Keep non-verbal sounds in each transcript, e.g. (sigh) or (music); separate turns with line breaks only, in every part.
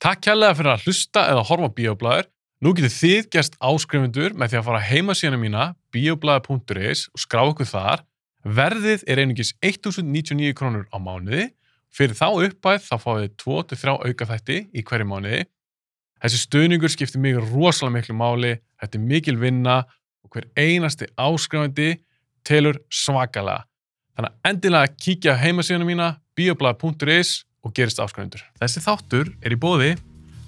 Takk kærlega fyrir að hlusta eða horfa á Bíoblæður. Nú getur þið gerst áskrifundur með því að fara á heimasíðuna mína bioblæður.is og skrá okkur þar. Verðið er einungis 1.099 krónur á mánuði. Fyrir þá uppæð þá fáið þið 2-3 aukaþætti í hverju mánuði. Þessi stuðningur skiptir mig rosalega miklu máli, þetta er mikil vinna og hver einasti áskrifandi telur svakalega. Þannig að endilega kíkja á heimasíðuna mína bioblað.is og gerist áskrifundur. Þessi þáttur er í bóði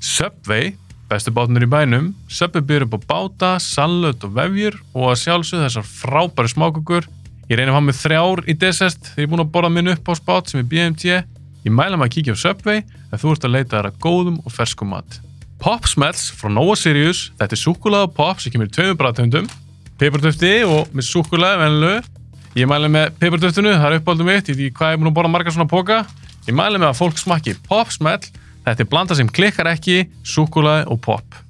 Subway, bestu bátunur í bænum, Subway byrjur upp á báta, sallöt og vefjur og að sjálfsögðu þessar frábæri smákukur. Ég reyni að hafa með þrjár í desert þegar ég er búin að borða minn upp á spát sem er BMT. Ég mæla maður að kíkja á Subway þegar þú ert að leita þar að góðum og ferskum mat. Pop Smells frá Nova Sirius, þetta er súkulega pop sem kemur í tveimur bræðtöndum, pipartöfti og með súkulega venlu. Ég mæli með pipartöftinu, það er uppáldum mitt, ég veit ekki hvað ég er búin að borða margar svona póka. Ég mæli með að fólk smakki Pop Smell, þetta er blanda sem klikkar ekki, súkulega og pop.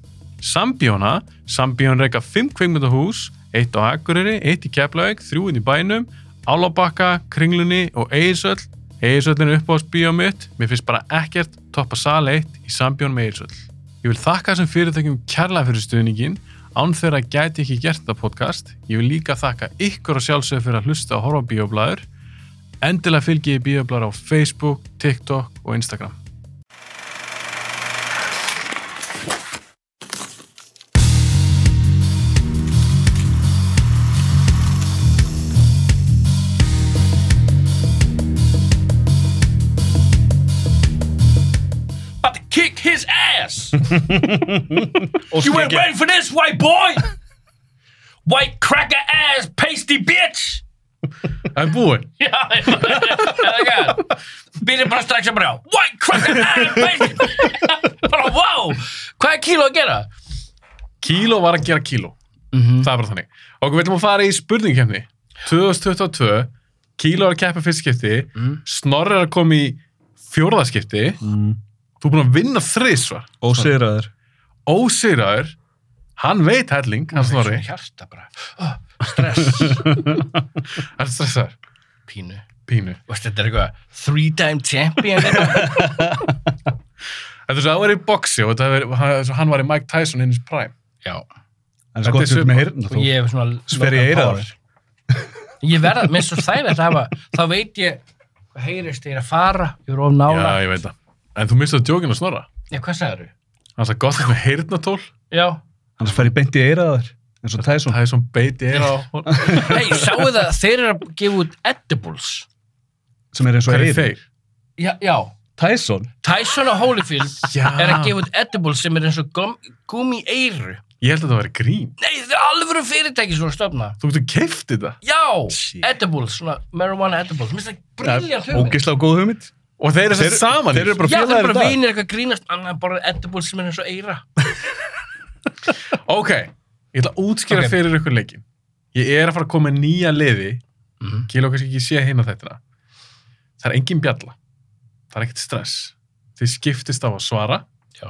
Sambjóna, Sambjón reyka 5 kveikmyndahús, 1 á Akureyri, 1 í Keflavík, 3 inn í bænum, Álabakka, Kringlunni og Eirsöll. Eirsöllin er uppáhaldsbíó mitt, mér finnst bara ekkert toppa sal 1 í Sambjón með Eirsöll. Ég vil þakka þessum fyrirtækjum kærlega fyrir stuðningin, án þeirra gæti ég ekki gert þetta podcast. Ég vil líka þakka ykkur og sjálfsögur fyrir að hlusta og horfa á bíoblæður. Endilega fylgi ég bíoblæður á Facebook, TikTok og Instagram.
about to kick his ass. you ain't ready for this, white boy. White cracker ass pasty bitch. (laughs)
Það er búið.
Já, já. Býðir bara strax að bara White cracker ass pasty (laughs) Bara wow, hvað er kíló að gera?
Kíló var að gera kíló. Það er bara þannig. Og við viljum að fara í spurningkefni. 2022, kíló er að keppa fyrst skipti, snorri er að koma í fjórðaskipti. Mm. Þú er búin að vinna þrisvar.
Ósýraður
Ósýraður, hann veit helling, hann snorri.
Hjarta bara, oh, stress, (laughs)
Hann er stressaður.
pínu
Pínu.
Veist þetta er eitthvað, three time champion eitthvað.
Þetta er svo að það var í boxi og þetta er, hann- svo hann var í Mike Tyson hins prime.
Já,
En
Þetta er
sko þú ert
svipað.
með heyrna
og
þú
ég hef svona
Sver ég eira þar
Ég verða, minnst svo þægilegt að hafa, þá veit ég, hvað heyrist ég er að fara, ég er of nála.
Já, ég veit það. En þú mistaði djókinu að snorra.
Já, hvað sagður þú?
Hann sagði gott með heyrnatól.
Já.
Annars fer ég beint í eira þar En svo Tyson
Það er svona beiti eira (laughs) á honum.
Nei, sáu það, þeir eru að gefa út edibles.
Sem er eins og
Hver er
eira
þeir?
Já, já.
Tyson
Tyson og Holyfield
Já.
er að gefa út edibles sem er eins og gum, gumi eiru.
Ég held að það væri grín.
Nei, það er alvöru fyrirtæki svona stofna.
Þú getur keift þetta.
Já,
Sí.
edibles, svona marijuana edibles. Mér finnst það briljant hugmynd.
Ógislega góð hugmynd
Og þeir eru
Þeir-
þess saman.
þeir eru bara-
Já, það er
Félagar í
bara
dag.
vinir eitthvað að grínast, annar bara edibles sem er eins og eira.
Ok, ég ætla að útskýra
Ok.
fyrir ykkur leikin. Ég er að fara að koma með nýja liði.
Mhm.
Kíló kannski ekki sé hinna þetta. Það er engin bjalla. Það er ekkert stress. Þið skiptist á að svara.
Já.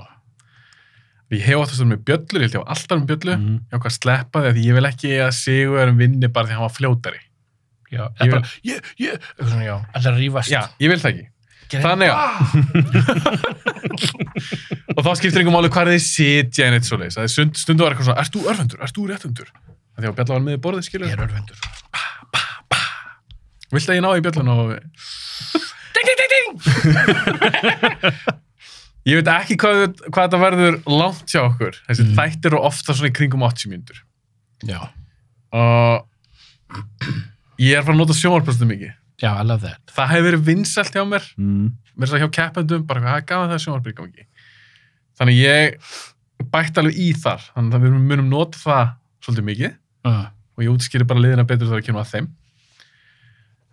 Ég hef oftast verið með bjöllur, ég held ég á alltaf með bjöllu.
Mhm.
Ég ákvað að sleppa því að ég vil ekki að Sigurðurinn vinni bara því að hann var fljótari.
Já,
Ég
ég
vil-
bara, ég, ég, eitthvað svona, já, allar rífast.
Já, ég vil það ekki.
Gerði-
Þannig
Ah!
að. (laughs) og þá skiptir einhver máli hvað þið sitja en eitt svo leiðis. Stund, stundu var eitthvað svona, ert þú örfendur, ert þú réttundur? Því að Bjalla var með í borðið, skilur.
Ég er örvendur.
Vilt að ég ná í bjöllun og...
Ding, ding, ding, ding!
Ég veit ekki hvað, hvað þetta verður langt hjá okkur. Þessi þættir eru ofta svona í kringum 80 mínútur.
Já.
Og ég er fara að nota sjónvarpastum mikið.
Já, I love that.
Það hefur verið vinsælt hjá mér.
Mhm.
Mm.
mér er það hjá keppendum, bara hvað gaf það sjónvarpið gangi. Þannig ég bætti alveg í þar, þannig að við munum nota það svolítið mikið
Uh.
og ég útskýri bara liðina betur þegar að kemur að þeim.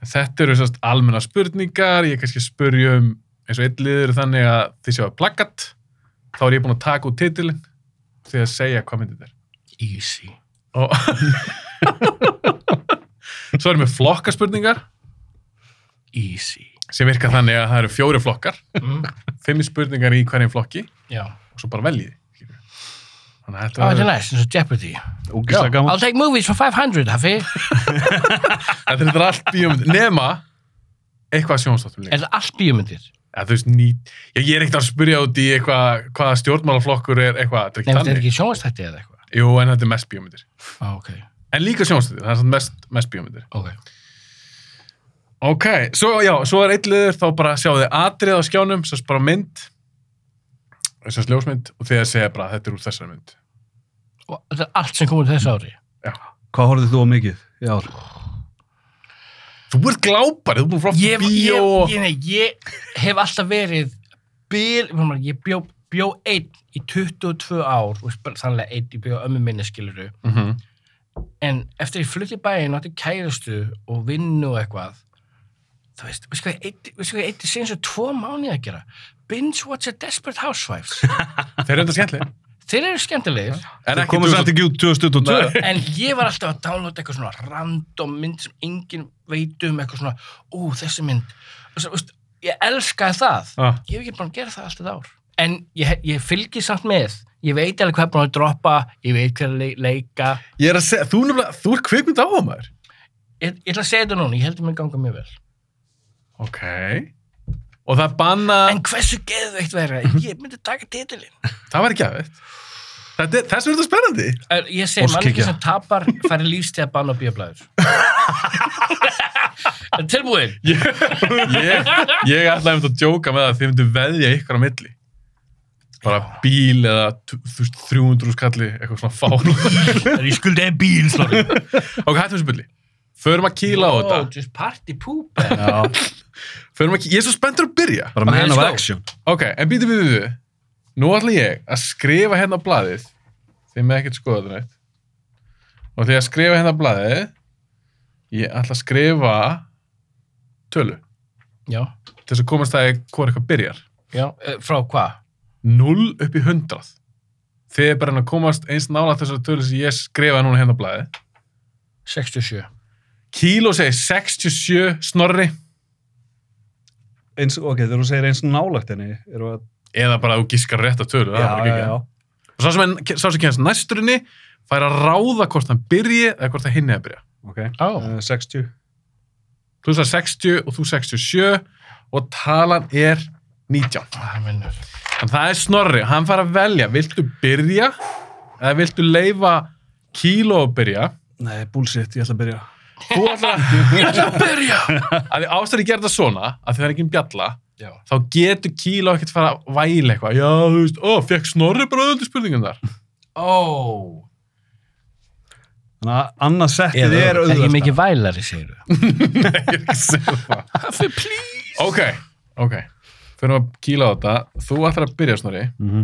En Þetta eru sérst almenna spurningar, ég kannski spurja um eins og einn liður er þannig að þið sjáu plakat, þá er ég búinn að taka út titilin því að segja hvað myndið er.
Easy.
Og (laughs) svo erum við flokkaspurningar
Easy.
sem virka þannig að það eru fjóri flokkar,
Mm.
fimm spurningar í hverjum flokki
(laughs) Já.
og svo bara veljið skilurðu. þannig að
Það
þetta
var þetta
verður-
næst, eins og Jeopardy.
Ógislega gaman
I'll take movies for 500, hafi.
þetta er allt bíómynd um- nema eitthvað sjónstáttum
Er
líka
það allt bíómyndir?
eða þú veist, ný... ég, ég er ekkert að spyrja út í eitthvað, hvaða stjórnmálaflokkur er eitthvað, þetta er
Nei,
ekki
þetta er
þannig.
ekki sjónastætti eða eitthvað.
Jú, en þetta er mest bíómyndir.
Á, ok,
En líka sjónstætti, það er samt mest, mest bíómyndir.
ok.
Ok, svo, já, svo er eitt liður, þá bara sjáu þið atrið á skjánum, sem sagt bara mynd, sem sagt ljósmynd, og þegar segja bara, þetta er úr þessari mynd.
Og þetta er allt sem kom út þessu ári.
Hvað horfðið þú á mikið? Já,
Þú ert gláparið, þú ert búin frá
Ég,
bíó
ég,
og...
ég, nei, ég hef alltaf verið bil, ég bjó, bjó einn í 22 ár, og sannlega einn í bjó ömmu minni skiluru.
Mhm.
En eftir ég flutti í bæinn og átti kærustu og vinnu og eitthvað, þú veist, veistu hvað ég eyddi- veistu hvað ég eitti síðan svo tvo mánuði að gera? Binge watch a Desperate Housewives. (laughs)
Þeir eru þetta skemmtileg.
Þeir eru skemmtilegir,
En
það
ekki
komið samt ekki út 2022.
en ég var alltaf að downloada eitthvað svona random mynd sem enginn veit um eitthvað svona, ú, þessi mynd. Og svo, veistu, ég elskaði það.
Ah,
Ég hef ekki búin að gera það allt þetta ár. En ég, ég fylgi samt með. Ég veit alveg hvað er búin að droppa, ég veit hvað er að le- leika.
ég er að segja, þú, nefnilega- þú er kvikmynd áhuga maður.
Ég, ég ætla að segja þetta núna, ég heldur mér ganga mjög vel.
Ok. Og það banna,
En hversu geðveikt verið Ég myndi taka titilinn.
það var ekki aðeitt. Þess verður þetta spennandi.
Er- Ég segi, mannski
Óskhyggja.
sem tapar færi lífstíða bann og
(laughs)
bíoblæður. En Tilbúin.
Ég, ég ætlaði einmitt að djóka með það að þið myndu veðja ykkur á milli. Bara bíl eða t- þú veist, 300 skalli, eitthvað svona fál.
Ég skuldi einn bíl,
sko.
slóri.
ok, hættum þessu byrli. Förum að kýla á þetta.
Just party poop.
Já,
Förum að kýla, ég er svo spenntur að byrja.
bara
Ok,
man
let's
of
go.
action.
Ok, en býtu, býtu, býtu. Nú ætla ég að skrifa hérna á blaðið. Þið með ekkert skoða þetta neitt. Og því að skrifa hérna á blaðið, ég ætla að skrifa tölu.
Já,
Til þess að komast það í hvort eitthvað byrjar.
já. eh, Frá hvað?
0 upp í 100. Þið er bara að komast eins nála þessar tölu sem ég skrifaði núna hérna á blaðið.
67.
Kíló segir 67 snorri.
Eins, ok, þegar þú segir eins nálagt henni, eru að...
Eða bara að þú gískar rétt að tölu. það er bara geggjað. Og sá sem, en, sá sem kennast næsturinni fær að ráða hvort hann byrji eða hvort það hinni að byrja.
Ok,
Á.
Eh, 60.
þú sagði 60 og þú 67 og talan er 19.
Það minnur.
Þannig það er snorri, hann fara að velja, viltu byrja eða viltu leifa kíló að byrja?
Nei, bullshit, ég ætla að byrja.
Þú ætlar
Að byrja.
að ástæði gerða svona, að þið er ekki um bjalla,
(laughs) Já.
þá getur kíló ekkert fara að væla eitthvað. Já, þú veist, ó, fekk snorri bara öðru spurningum þar. (laughs)
Ó.
Þannig að annað settið
Eða
er
Ekki
auðvitað.
mikið vælari, segir þú.
Ég er ekki að segja það.
Please.
Ok, ok. Fyrir að kíla á þetta, þú ætlar að byrja snorri
Mhm.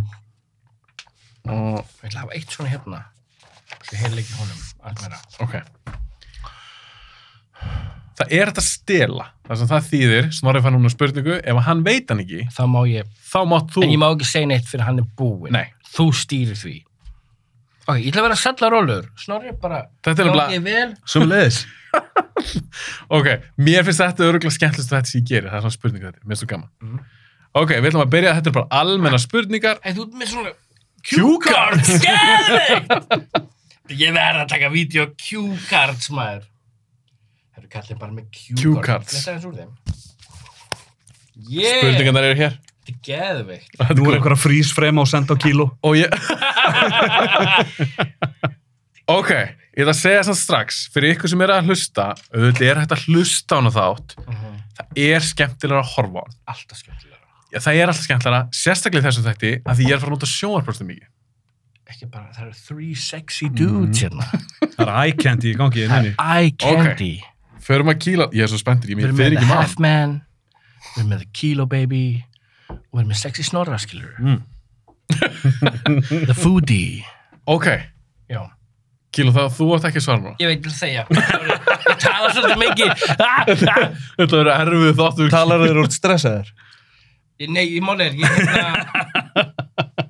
og,
Ég ætla að hafa eitt svona hérna. Ég heil ekki honum. Allt meira.
Ok. Það er þetta stela. Það sem það þýðir, Snorri fann núna spurningu, ef hann veit hann ekki,
Þá má ég
þá mátt þú...
En ég má ekki segja neitt fyrir hann er búinn.
Nei.
Þú stýrir því. Ok, ég ætla að vera sallarólegur. Snorri er bara...
Þetta er nefnilega...
Gangi þér vel.
Sem leiðis.
Ok, mér finnst þetta öruglega skemmtlust þetta sem ég geri. Það er svona spurningu þetta. Mér finnst þú gaman.
Mhm.
Ok, við ætlum að byrja. Þetta er bara almenna spurningar.
Hey, þú ert með svona...
Q-card! (laughs)
Skelvikt! ég verð að taka vídeo Q-cards, maður. Það eru kallið bara með Q-cards.
Q-cards.
Lesa aðeins úr þeim. Yeah!
Spurningarnar eru hér.
Þetta er geðvikt.
Þetta er
Nú er
gott.
eitthvað að frýs frema og senda á kíló.
Og ég... ok, ég ætla að segja þess strax. Fyrir ykkur sem eru að hlusta, auðvitað er hægt að hlusta á hana þátt. Það er skemmtilega að horfa á hana.
Alltaf skemmtilega.
Já, það er alltaf skemmtlara, sérstaklega í þessu þætti, að því ég er að fara að nota sjónvarpróstum mikið.
Ekki bara, það eru three sexy
Mhm.
dudes hérna.
Það er eye candy í gangi,
Það
neini.
er eye candy.
Förum að kýla, ég er svo spenntur, ég mér
Við erum
fyrir
með
ekki
The
mann.
Half Man, við erum með The Kilo Baby og við erum með Sexy Snorra, skilur
Mm.
Mm.
(laughs) The Foodie.
Ok,
Já.
kýla það, þú átt ekki að svara núna.
Ég veit ekki að segja. Ég tala svolítið mikið. (laughs) Ah, ah.
Þetta verður erfið þáttur.
Talar þeir úr stressaðir?
Ég- Nei, ég mál er, ég hérna,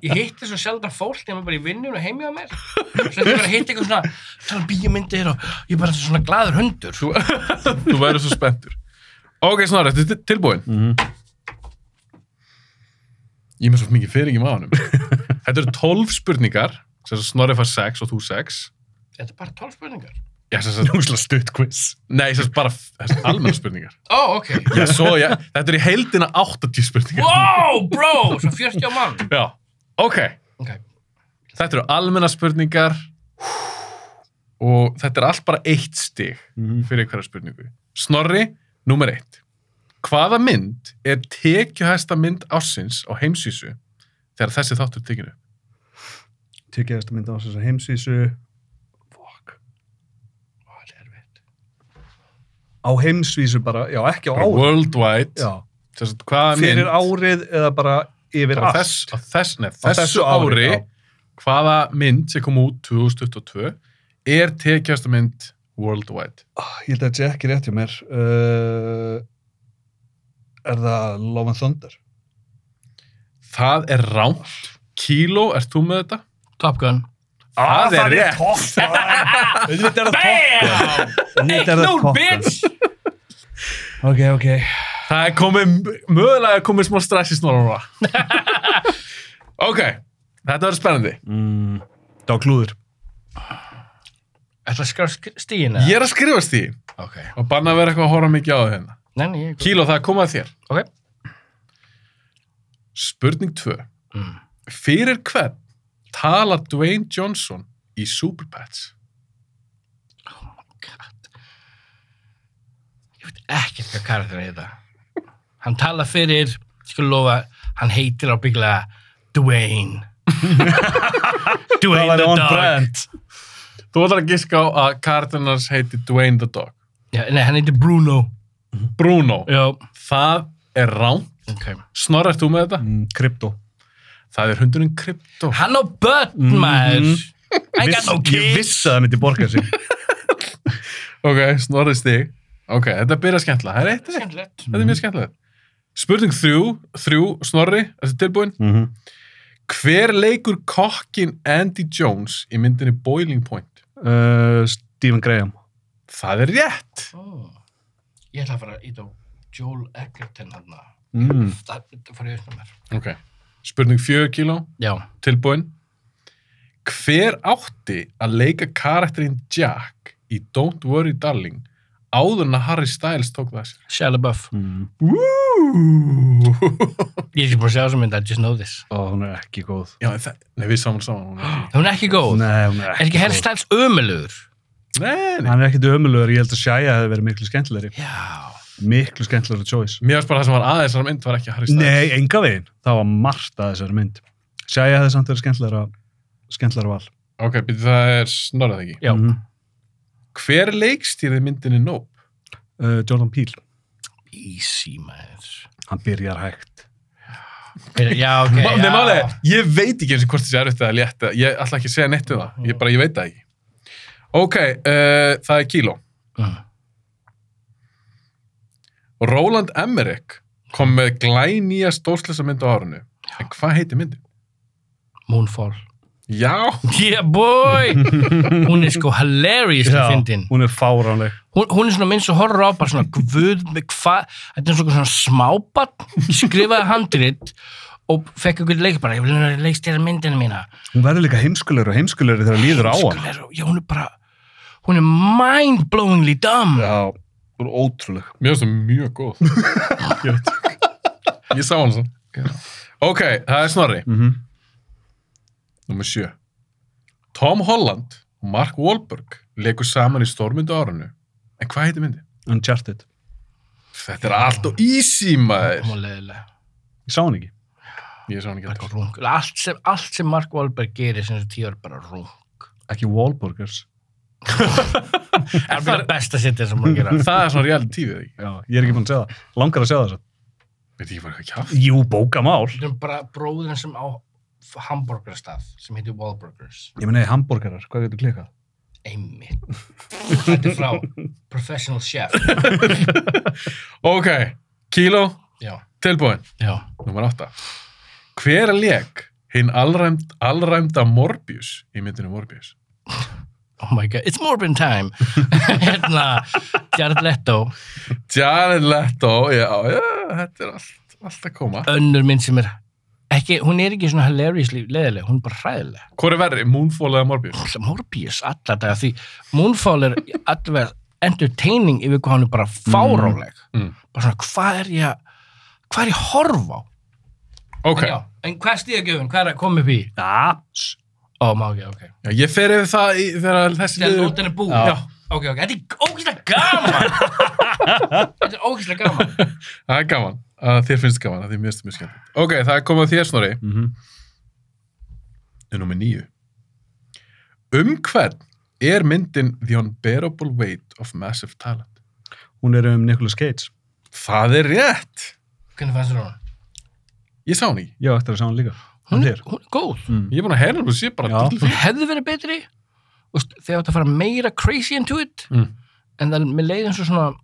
ég hitti svo sjaldan fólk þegar maður bara í vinnun og heimja á mér. Svo þetta bara að hitta eitthvað svona, tala um bíjamyndir og ég er bara svona glaður hundur.
Þú, þú verður svo spenntur. Ok, snar, þetta er tilbúin. Ég er með svo mikið fyrir ekki mannum. þetta eru 12 spurningar, sem þess að Snorri fær 6 og þú 6.
Þetta er bara tólf spurningar.
Já, sem sagt,
Jónslega stutt quiz.
nei, sem sagt bara almenna spurningar.
Ó, ok.
Já, svo, já, þetta er í heildina 80 spurningar.
Wow, bro, svo 40 á mann.
Já, ok.
Ok.
Þetta eru almenna spurningar og þetta er allt bara eitt stig
Mhm.
fyrir hverja spurningu. Snorri, nummer eitt. Hvaða mynd er tekjuhæsta mynd ársins á heimsísu þegar þessi þáttur tekinu?
Tyggjaðist að mynda á þess að heimsvísu Fuck.
Ó, þetta er erfitt.
Á heimsvísu bara, já ekki á
Bara
árið.
Worldwide.
Já.
Þess að hvaða mynd
Fyrir árið eða bara yfir
á,
allt.
þess, á, þess, nei,
Á
þessu, ári,
já.
hvaða mynd sem kom út 2022 er tekjuhæsta mynd worldwide?
Ah, Ég held að þetta sé ekki rétt hjá mér. Uh, er það Love and Thunder?
Það er rámt. Kíló, ert þú með þetta?
Top Gun.
Það er rétt.
topp. (laughs) Þetta er það topp.
Bam!
Auðvitað er það
1-0,
topp.
bitch!
Ok, ok.
Það er komið, mögulega er komið smá stress í snorra
(laughs)
núna. ok, þetta verður spennandi.
Mm, það var klúður.
Ætla að skra stíðina?
Ég er að skrifast því
Ok.
og banna að vera eitthvað að horfa mikið á þau hérna.
Nei, nei, ég...
Kíló, það er komið að þér.
Ok.
Spurning 2.
Mm.
Fyrir hvern talar Dwayne Johnson í Superpets?
God. Ég veit ekkert hvað karakter heita. Hann tala fyrir, ég skal lofa, hann heitir ábygglega
(laughs)
Dwayne. Dwayne
Það
the
var on
dog.
brand.
Þú ætlar að giska á að Cardinals heiti Dwayne the Dog.
Já, nei, hann heitir Bruno.
Bruno,
Já.
það er rán.
Ok.
Snorra, ert þú með þetta?
Mm, Krypto.
Það er hundurinn Krypto.
Hann á börn, maður. I got no
Mhm. Viss- Ég
kids.
vissi að það myndi borga sig.
Ok, snorrið stig. Ok, þetta byrja skemmtilega. Það er eitt eitt.
Skemmtilegt.
Þetta er mjög skemmtilega. Spurning þrjú, þrjú, snorri, þetta er tilbúin.
(laughs) Mhm.
Hver leikur kokkin Andy Jones í myndinni Boiling Point?
uh, Stephen Graham.
Það er rétt.
Ó. Ég ætla að fara í þá Joel Egerton hann að
Mm.
það fara í auðvitað mér.
Ok. Spurning fjögur kíló,
Já.
tilbúin. Hver átti að leika karakterinn Jack í Don't Worry Darling áður en að Harry Styles tók það að sér?
Shia LaBeouf.
Mm.
Woo!
Ég er ekki búin að sjá þessa mynd, I just know this.
Ó, hún er ekki góð.
Já, en það, nei, við saman saman. hún er ekki-
Hún er ekki góð.
Nei, hún er
Er
ekki
ekki helst alls ömulegur?
Nei, nei.
Hann er ekkit ömulegur, ég held að Shia hefði verið miklu skemmtilegri.
Já.
Miklu skemmtilegri choice.
Mér varst bara það sem var aðeins þessar mynd var ekki Harry Styles.
Nei, enga veginn. Það var margt að þessari mynd. Shia hefði samt verið skemmtilegra, skemmtilegra val.
Ok, byrju það er snorrað ekki.
Já.
Mhm.
Hver leikstýrði myndinni Nope?
Uh, Jordan Peele.
Easy, maður.
Hann byrjar hægt.
Fyrir- Já,
(laughs)
ok.
Ma- Nei,
já.
málega, ég veit ekki eins og hvort þessi er auðvitað að létta. Ég ætla ekki að segja neitt um það. Ég bara, ég veit það ekki. Ok, uh, það er kíló.
Mm.
Roland Emmerich kom með glænýja stórsleisa mynd á árinu. En hvað heitir myndin?
Moonfall.
Já,
Yeah,
(laughs)
boy! Hún er sko hilarious að fyndin.
hún er fáránleg.
Hún, hún er svona minn sem horfir á bara svona guð með hvað, þetta er svona svona smábann skrifaði handrit og fekk einhvern leik bara, ég vil hérna leikstýra myndina mína.
Hún verður líka heimskulegri og heimskulegri þegar líður á hann.
Skilur, Já, hún er bara, hún er mind-blowingly dumb.
Já, hún er ótrúleg.
mér finnst það mjög
(laughs)
góð. Ég veit ekki. ég sá hann svo. Ok, það er snorri.
Mm
Númer sjö. Tom Holland og Mark Wahlberg leikur saman í stórmyndu árinu. En hvað heitir myndin?
Uncharted.
Þetta er allt og easy, maður.
Hún var leiðilega.
Ég sá hann ekki.
Ég sá hann ekki
Bara
alltaf.
rung. Allt sem, allt sem Mark Wahlberg gerir sem þessu tíu er bara (laughs) rung.
Ekki Wahlburgers.
Það er bara besta setja sem hún (laughs) gerir.
Það er svona reality tífið, ekki?
Já, ég er ekki búin að segja það. Langar að segja það svo.
Veit ekki bara hvað kjátt.
Jú, bókamál.
Þetta er bara bróðurinn sem á hamburgerstað sem heitir Wahlburgers.
Ég meni, hambúrgarar, hvað getur klikkað?
Einmitt. Þetta er frá (laughs) Professional Chef.
Ok, kíló,
Já.
tilbúin.
Já.
Númer átta. Hver leik hinn allræmd, allræmda Morbius í myndinu Morbius?
Oh my god, it's Morbin time. (laughs) hérna, Jared Leto,
Jared Leto, já, já, þetta er allt, allt að koma.
önnur mynd sem er ekki, hún er ekki svona hilariously leðileg, hún er bara hræðileg
Hvor er verri, Moonfall eða Morbius?
Pff, Morbius alla daga því Moonfall er allavega entertaining yfir hvað hann er bara fáráleg
Mm.
bara svona hvað er ég að- hvað er ég að horfa á
Ok,
en, já, en hvað stíða gefin, hvað er að koma upp í
já.
ó, má ekki, ok
Já, ég fer yfir það í, þegar þessi
þegar
liður-
nótin er búin
Já.
ok, ok, þetta er ógæslega gaman
(laughs)
þetta er ógæslega gaman
Það er gaman, að þér finnst gaman að því mjög mjög skemmt Ok, það er komið að þér snorri
Mm -hmm.
er nummer nýju Um hvern er myndin The Unbearable Weight of Massive Talent?
Hún er um Nicolas Cage.
Það er rétt
hvernig fannst þér hún?
Ég sá hann í,
Ég á eftir að sjá hann líka. Hann
Hún
þér.
er, hún er góð
Mm.
ég er búin að heyra hann og sé bara
Já.
dýrlega.
hún hefði verið betri og þegar þetta fara meira crazy into it
Mm.
en það með leið eins og svona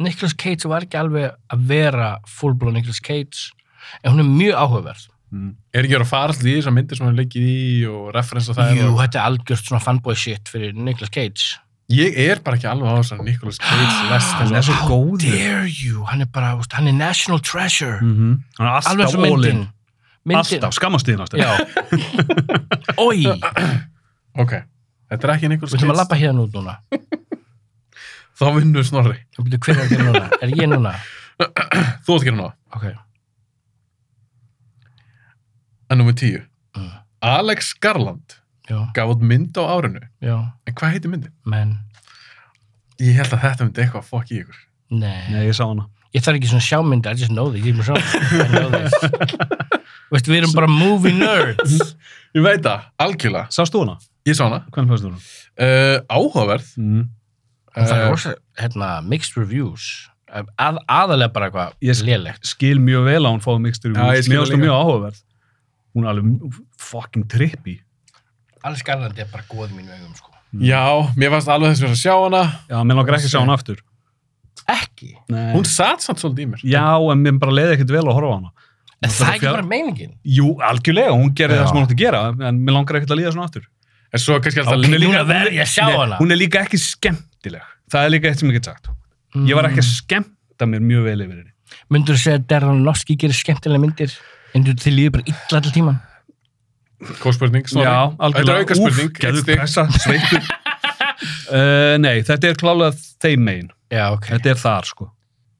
Nicolas Cage var ekki alveg að vera fullblown Nicolas Cage en hún er mjög áhugaverð
Mm.
Er ekki að fara allir í þessar myndir sem hann leikið í og referensa það
Jú,
og...
þetta er algjört svona fanboy shit fyrir Nicolas Cage
Ég er bara ekki alveg á þessar Nicolas Cage lest
Hann er svo
How
góður.
dare you, hann er bara, veist, hann er national treasure
Mm -hmm. Hann er
alveg eins
alltaf
og myndin
ólinn.
myndin,
Alltaf, skammast þín alltaf.
já Oi,
Ok, þetta er ekki Nicolas
við ætlum að
Cage
labba hérna út núna
Þá vinnur snorri,
Bíddu, Hver er þér núna? Er ég núna?
þú átt ekki hann á
Ok,
En nummer tíu
Mm.
Alex Garland
já,
gaf út mynd á árinu
já,
En hvað heitir myndin?
menn,
Ég held að þetta myndi eitthvað að fokk í ykkur.
Nei, ég sá hana.
ég þarf ekki svona sjámynd, I just know this, ég er mér svona, I know this. Veist, við erum bara movie nerds.
Ég veit það, algjörlega.
Sástu hana?
Ég sá hana.
Hvernig fannst þú hana?
Uh, áhugaverð.
Mm.
Og það
Eh,
er rosa, hérna, mixed reviews, að, aðalega bara
Ég
eitthvað
sk-
lélegt.
Skil mjög vel að hún fáið mixtur í
Já, ég
hús.
skil
Mér fannst hún
líka.
mjög áhugaverð. Hún er alveg fucking trippy.
Alls Garland er bara góð í mínu augum, sko.
Já, mér fannst alveg þess að vera að sjá hana.
Já, mér langar ekki að sjá hana aftur.
Ekki?
Nei.
Hún satt samt svolítið í mér.
Já, en mér bara leiði ekkert vel að horfa á hana.
En
Hún
það er
þarf
ekki
að
bara meiningin.
Jú, algjörlega, hún gerði
Já.
það sem hún átti að gera, en mér langar ekkert að líða svona aftur.
En svo kannski alltaf
Ok, núna verð ég að sjá
Nei,
hana.
Hún er líka ekki skemmtileg. Það er líka eitt sem ég get sagt. Ég var
Mm.
ekki að skemmta mér mjög vel yfir henni.
Myndur þú Mm. segja að Darren Lofsky gerir skemmtilega myndir, en þú þið líður bara illa all tíman?
Kóspurning, snorri. Þetta
Já, algjörlega.
er auka spurning.
Úf, gerðu
(laughs)
pressa, sveittur. uh, nei, þetta er klálega þeim megin.
Já, ok.
Þetta er þar, sko.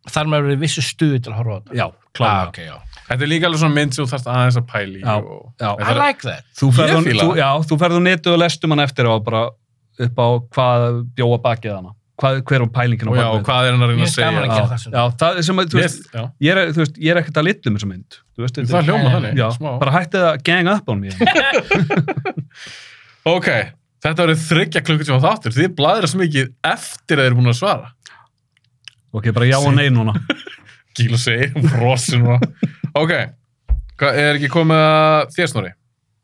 Þar maður verið vissu stuði til að horfa á þetta.
Já,
Ah,
klálega.
ok, já.
Þetta er líka alveg svona mynd sem þú þarfst aðeins að pæli.
Já,
og...
já.
I like that.
Þú
Ég
ferð á-
fíla það.
þú- já, þú ferðu netu og lestum hann eftir á bara upp á hvað bjóa bakið hana. Hvað, hver var pælingin á
og já,
bakvið
og hvað er hann að reyna
Mér
að
er
segja?
gaman að
Já.
gera það svona.
Já, það er sem að, þú
Mér-
veist,
já.
ég er, þú veist, ég er ekkert að litlum þessa mynd. Þú veist,
Það hljóma
Nei, nei,
þannig,
já,
smá.
bara hættið að gang up
(laughs)
on mér.
Ok, þetta eru þryggja klukkutíma þáttur. Þið blæðir svo mikið eftir að þeir eru búin að svara.
ok, bara já og nei núna.
Gíl og segir, brosin
(laughs)
og... Ok, Hvað, er ekki komið að þér, Snorri?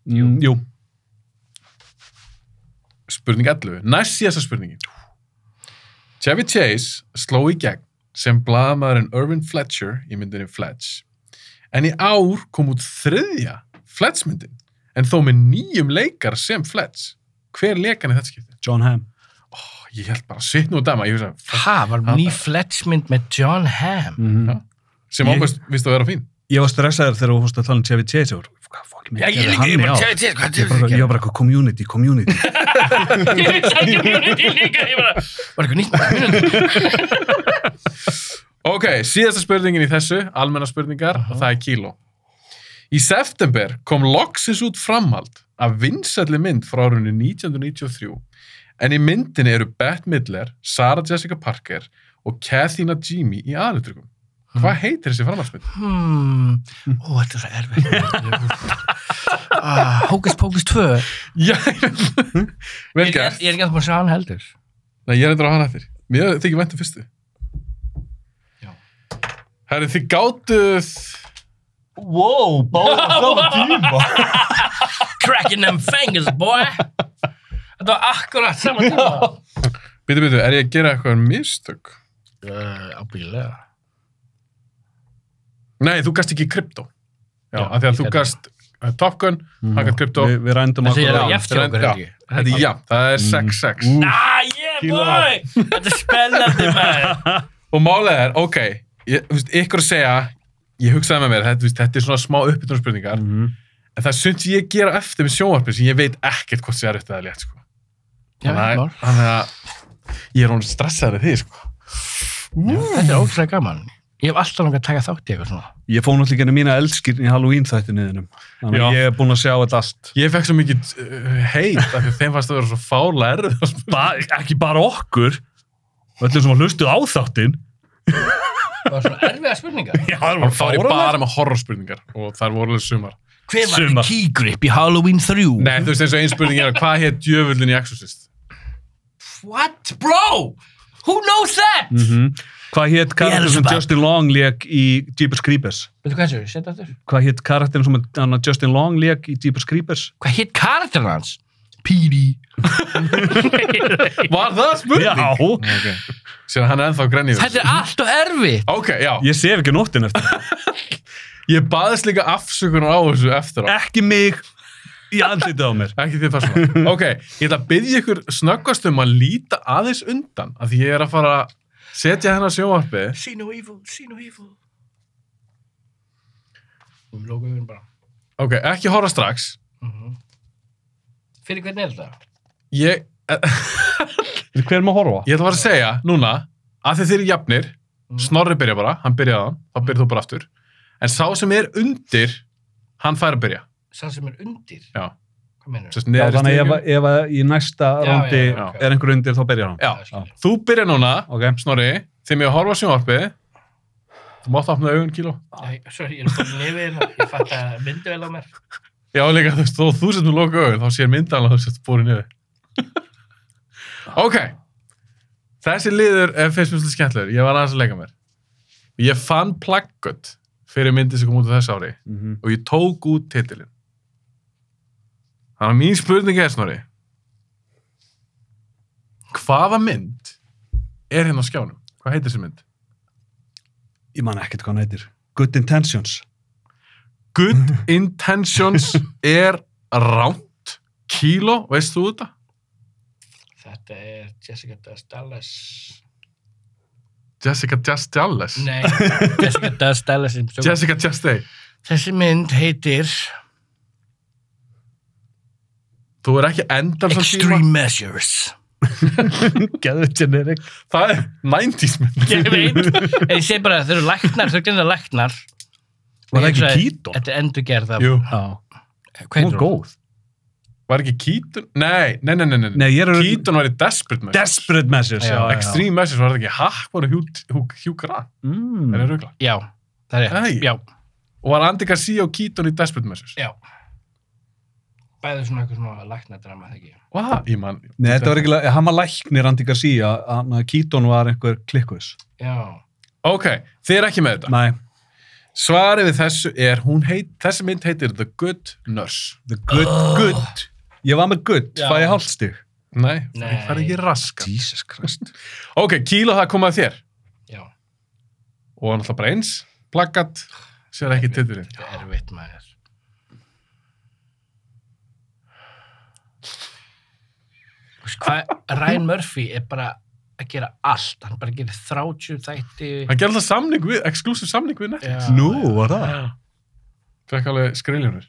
Jú. Jú.
spurning 11, næst síðasta spurningin Chevy Chase sló í gegn sem blaðamaðurinn Irvin Fletcher í myndinni Fletch en í ár kom út þriðja Fletch myndin en þó með nýjum leikar sem Fletch hver leikan í þetta skipti?
John Hamm.
Oh, ég held bara sitt nú og dama ég hugsa, fuck,
Ha, var ný Fletchmynd með John Hamm.
Já. sem
Ég-
ákvæmst vist að vera fín
Ég var stressaður þegar þú fórst að tala um Chevy Chase og hvað fokk mér gerði hann í ár?
tjáði til, hvað
Ég bara- Ég var bara eitthvað community, community.
(laughs) Ég veit ekki um Unity líka, ég bara, var eitthvað nýtt með Unity.
Ok, síðasta spurningin í þessu, almenna spurningar, og það er kíló. Í september kom loksins út framhald af vinsælli mynd frá árunni 1993, en í myndinni eru Bette Midler, Sarah Jessica Parker og Kathy Najimy í aðlutrygum. Hvað heitir þessi framhaldsmynd?
Hmm, ó, þetta er svo erfitt. (laughs) Ah, Hókus Pókus 2.
(laughs) Já, ég veit- (laughs) vel
Ég er
gert.
ég er ekki að búin að sjá hann heldur.
Nei, ég er endur á hann eftir. Mér þykir væntum fyrstu.
Já.
Herri, þið gátuð...
Wow, báða
(laughs)
þá tíma.
Cracking them fingers, boy. Þetta var akkurat saman tíma.
Býtu, býtu, er ég að gera eitthvað mistök?
Uh, Ábyggilega.
Nei, þú gast ekki krypto. Já,
Já,
af því að
ég
þú
gat
gast uh, Top Gun, hann gast krypto.
Við við
Þetta
rændum
er
akkurat á.
að jæftja okkur,
Já.
ekki?
Þetta er já, það er 6-6.
Ah, yeah,
Kíló.
boy! Þetta er spennandi, maður.
Og málið er, ok, ég, þú veist, ykkur að segja, ég hugsaði með mér, þetta, þú veist, þetta er svona smá uppbytunarspurningar,
Mhm.
en það er sumt sem ég gera eftir með sjónvarpið sem ég veit ekkert hvort það er rétt eða létt, sko.
Já,
Þannig að-
mál.
Þannig að ég er hún stressaður af því, sko.
Já, Þetta er ótrúlega gaman. Ég hef alltaf langað að taka þátt í eitthvað svona.
Ég fór náttúrulega ekki mína eldskýrn í Halloween þættinu þinnum. Þannig
Já.
að ég er búin að sjá þetta allt.
Ég fekk svo mikið uh, heit af því að þeim fannst að vera svo fála erfið.
ba ekki bara okkur öllum sem að hlustuð á þáttinn
Það var svona erfiða spurningar.
já, það
Þá er ég bara með horrorspurningar og þar voru alveg sumar.
Hver var
Sumar.
Sumar. key grip í Halloween 3?
Nei, þú veist eins og einn spurning er hvað hétt djöfullin í Exorcist?
What, bro? Who knows that?
Mm Hvað hétt karakter sem
Beelzebub.
Justin Long leik í Jeepers Creepers?
Veitu hvað þessu, setja aftur.
Hvað hétt karakter sem hann að Justin Long leik í Jeepers Creepers?
Hvað hitt karakterin hans? P.D.
Var það spurning?
já,
Ok. Sér hann er ennþá grænið.
Þetta er allt og erfitt.
Ok, já.
Ég sef ekki nóttin eftir.
Ég baðist líka afsökunar á þessu eftir á.
ekki mig í andlitið á mér.
Ekki þið persóna. Ok, ég ætla að byggja ykkur snöggast um að líta aðeins undan af því ég er að fara að setja hennar sjónvarpi.
See no evil, see no evil. Við lókum við bara. Mhm.
Ok, ekki horfa strax.
Fyrir hvernig er þetta?
Ég,
Hver er maður að horfa?
ég ætla bara að segja núna að þið þeir eru jafnir,
Mhm.
Snorri byrja bara, hann byrjaði hann, þá byrjaði þú bara aftur. En sá sem er undir, hann fær að byrja.
Sá sem er undir?
Já.
Hvað mennur
Sest,
Já, þannig að
stiganum.
ef, að- ef að í næsta
Já,
rándi
já, já, ok.
er einhver undir þá berjar hann.
Já, Þú byrja núna,
Ok.
Snorri, þegar ég horfa á sjónvarpið, þú mátt opna augun kíló.
Sorry, ég er komin yfir það. hérna. Ég fatt að myndu vel á mér.
Já, líka, þú veist, þó þú setur loka augun, þá sér myndan að þú setur búin yfir. (laughs) ok. Þessi liður er fyrst mjög skemmtilegur. Ég var aðeins að leika mér. Ég fann plakkut fyrir myndið sem kom út á þessu ári
Mm
og ég tók út titilin. Þannig að mín spurning er, Snorri, hvaða mynd er hérna á skjánum? Hvað heitir þessi mynd?
Ég man ekkert hvað hann heitir. Good (laughs) Intentions.
Good Intentions er ránt. Kíló, veist þú þetta?
Þetta er Jessica Does Dallas.
Jessica Just Dallas.
Nei, Jessica Does Dallas. er svo-
Jessica Chastain.
Þessi mynd heitir
Þú er ekki endan svo tíma.
Extreme Measures.
Geðvitt generik.
Það er 90s mynd.
Ég veit, (laughs) en ég segi bara að þau eru læknar, þau eru glinda læknar.
Var það
Ég
ekki
hugsaði,
Keaton?
Þetta er endurgerð af...
Jú.
Já.
Hvað
Hún
heitir
er
hún?
góð.
Var ekki Keaton? Nei, nei, nei, nei. nei.
Nei, ég er...
Keaton var í Desperate Measures.
Desperate Measures.
Já,
Extreme Measures var það ekki. Hakk var Hugh, Hugh, Hugh Grant.
Mm.
Það er raugla.
Já, það er
Nei.
rétt. Já,
Og var Andy Garcia og Keaton í Desperate Measures.
já. Bæðið svona eitthvað svona læknadrama, þegar ekki.
Hvað? Ég mann.
Nei, þetta var ekki... Hann var læknir Andy Garcia. Hann að Keaton var einhver klikkuðis.
Já.
Ok, þið er ekki með þetta.
Nei.
Svarið við þessu er, hún heit, þessi mynd heitir The Good Nurse.
The Good... Good. Ég var með Good.
Já.
Fæ ég hálfstig.
Nei,
Nei.
það er ekki raskan.
Jesus Christ.
Ok, kíló það kom að þér.
Já,
Og náttúrulega bara eins, plakkat, sér ekki titilinn.
þetta er erfitt maður. Þú veist Hvað, Ryan Murphy er bara að gera allt, hann bara gerir 30 þætti.
Hann gerði alltaf samning við, exclusive samning við Netflix.
Já,
Nú,
já.
var það?
Fekk alveg skriljónir.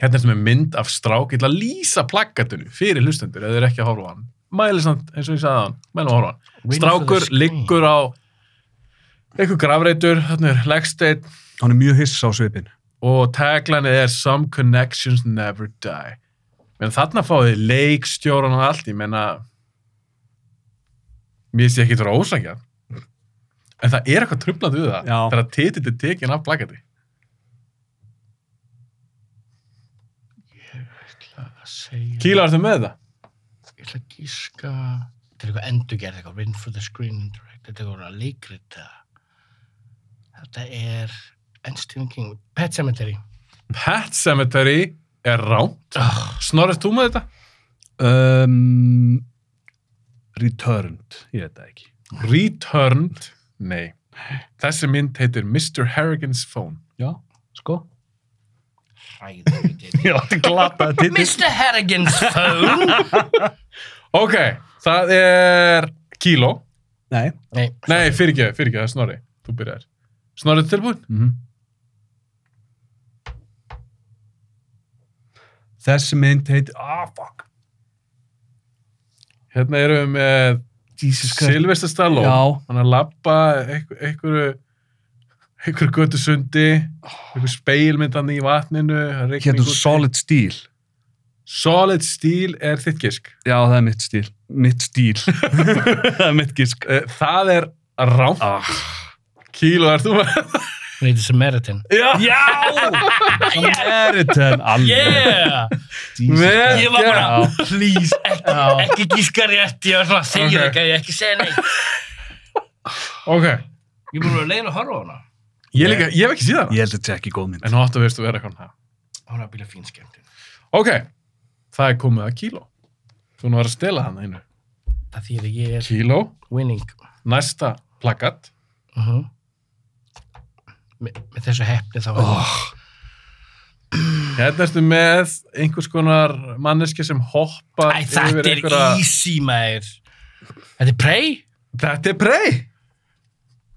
Hérna er þetta með mynd af strák, ég ætla að lýsa plakatinu fyrir hlustendur, ef þeir eru ekki að horfa á hann. Mæli samt, eins og ég sagði á hann, mæli að horfa á hann.
Win for the
Strákur
screen.
liggur á einhver grafreitur, þarna er legsteinn
Hann er mjög hiss á svipin.
og taglanið er Some connections never die. Men þarna fáið þið leikstjóran og allt, ég menna mér finnst ég ekki þetta ósækja en það er eitthvað trublant við það
Já.
þegar titill er tekin af plakati
Að segja-
Kíla, ertu með þetta?
Ég ætla að gíska... Þetta er eitthvað endurgerð, eitthvað win for the screen and direct, þetta er eitthvað leikrit eða... Þetta er... En Stephen King, Pet Sematary.
Pet Sematary er rám
Oh,
Snorrið, þú með þetta?
Um, returned. Ég veit það ekki.
Returned? Nei Þessi mynd heitir Mr. Harrigan's Phone
Já, sko.
hræður (laughs)
Já, þetta er glataði titill.
Mr. Harrigan's phone
Ok, það er Kíló
Nei.
Nei,
Nei, fyrir ekki, fyrir ekki, það er Snorri. Þú byrjar. Snorri, ertu tilbúin?
Þessi mynd heiti... Ah, fuck.
Hérna erum við með
Jesus
Silvestar Stallone.
Já.
Hann er að labba einhver- einhverju einhverju götu sundi, einhverju speilmyndan í vatninu, það er rigning
Hérna
úti.
Solid Steel.
Solid Steel er þitt gisk.
Já, það er mitt stíl. Mitt stíl. (laughs)
(laughs)
það er mitt gísk.
Eh, Það er rámt. Ah. Kíló, er þú með?
hún heitir Samaritan.
Já.
Já!
(laughs)
Samaritan, alveg.
Yeah!
Vel
Ég var bara,
Já.
please, ekki, ekki gíska rétt, ég var svona, segir
Ok.
okay. ekki, ekki segja neitt.
Ok,
Ég búið að leiðin að horfa á hana.
ég, líka, ég hef ekki síðan.
Ég held að þetta er ekki góð mynd.
En hún átti að veist að vera eitthvað. annað.
Hún er að bíla fín skemmtun.
Ok, það er komið að kíló. Þú nú var að stela hann einu.
Það þýðir að ég er
Kíló,
winning.
næsta plakat.
Uh með, með þessu hefni þá oh.
Hérna ertu með einhvers konar manneski sem hoppar
Æ, þetta er
einhverja-
easy, maður. Þetta er Prey?
Þetta er prey!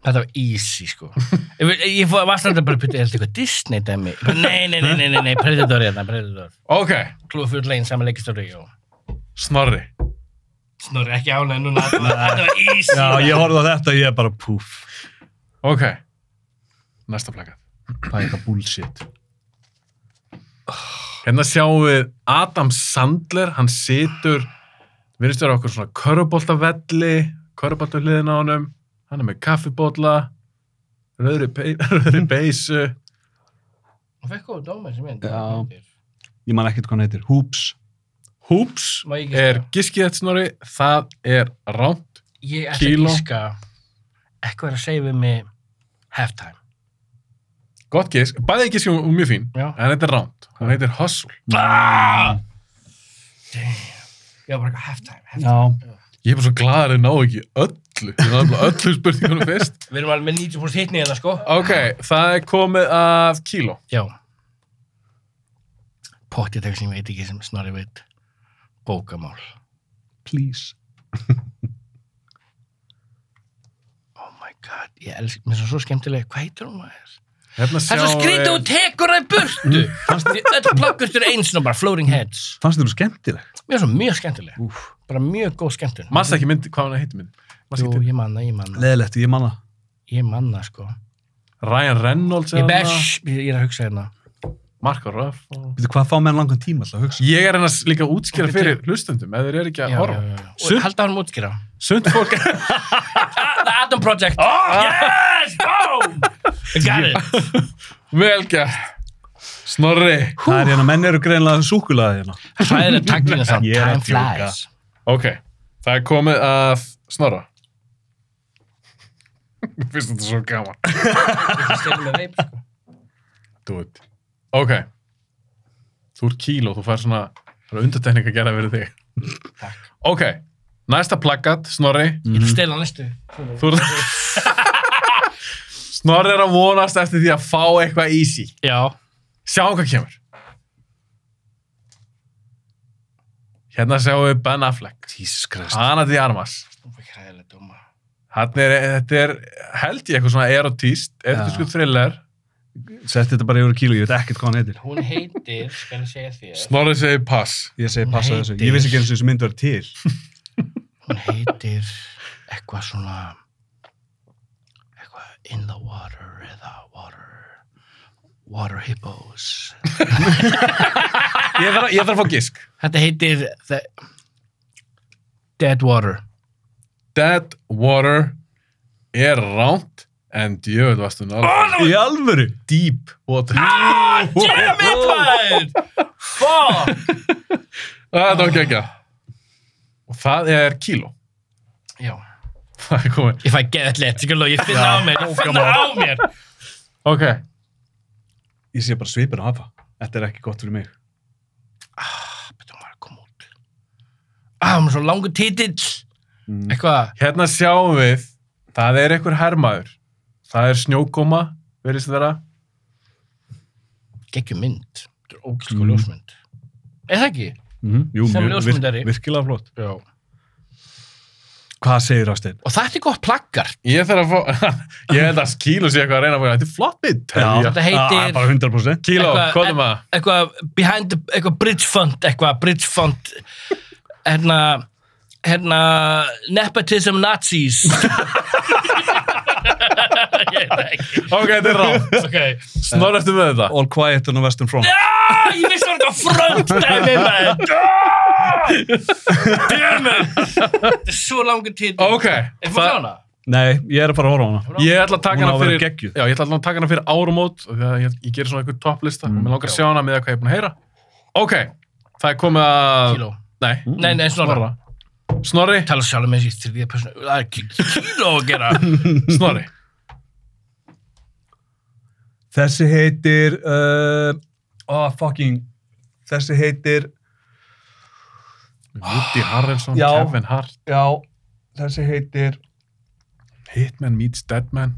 Þetta var easy, (laughs) sko. Ég, vil- ég fór- var stundum bara að putta, er þetta eitthvað Disney dæmi? Nei, nei, nei, nei, nei, nei, Predator hérna, Predator.
Ok,
Cloverfield Lane, saman leikistóri, já.
snorri.
Snorri, ekki ánæg núna. Þetta var easy.
Já, ég horfði á þetta og ég er bara púf.
Ok, næsta plakat.
Það er eitthvað bullshit.
Hérna sjáum við Adam Sandler, hann situr, virðist vera okkur svona köruboltavelli, körubolta hliðin á honum, hann er með kaffibólla, röðri, pey, (laughs) röðri beysu.
Hún fekk góð dóma sem ég.
Já. Ég man ekkert hvað hann heitir. Hoops.
Hoops
Má ég giska?
er giskið þetta snorri, það er rámt.
Ég ætla
Kíló.
að gíska eitthvað er að segja við mig halftime.
Gott gisk, bæðið giskið og mjög fín,
Já.
en þetta er rámt. Hún heitir Hustle.
Mm.
Ah! Damn. Ég var bara eitthvað halftime, halftime.
Já.
Ég er bara svo gladur að þau ná ekki öllu. Ég náðu bara öllu spurningunum fyrst.
Við erum alveg með 90% hitni hérna, sko.
Ok, það er komið af kíló.
Já. Pottið þegar sem ég veit ekki sem Snorri veit. Bókamál.
Please.
Oh my god, ég elsk, mér er svo skemmtilega, hvað heitir hún maður?
Hérna
Það er svo skrítið og tekur það í burtu. Því Öll plakkustur er eins og bara floating heads.
Fannst þér þú skemmtileg?
Mér er svo mjög skemmtilega,
Úf.
bara mjög góð skemmtun.
Massa ekki myndi, hvað hann heitir myndi? Manstu
Jú,
ekki
ég manna, ég manna,
Leðilegt, ég man það.
ég manna, sko.
til- Ryan Reynolds
Ég
eða
bæs, ég er að hugsa hérna.
Marko Ruffalo.
Veitu hvað fá menn langan tíma alltaf að hugsa?
Ég er hennar líka að útskýra fyrir hlustundum, ef þeir eru ekki að horfa. Sund-
Og halda hann útskýra.
Sund fólk,
Ah, The Atom Project. Oh, yes! Boom! Got it.
(laughs) vel gert. Snorri.
Það er hérna, menn eru greinlega súkulaði hérna.
Hræðileg taglina samt.
Ég er að
Time
djóka.
flies.
Ok, það er komið að Snorra. Mér finnst þetta svo gaman.
Ég stelur með veip, sko.
Do it. Ok. Þú ert kíló, þú fær svona það er undartekning að gera verið þig.
Takk.
Ok, næsta plaggat, Snorri.
Ég ætla að stela næstu.
Þú ert... (laughs) Snorri er að vonast eftir því að fá eitthvað easy.
Já.
Sjáum hvað kemur. Hérna sjáum við Ben Affleck.
Jesus Christ.
Ana de Armas.
Hún fikk hræðilega dóma.
Þarna er, þetta er, held ég, eitthvað svona erotíst, erotísku thriller.
Sett þetta bara yfir kílu, ég veit ekkert hvað hann heitir.
Hún heitir, skal ég segja þér,
Snorri segir pass.
Ég segi
Hún
passa þessu.
heitir-
Ég vissi ekki eins og þessu mynd var til.
hún heitir eitthvað svona, eitthvað in the water eða water, water hippos.
Ég þarf, að- ég þarf að fá gisk.
Þetta heitir the, Dead Water.
Dead Water er ránt, en djövel varstu náttúrulega.
Í alvöru?
Deep Water.
Ah, Damn it, man! Fuck!
Það er ekki ekki. Og það er kíló. (laughs)
Já.
Það er komið.
Ég fæ geðið lett, sko, ég finna á mér, ég finna á mér.
Ok.
Ég sé bara svipin á hafa. Þetta er ekki gott fyrir mig.
Betur maður að koma út. Ah, hún er svo langur titill. Eitthvað.
Hérna sjáum við, það er einhver hermaður. Það er snjókoma, verðist vera.
geggjum mynd þetta er ógæst
Mm.
góð ljósmynd er það ekki?
Mm -hmm. Jú,
Sem
mjög-
ljósmyndari.
virkilega flott.
já
Hvað segir Ástin?
Og þetta er gott plaggar.
Ég þarf að fá, (laughs) ég held að skílu sé eitthvað að reyna að fá, þetta er flott mitt.
Þetta heitir-
Bara 100%.
Kíló,
Eitthvað-
hvað er maður?
eitthvað behind the, eitthvað bridge fund eitthvað bridge fund hérna hérna nepotism (laughs) nazis ég veit það ekki
Ok, þetta er
(laughs)
rátt.
ok ah,
Snorr eftir með þetta.
All quiet on the western front.
ég vissi að þetta frönd dæmi maður (laughs) damn it þetta er svo langur tíð
Ok,
er
það-
það hana?
Nei, ég er að fara að horfa á hana.
ég ætla að taka
Hún á
hana
að vera
fyrir,
geggjuð.
já, ég ætla að taka hana fyrir árumót, og þegar ég, ég gerir svona eitthvað topplista og mér langar að sjá hana með það hvað ég er búin að heyra. Ok, það er komið að...
kíló
Nei,
nei nei snorra
Snorri,
tala sjálf með þessi þriðja personu það er kí- kíló að (laughs) gera
Snorri.
Þessi heitir uh, oh fucking þessi heitir,
Woody Harrelson,
Já.
Kevin Hart,
já þessi heitir,
Hitman meets Deadman.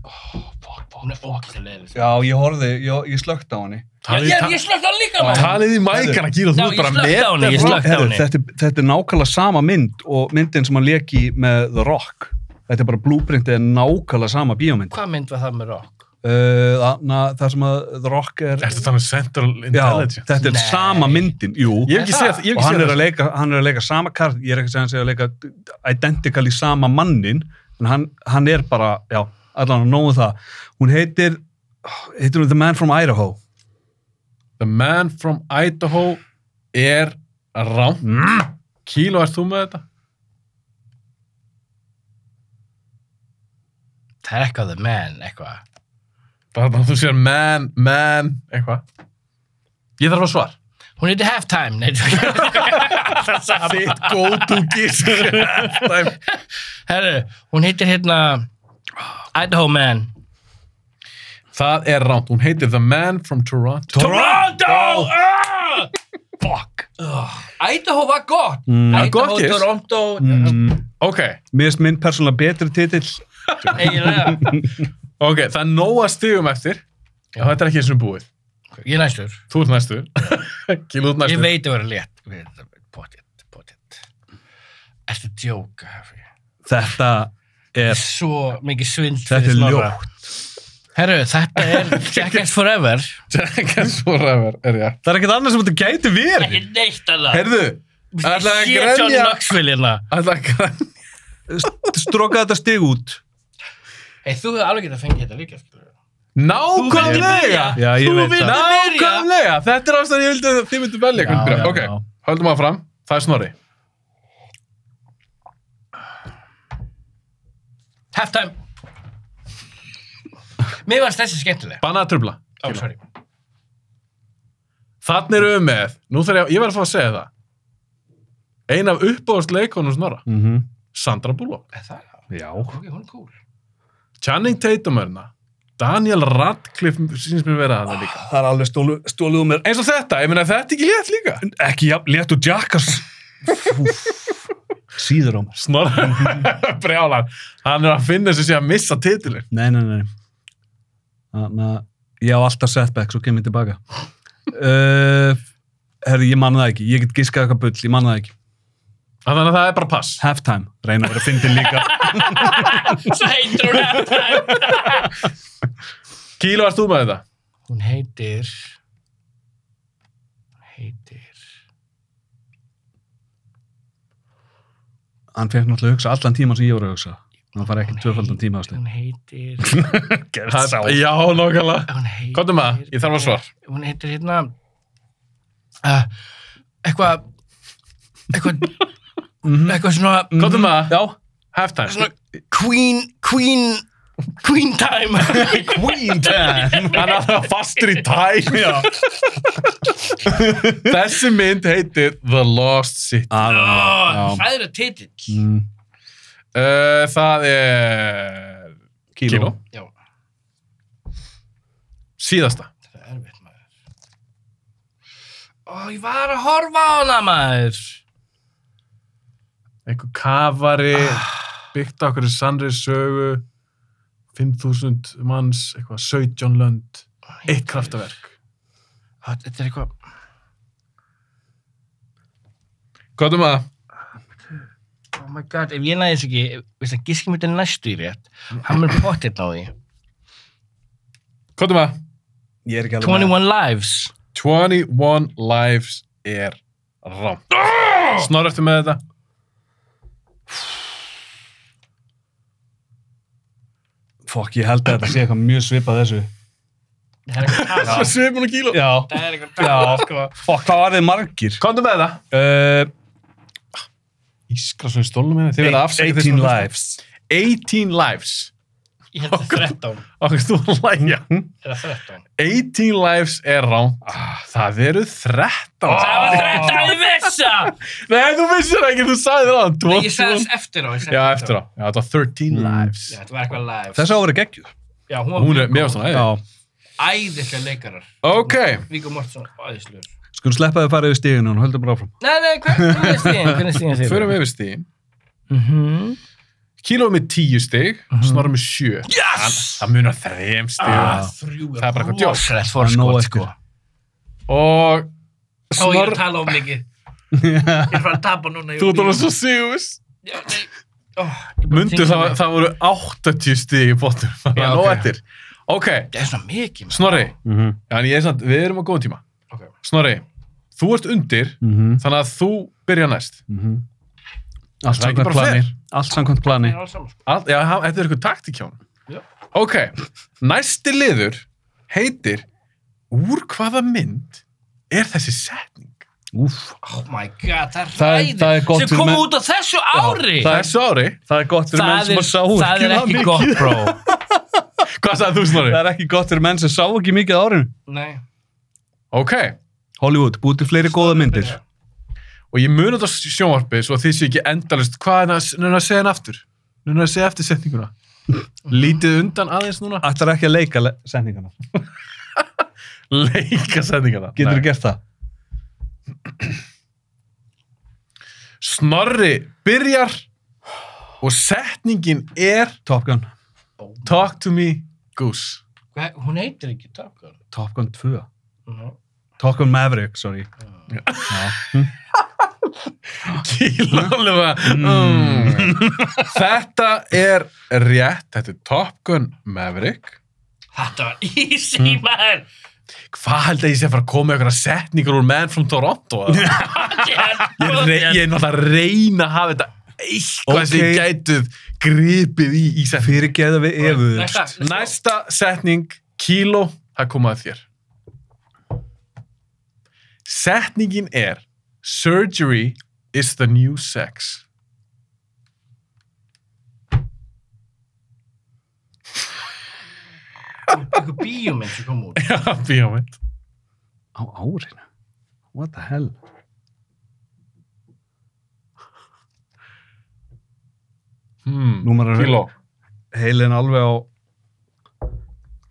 hún er ókvæmlega
já ég horfði ég, ég slögt á henni
Talið,
ég, ég slögt á hann líka maður
talið í mækana, Kíla, þú
Já,
ert
ég
bara
slökkti á henni, ég
frá-
slökkti á
Herru,
henni.
þetta, er- þetta er nákvæmlega sama mynd og myndin sem hann leki með The Rock þetta er bara blúprintið er nákvæmlega sama bíómynd uh,
hvað mynd var það með rock?
na, það sem að The Rock er
Ertu þannig um Central
já,
Intelligence?
þetta er
Nei.
sama myndin jú,
Ég hef ekki séð, ég hef ekki
og hann
séð
er, að
það. sko.
leika, hann er að leika sama kart ég er ekki að segja að hann sé að leika identical í sama mannin en hann, hann er bara, já, allan að nógu það hún heitir heitir hún The Man from Idaho
The Man from Idaho er rám. Mm. Kíló, ert þú með þetta?
það er eitthvað the man eitthvað
Bara þannig að þú sér man, man, eitthvað. Ég þarf að svar.
Hún heiti Halftime, nei, þú (laughs)
Þitt go to (laughs) kiss. Halftime.
Herru, hún heitir hérna Idaho Man.
Það er rámt. Hún heitir The Man from Toronto.
Toronto! Ah! Fuck. Idaho var gott. Mm.
það er
Idaho,
gott, yes.
Toronto,
Mm.
Ok,
mér finnst minn persónulega betri titill
(laughs) eiginlega.
ok, það er nóg að stigum eftir. Já. Þetta er ekki eins og búið.
Ég er næstur.
Þú ert næstu. (laughs) Kíló, þú ert
Ég
næstu.
veit að vera létt. Pottit, pottit. Ertu að djóka, Harry?
Þetta er...
Svo mikið svind
Þetta er
Herru, þetta er Jackass Forever.
(laughs) Jackass Forever er ég.
Það er ekkert annað sem þetta gæti verið.
neitt alveg.
Herðu, ætlaði að
Ég er John
grenja.
Knoxville hérna.
Ætlaði að grenja.
stróka þetta stig út
Hey, þú hefur alveg getað fengið þetta líka, skilur.
Nákvæmlega!
Já, ég
Þú
veit
vildir
það.
byrja.
Nákvæmlega, þetta er ástæðan ég vildi að þið myndu velja hvernig
já,
byrja. Ok,
já.
höldum að fram, það er Snorri.
Halftime Mér varst þessi skemmtileg
Bannað að trubla.
Ó, sorry
Þannig erum við með, nú þarf ég, ég verð að fá að segja það. Ein af uppbóðastleikonum Snorra,
mm -hmm.
Sandra Bullock,
Er Það er
já,
ok, hún er cool
Channing Tatum er hérna, Daniel Radcliffe sínst mér vera það líka.
það er alveg stólu, stóluð um mér
Eins og þetta, ég meina þetta er ekki létt líka.
Ekki jafn, létt og Jackass.
síður á mér
Snorra, (laughs) brjálan, hann er að finna sem sé að missa titilin.
Nei, nei, nei. Þannig að ég á alltaf setback, svo kem ég tilbaka. Uh, herri, ég manna það ekki. Ég get giskað eitthvað bull, ég manna það ekki.
Þannig að það er bara pass.
Halftime, reyna að vera fyndin líka.
Svo heitir hún halftime
Kíló, erst þú með þetta?
Hún heitir Hún heitir
Hann fekk náttúrulega að hugsa allan tíman sem ég voru að hugsa. Hann fari ekki
Hún
tvöfaldan
heit-
tíma á slið.
Hún heitir
Það-
sá.
Já, nákvæmlega.
Hún heitir
Komdu með það, ég þarf að svar.
Hún heitir hérna uh, Eitthvað Eitthvað Eitthvað svona
Komdu með það,
Já,
halftime.
Svona Queen Queen Queen time
Queen time Hann er það fastur í time já. (laughs) Þessi mynd heitir The Lost City Ah.
að,
Ó,
já.
Það eru titill
Mm,
uh, Það er
kíló.
Kíló.
Já,
síðasta
það er erfitt maður. Ó, ég var að horfa á hana maður.
einhver kafari byggt á okkur sannri sögu 5000 manns eitthvað 17 lönd eitt kraftaverk
Á, Þetta er eitthvað,
Hvað er maður?
hvað oh my god, ef ég næði þessu ekki, veist það, gískim þetta næstu í rétt, hann mun potið á því.
Kvotum að
Ég er ekki alveg með.
21 Lives.
21 lives er rámt. Snorri eftir með þetta.
Fokk, ég held að þetta sé eitthvað mjög svipað þessu.
Það er eitthvað
Það
tala.
svipur nú kíló.
Já.
Það er eitthvað tala.
Já, fokk, hvað var þið margir?
Kvotum með það.
Uh,
Ískra sem við stólum hérna. Þið verða afsakið
18 lives.
18 lives.
Ég held það er 13.
Okkur þú að læja.
Eða 13.
18 lives er rámt. Ah, það eru 13.
Það var 13, ég vissi það!
Nei, þú vissir það ekki, þú sagði það. áðan.
Nei, Ég sagði þess eftir á. ég sagði
Já, eftir á. Já, þetta var 13 lives.
Já, þetta var eitthvað Lives.
Þessi á að vera geggjur.
Já, hún var
Hún er, mér varst hún aðeins.
æðislega leikarar.
Ok.
Víko Mortson, æðislegur.
Skulum sleppa þið að fara yfir stíðinu og höldum bara áfram.
Nei, nei, hver- hvernig er stíðin? Hvernig er stíðin þér?
Förum við yfir stíðin.
Mhm.
Kíló með 10 stig, uh -huh. Snorri með 7. Yes! Það munar 3 stig.
Ah, þrjú
Það er bara eitthvað djók.
rosalegt sko.
Það er nóg
forskot, sko.
eftir.
Og
Ó, ég er að
Snorri,
tala of
(laughs)
mikið. Ég er bara að tapa núna.
þú ert alveg svo sigus. Mundu,
Mundur
það, var- það voru 80 stig í bóttum. Það
Já,
er nóg
ok.
eftir. Ok,
Það er svona mikið. maður.
Snorri,
Mhm.
já, en ég er samt, við erum á góðum tíma.
Ok.
Snorri, þú ert undir,
Mhm.
þannig að þú byrja næst.
Mhm. Allt
Það er ekki
samkvæmt
bara
plani.
fair.
Allt samkvæmt plani.
Það er alls saman, sko.
All, já, hann- þetta er eitthvað taktík hjá
Já.
hann. Ok, næsti liður heitir Úr hvaða mynd er þessi setning?
Úf.
Oh my god, það er
Það er-
ræðið.
það er gott
Sem
fyrir
kom
menn-
út á þessu ári.
Það er Snorri.
Það er gott fyrir
Það
menn sem
er-
að sá
það er ekki
mikið.
gott, bro.
Hvað sagði þú, Snorri?
(laughs) Það er ekki gott fyrir menn sem sá ekki mikið á árinu.
Nei.
Ok,
Hollywood, búið til fleiri góða myndir.
og ég mun þetta sjónvarpið svo að þið séu ekki endalist hvað er það að segja hann aftur? Núna að segja eftir setninguna. Lítið undan aðeins núna.
Ætlar ekki að leika le sendingana.
Leika setninguna.
Getur
Nei.
gert það?
Snorri byrjar og setningin er
Top Gun.
Talk to me, goose. (laughs)
Hvað- Hún heitir ekki Top Gun.
Top Gun 2.
Nei.
Top Gun Maverick, sorry. Já.
Kíla alveg að... Mm. Þetta er rétt. Þetta er Top Gun Maverick.
Þetta var
Hmm.
easy, maður.
Hvað held að ég sé að fara að koma með einhverja setningur úr Man from Toronto? eða? Ég er rey- ég er náttúrulega að reyna að hafa þetta eitthvað
Ok.
sem ég gætuð gripið í í setningu.
Fyrir geða við efuðumst.
Næsta. Næsta.
Næsta setning, kíló, það komaði þér. Setningin er Surgery is the new sex. (laughs)
Eitthvað bíómynd sem kom út.
Já, bíómynd.
Á árinu? What the hell?
Hmm.
Númer er-
Kíló.
Heilin alveg á...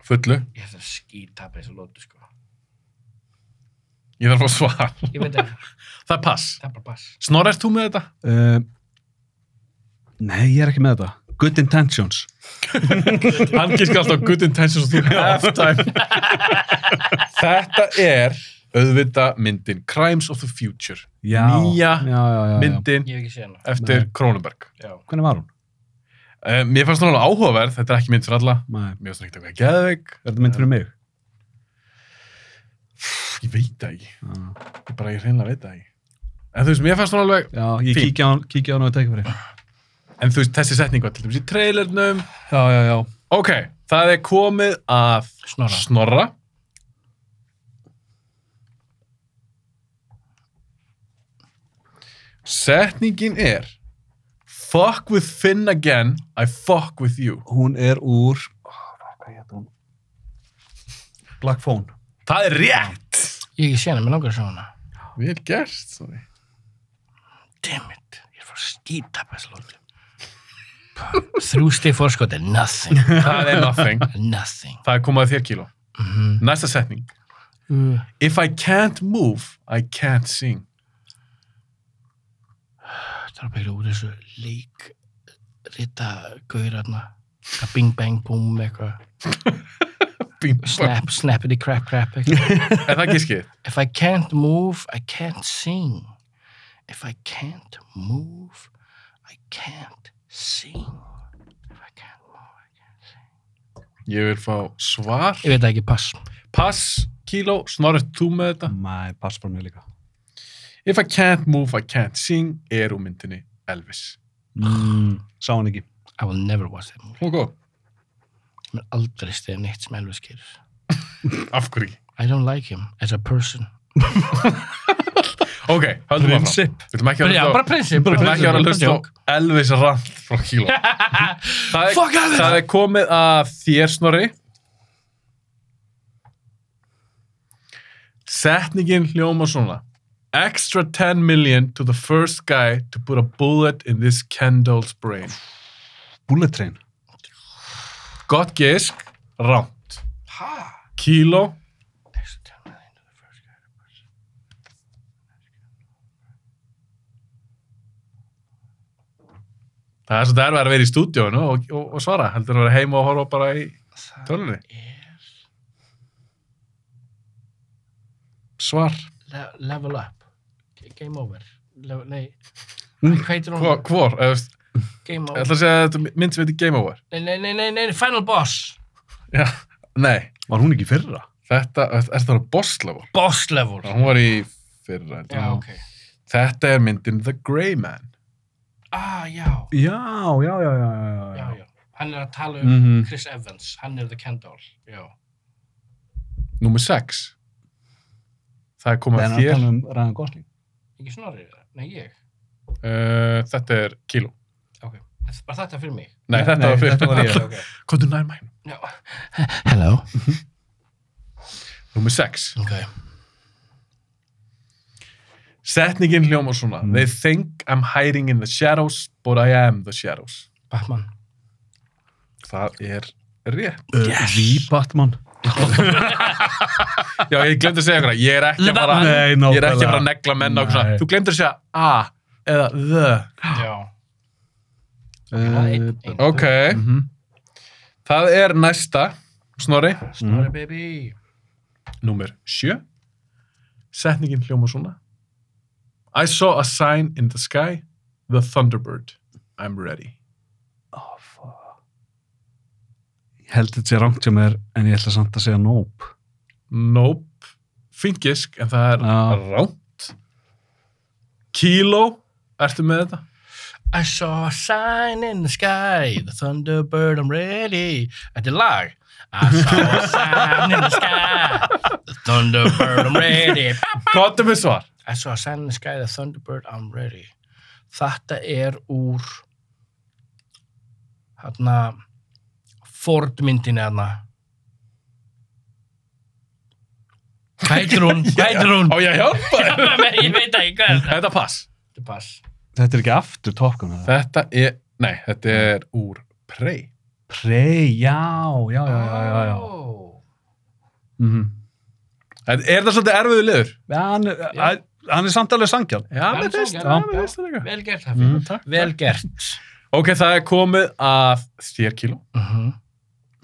Fullu.
Ég ætla að skítapa þessu lótu, sko.
Ég þarf að svara.
Ég veit ekki,
Það er pass.
það er bara bass.
Snorri, ert þú með þetta?
Uh, nei, ég er ekki með þetta. Good Intentions.
Hann gíska alltaf good intentions og
(laughs)
þú halftime. Þetta er auðvita myndin Crimes of the Future. Nýja
já, já, já, já.
myndin
Ég hef ekki séð hana.
eftir
Nei.
Kronenberg.
Já.
Hvernig var hún?
Uh, mér fannst hún alveg áhugaverð, þetta er ekki mynd fyrir alla.
Nei.
Mér fannst hún ekkert eitthvað geðveik.
Er þetta mynd fyrir mig?
Pff, Ég veit það ekki.
Já.
Ég bara, ég reynilega veit það ekki. En þú veist, mér fannst hún alveg,
Já, ég
Fín.
kíkja á, kíkja á hann og tekja fyrir.
en þú veist, þessi setning var til dæmis í trailernum.
Já, já, já.
Ok, það er komið að
Snorra.
Snorra. Setningin er Fuck with Finn again, I fuck with you.
Hún er úr... Hvað hétt hún? Black Phone.
Það er rétt!
Ég hef ekki séð hana, mér langar að sjá hana.
Vel gert, sorry.
Damn it, ég er fara að skítapa þessu lótu. Þrjú stið fórskot er nothing.
Það er nothing.
Nothing.
Það er komið að þér kíló. Næsta setning.
Mm.
If I can't move, I can't sing.
Það er bara eitthvað úr þessu leik rita gaurarna eitthvað bing bang boom eitthvað
Bing, bang.
snap snappity crap crap eitthvað
Er það gískið?
If I can't move, I can't sing If I can't move, I can't sing I can't move I can't sing
Ég vil fá svar.
Ég veit það ekki, pass
Pass, kíló, snorrið þú með þetta.
Mæ, pass bara mér líka.
If I can't move, I can't sing er úr myndinni Elvis.
Mm. Sá hann ekki.
I will never watch that movie
Ok,
Ég mun aldrei stiða neitt sem Elvis gerir
af hverju ekki?
I don't like him as a person
Ok, höldum við áfram.
Prinsip.
Við ætlum ekki að
Já,
vera
bara
að
prinsip
Við ætlum
bara
ekki að vera að hlusta á
prinsip.
Elvis Rand frá
(laughs)
kíló. Það er,
Fuck Elvis!
það er komið að þér, Snorri. Setningin hljóma svona. Extra 10 million to the first guy to put a bullet in this Kendall's brain.
Bullet train.
Gott gisk, rámt.
Ha?
Kíló,
Next time I think of the first guy to push it.
það er svo derfið að vera í stúdíónu og, og, og svara. Heldur að vera heima og horfa bara í
Það
tölunni.
er
Svar.
le level up Game over Level, Nei,
Mm.
hvað heitir
Hvor,
hún?
hvor? Eða, þú veist,
Game
Ég
over
ætla að segja að þetta er mynd sem heitir Game Over.
Nei, nei, nei, nei, nei, Final Boss
Já. Nei,
Var hún ekki í fyrra?
þetta, er þetta á Boss Level?
Boss level
Já, Hún var í fyrra. held ég.
Já, ok
Þetta er myndin The Grey Man.
Ah, já,
Já, já, já, já, já.
já, já Hann er að tala um
Mhm.
Chris Evans Hann er the Kendall Já,
Númer 6. Það er komið
Það er
að
að
þér.
tala um Ryan Gosling.
ekki snorrið það Nei, ég
Uh, þetta er Kilo.
Var þetta fyrir mig?
Nei, þetta
Nei,
var fyrir.
þetta var
(laughs)
ég.
ok
Hvað er nær mæn?
Já. Hello
Númer 6.
Ok
Setningin hljómar svona.
Mm.
They think I'm hiding in the shadows, but I am the shadows.
Batman
Það er rétt.
Yes. Uh, The Batman.
Já, ég glemdi að segja ykkur það. Ég er ekki að fara,
Nei,
ég er ekki að, fara að
nákvæmlega.
negla menn og svona.
Nei.
Þú glemdi að segja a eða the.
Já
Eh,
Einn- einn-
Ok,
mhm.
það er næsta, Snorri,
Snorri baby
nummer sjö. Setningin hljóma svona. I saw a sign in the sky, the Thunderbird, I'm ready.
Oh, fuck. Ég held þetta sé rangt hjá mér, en ég ætla samt að segja nope.
Nope, fínt gisk, en það er
Já.
rámt. Kíló, ertu með þetta?
I saw a sign in the sky, the Thunderbird, I'm ready. Þetta er lag. I saw a sign in the sky, the Thunderbird, I'm ready.
Kottum við svar.
I saw a sign in the sky, the Thunderbird, I'm ready. Þetta er úr hérna Ford myndinni hérna. Hvað heitir
(laughs)
hún? Hvað heitir hún?
Á ég að hjálpa þér?
(laughs) Ég veit það ekki hvað er
(laughs)
þetta.
Þetta pass.
Þetta er pass.
Þetta er ekki aftur Top Gun, eða?
Þetta er, nei, þetta er úr Prey.
Prey, já, já, já, já, já, já.
Ó.
Mm
Mhm.
-hmm.
En Er þetta svolítið erfiðu liður?
Hann,
Já.
er- hann er samt alveg sangjarn.
Já,
mér finnst-
já,
já,
mér finnst það líka.
Vel gert, Hafi.
Mm, takk.
Vel gert.
Ok, það er komið að þér kíló.
Mhm.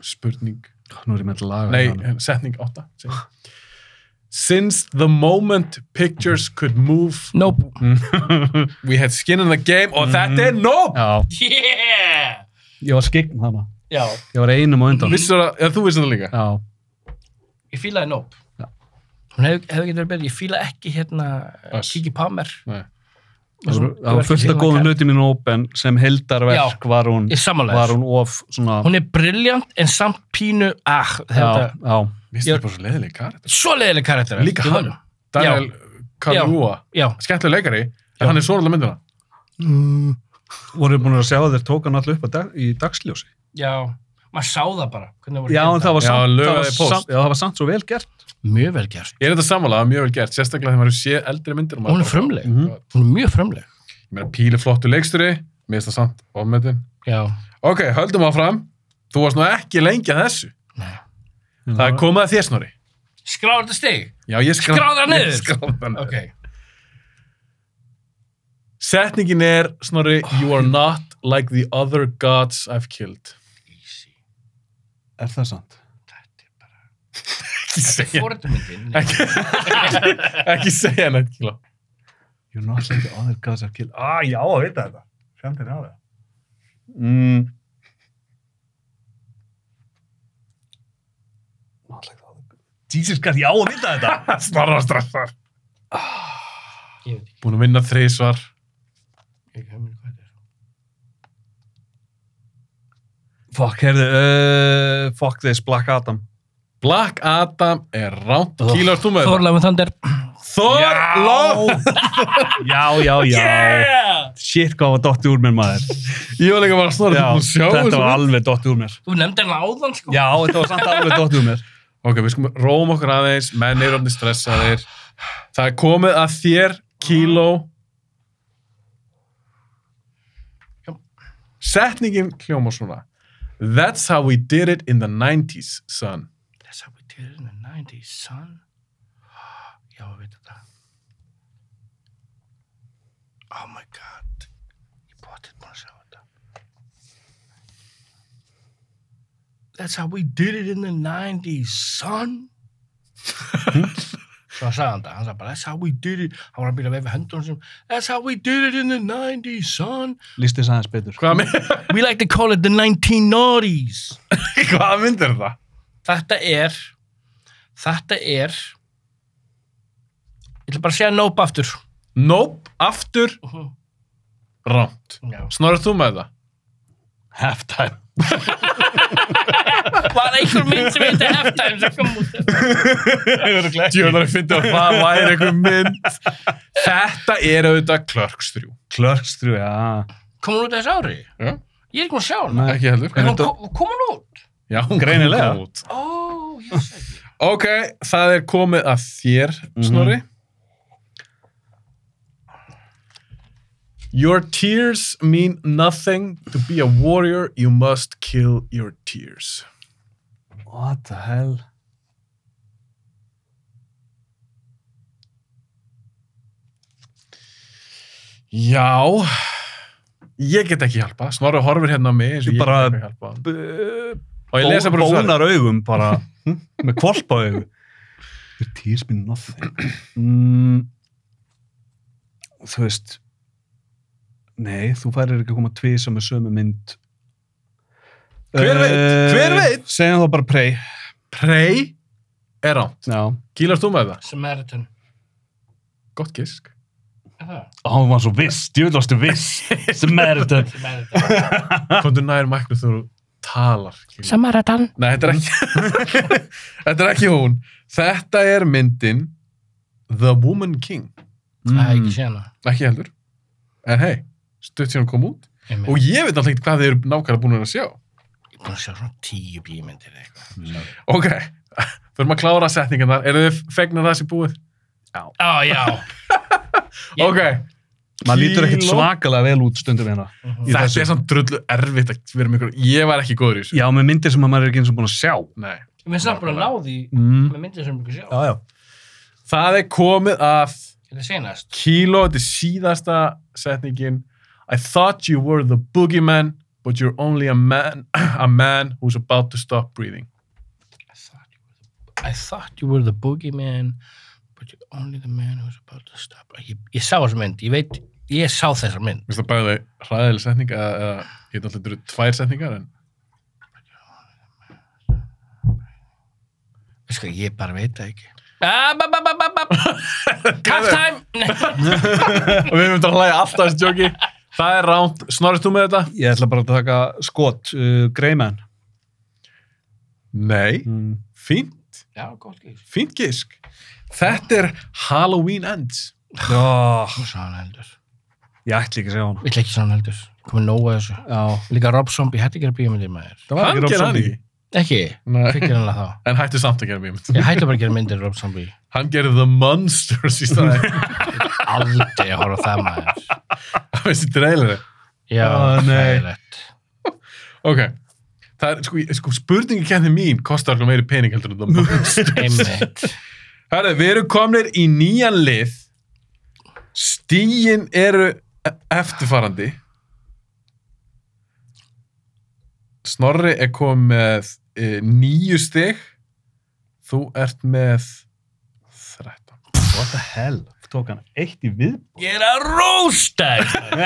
Spurning.
Nú er ég með þetta laga.
Nei,
hérna.
setning 8. Since the moment pictures could move,
Nope.
we had skin in the game og
Mhm.
þetta er nope!
Já,
Yeah!
ég var skikn þarna.
Já,
Ég var einum á undan.
Vissur það, eða þú vissur það líka.
Já,
ég fílaði nope.
Já.
Hún hefði hef ekki verið betri. Ég fíla ekki hérna
Öss.
Kiki Palmer.
Nei.
það voru- það var fullt af góðum hlutum í Nópen sem heldarverk var hún,
Ég samanlega.
var hún of svona...
Hún er brilljant en samt pínu, ah,
já,
þetta.
já,
Vissur
Ég-
það bara svo leiðilega karakter.
Svo leiðileg karakter.
Líka hann. Daniel Kalúa,
Já.
skemmtileg leikari, en hann er svo alveg myndina.
Mm.
voru búin að sjá að þeir tók hann allir upp að dag, í dagsljósi.
Já, maður sá það bara. hvernig voru
Já,
gerðar.
en það var
Já,
samt, það var
lögaði post.
samt, já, það var samt svo vel gert.
Mjög vel gert.
Ég er þetta sammála, það er mjög vel gert, sérstaklega þegar maður sé eldri myndir. og maður
Hún er
bara-
frumleg.
Mhm.
Hún er mjög frumleg.
Ég meina, píli flottu leiksturi, mér finnst það samt ofmetin.
Já.
Ok, höldum áfram. Þú varst nú ekki lengi að þessu.
Nei.
Það er komið að þér, Snorri.
Skráður þetta stig?
Já, ég skráði
Skráðu það niður?
Skráði það niður.
Ok.
Setningin er, Snorri, you are not like the other gods I've killed.
Easy.
Er það samt?
Þetta er bara...
Ekki
(laughs)
segja,
Fordmyndin.
ekki, ekki segja neitt, kíló. (laughs)
You're not like the other gods I've killed. Ah, já, að vita þetta.
framtíðin á það?
Mm. Jesus, hvað ég á að vita þetta?
Snorra og stressar.
Ég veit ekki,
Búin að vinna þrísvar.
ég hef ekki hugmynd hvað þetta er.
Fuck, heyrðu, uh, fuck this, Black Adam.
Black Adam er ránt.
Oh.
Kílar þú með þetta?
Þorlega með Thunder.
Þor Lóð!
Já, já, já. Shit, hvað var dotti úr mér, maður.
Ég var líka bara að snorra
Já,
þetta og sjá
þetta
þessu.
var alveg dotti úr mér.
Þú nefndi hann áðan, sko.
Já, þetta var samt alveg dotti úr mér.
Ok, við skum róum okkur aðeins, menn eru orðin stressaðir. Það er komið að þér, kíló. Setningin hljóma svona. That's how we did it in the 90s, son.
That's how we did it in the 90s, son. (gasps) Já, ég veit þetta. Oh my god. Ég bóttið búin að sjá þetta. That's how we did it in the 90s, son. (laughs) Svo sagði hann það, hann sagði bara, that's how we did it. Hann var að byrja að vefa höndunum sem, that's how we did it in the 90s, son.
Lýst þess aðeins betur.
Hvaða mynd, (laughs)
We like to call it the 1990s.
hvaða mynd er það?
þetta er þetta er ég ætla bara að segja nope aftur
Nope, aftur, rámt.
Já.
Snorrið þú með það?
Halftime.
var einhver mynd sem heitir halftime sem kom út
Tjóðar, ég fyndi að það væri einhver mynd. Þetta er auðvitað Clerks 3.
Clerks 3, já.
kom hún út þessu ári
Já.
ég er ekki búin að sjá hana
Ekki heldur.
en hún kom, kom hún út
Já, hún kom
Greinilega.
út.
ó, ég sé ekki
Ok, það er komið að þér, Snorri. Your tears mean nothing. To be a warrior, you must kill your tears.
What the hell?
Já, ég get ekki hjálpa. Snorri horfir hérna á mig eins og
Þú
ég
bara-
get ekki hjálpa.
B-
Og ég lesa bara svarið.
bónar augum bara hm, með kvolp á augum Your tears mean nothing mm, þú veist nei, þú færir ekki að koma tvisa með sömu mynd
Hver veit?
Eh,
Hver veit?
segjum þá bara prey
Prey er rámt.
já,
Kýlast þú með það?
Samaritan
Gott gisk.
Er það?
hann var svo viss djúðlastu viss
(laughs)
sem er þetta
Samaritan
Hvort þú nær mæknu þú talar. Kýlar.
Samaritan
Nei, þetta er ekki Þetta er ekki hún Þetta er myndin The Woman King
Mm.
það er ekki séð hana
Ekki heldur En hei, stutt síðan kom út
Einmitt.
Og ég veit alltaf ekki hvað þið eru nákvæmlega búin að sjá
ég er búin að sjá svona tíu bímyndir eða eitthvað
Ok, (laughs) þurfum að klára setningan þar Eru þið fegnar það sem búið?
á, já Ég-
Ok,
maður lítur ekkert
Kíló.
svakalega vel út stundum hérna
Mhm.
þetta
þessu.
er samt drullu erfitt að vera með ykkur Ég var ekki góður í þessu
já, með myndir sem að maður er ekki eins og búin að sjá
Nei
ég finnst það bara að ná því
mm.
með myndir sem ég ekki sjá
já, já
Það er komið að
þetta er senast
Kilo, þetta er síðasta setningin I thought you were the boogeyman but you're only a man a man who's about to stop breathing
I thought you were the, I thought you were the boogeyman, but you're only the man who's about to stop. Ég, ég sá þessa mynd, ég veit, ég sá þessa mynd.
Mér finnst það bæði hræðileg setning eða, eða ég veit alltaf þetta eru tvær setningar en
Sko, ég bara veit það ekki. Ah, ba, ba, ba, ba, (laughs) ba. Half time! Nei,
og við höfum þetta að hlæja alltaf þessi djóki Það er ránt, snorrist þú með þetta?
ég ætla bara að taka skot uh, Greyman
Nei,
mm.
fínt,
Já, gott gís.
fínt gisk Þetta er Halloween Ends
Já,
Þú sá hann heldur.
ég ætli ekki að segja hann.
Ég ætla ekki sá hann heldur. Komið nógu að þessu.
Já.
Líka Rob Zombie, hætti að gera bíómyndir maður.
Það
Hann
Rob
ger hann
Zombie.
ekki
Ekki,
Nei.
fyrir hann að þá.
En hættu samt að gera mér
Ég hætti bara að gera myndir Rob Zombie.
Hann gerir The Monsters í staði (laughs)
Aldrei að horfa á það maður.
Það finnst þið trailerið
Já,
Ó, nei.
hræðilegt.
Ok, það er, sko, sko spurningi kennið mín kostar alveg meiri pening heldur en það
Einmitt.
Herri, við erum komnir í nýjan lið Stígin eru e- eftirfarandi Snorri er komið með e, nýju stig Þú ert með 13
What the hell? tók hann eitt í við
Ég er að rósta þér.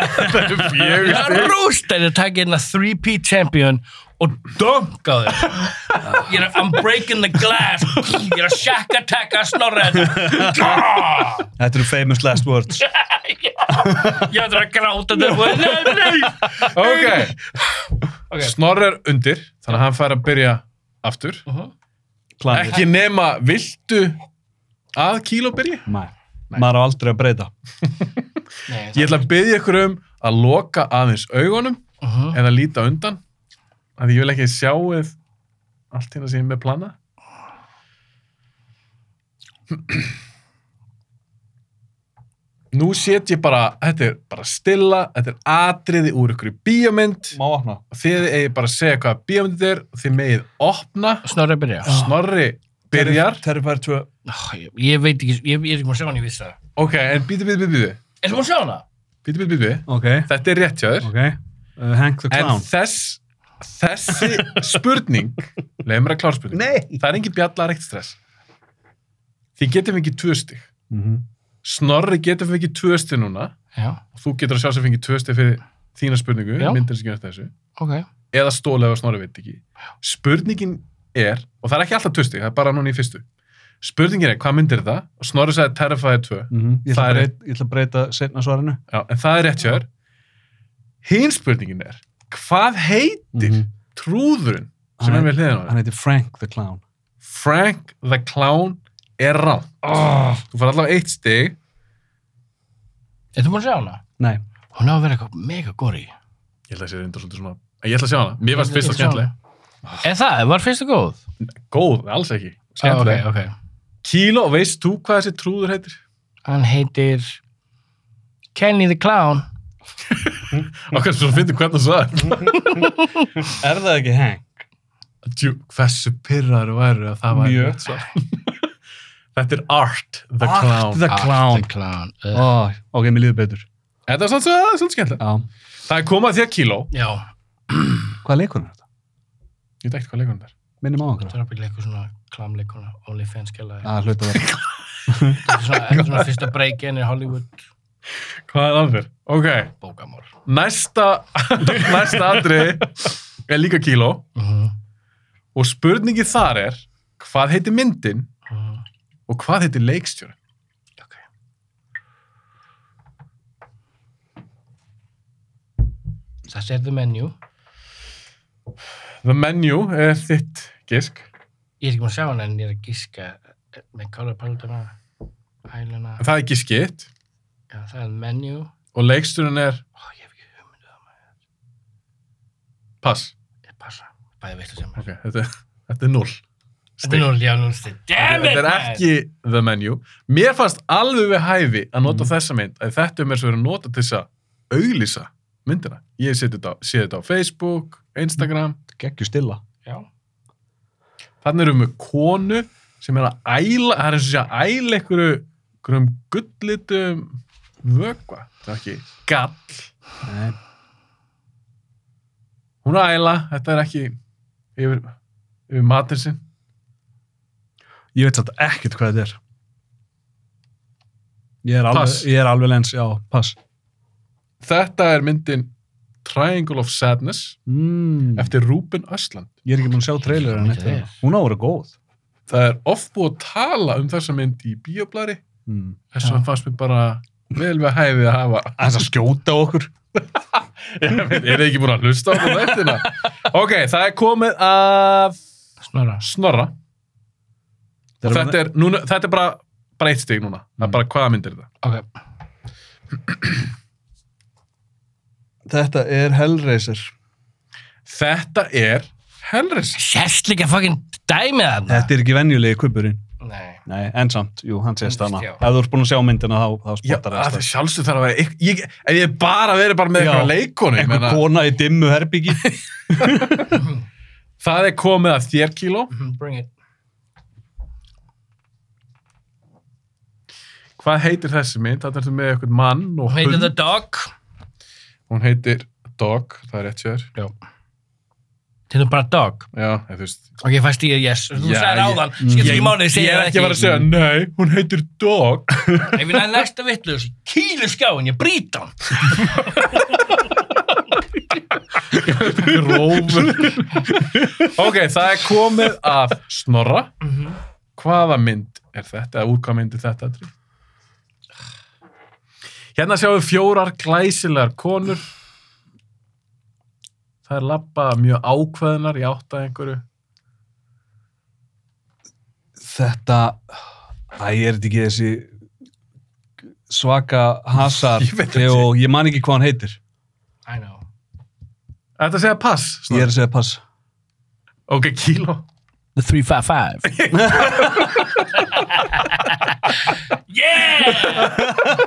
Ég er að rósta þér að taka hérna 3P champion og dunka þér. Ég er að I'm breaking the glass. Ég er að hérna. shaka taka snorra þetta.
Þetta eru famous last words
Ég ætla að gráta þetta. Nei, nei.
(laughs) Ok,
Ok.
Snorri er undir, þannig að hann fær að byrja aftur.
Mhm.
planið.
Ekki nema, viltu að kíló byrja?
Nei, maður á aldrei að breyta
Nei,
Ég ætla að byrja ykkur um að loka aðeins augunum
Mhm.
eða líta undan. Af því ég vil ekki að sjáuð allt hérna sem ég er með plana. Nú set ég bara, þetta er bara stilla, þetta er atriði úr ykkur í bíómynd.
Má opna
og þið eigið bara að segja hvaða bíómyndið er og þið megið opna
Snorra byrja.
Snorri byrjar
Terrifier 2
Ó, Ég ég veit ekki, ég ég er ekki múin að sjá hann, ég vissi það.
ok, en býtu, býtu, býtu, býtu
Er þú múin að sjá hana?
býtu, býtu, býtu,
Ok,
þetta er rétt hjá þér
ok uh, Hank the
en
Clown
þess þessi
(laughs)
spurning leið mér að klára spurning
Nei
það er engin bjallar ekkert stress þið getum ekki tvö stig
mm
Snorri getur fengið tvö stig núna
Já,
og þú getur að sjá sem fengið tvö stig fyrir þína spurningu,
Já.
myndin sem gefast þessu
ok.
eða stólið ef að snorri veit ekki spurningin er, og það er ekki alltaf tusti það er bara núna í fyrstu spurningin er, hvað myndir það? og snorri sagði Terrifier 2
mhm. Ég ætla
Það
að
er-
breyta, ég ætla að breyta setna svarinu
Já, en það er rétt hjá þér hinn spurningin er, hvað heitir
Mhm.
trúðurinn sem
Hann
er með hliðin á
Hann
þér?
heitir Frank the Clown
Frank the Clown er rán oh. þú fær allavega eitt stig
Ah. Er þú múin að sjá hana?
Nei,
Hún á að vera eitthvað mega góri.
ég held að sé reynda svolítið svona En ég ætla að sjá hana, mér varst fyrst að
Ég ætla að sjá
skemmtileg
Er það, var fyrstu góð?
góð, alls ekki, skemmtileg
Ah, ok, ok.
Kíló, veist þú hvað þessi trúður heitir?
hann heitir Kenny the Clown
okkar svo finnir hvernig það er
er það ekki Hank?
Djú, hversu pyrrar væru að það væri
Mjög.
rétt svar? (laughs) Þetta er Art the
Art
Clown
the Clown
the Clown uh,
Ó, Ok, mér líður betur
Þetta er svona, svona, svona skemmtilega
Já.
Það er komað þér kíló
Já,
Hvaða leikur er þetta?
Ég veit ekkert hvað leikunum er
Minnum á
það
okkur
er að byggja eitthvað svona klámleikuna, OnlyFans gæla
Það hluta það
Þetta er svona- þetta er svona fyrsta break-in í Hollywood
Hvað er það fyrir? Ok,
bókamál
næsta (laughs) næsta atri er líka kíló
Mhm,
og spurningi þar er hvað heitir myndin
mhm.
og hvað heitir leikstjóri?
Ok. Þetta er the menu
The Menu er þitt gisk
Ég er ekki maður að sjá hann en ég er að gíska eh, með color palletuna hæluna,
en það er giskitt
já það er the menu
og leikstjórin er
Ó, ég hef ekki hugmyndu það maður,
pass
ég passa bæði veistu sem
Ok, þetta, þetta er null
Þetta er núl, já, núl stig. Damn it,
Þetta er ekki The Menu. Mér fannst alveg við hæfi að nota
Mhm.
þessa mynd að þetta er mér svo verið að nota til þess að auglýsa myndina. Ég sé þetta, á- sé þetta á Facebook, Instagram.
Gekkju stilla
Já.
Þannig erum við með konu sem er að æla, það er eins og sé að æla einhverju, einhverjum gullitum vökva. Það er ekki gall.
Nei
Hún er að æla, þetta er ekki yfir, yfir matinn sinn.
Ég veit þetta ekkert hvað þetta er. Ég er alveg,
Pass.
ég er alveg lens, já, pass.
Þetta er myndin Triangle of Sadness
Mm.
eftir Ruben Östland.
Ég er ekki búin að sjá trailerinn
Ég veit það.
eftir það. Hún á að vera góð.
það er oft búið að tala um þessa mynd í bíoblari
Mm.
þess vegna fannst mér bara vel við hæfið að hafa
(laughs) Þess að skjóta okkur.
Ég veit, er þið ekki búin að hlusta á þetta eftirna ok, það er komið að
Snorra.
snorra og þetta er, núna, þetta er bara, bara eitt stig núna það er
Mm.
bara hvaða mynd er þetta
Ok.
þetta er Hellraiser.
þetta er Hellris
Sérst líka fucking dæmið þarna.
Þetta er ekki venjulegi kubburinn.
Nei.
Nei, en samt, jú, hann sést
Hann
hana.
sést, já.
Ef þú ert búin að sjá myndina, þá, þá
Já,
spottar
það
það.
er sjálfsög þarf að vera eitth- ég, ef ég bara verið bara með
Já,
eitthvað leikonu ég
Eitthvað
meina,
kona í dimmu herbyggi. (laughs)
það er komið að þér kíló
Mhm, Bring it.
hvað heitir þessi mynd, þetta er með eitthvað mann og
Hún heitir
hund.
The Dog.
hún heitir Dog, það er rétt sér
Já. þetta er bara dog
Já, en þú veist,
og ég fæst í að yes, þú
Já,
sagði
ég- Mm,
ráðan skiptir
ég-
ekki mánuði,
ég
segja
er
það
ekki að fara að segja, nei, hún heitir Dog.
ef ég næði næsta vitlu kýlu skáin, ég brýt hann
Rófur. ok, það er komið af Snorra. Hvaða mynd er þetta, eða úr hvaða mynd er þetta? Andri? Hérna sjáum við fjórar glæsilegar konur. Það er labba mjög ákveðnar í átt að einhverju.
Þetta, æ, er þetta ekki þessi svaka hasar
Ég veit ekki.
og (laughs) ég man ekki hvað hann heitir.
I know
Þetta segja pass.
Ég
Snorri.
er að segja pass.
Ok, kíló.
The 355 Yeah!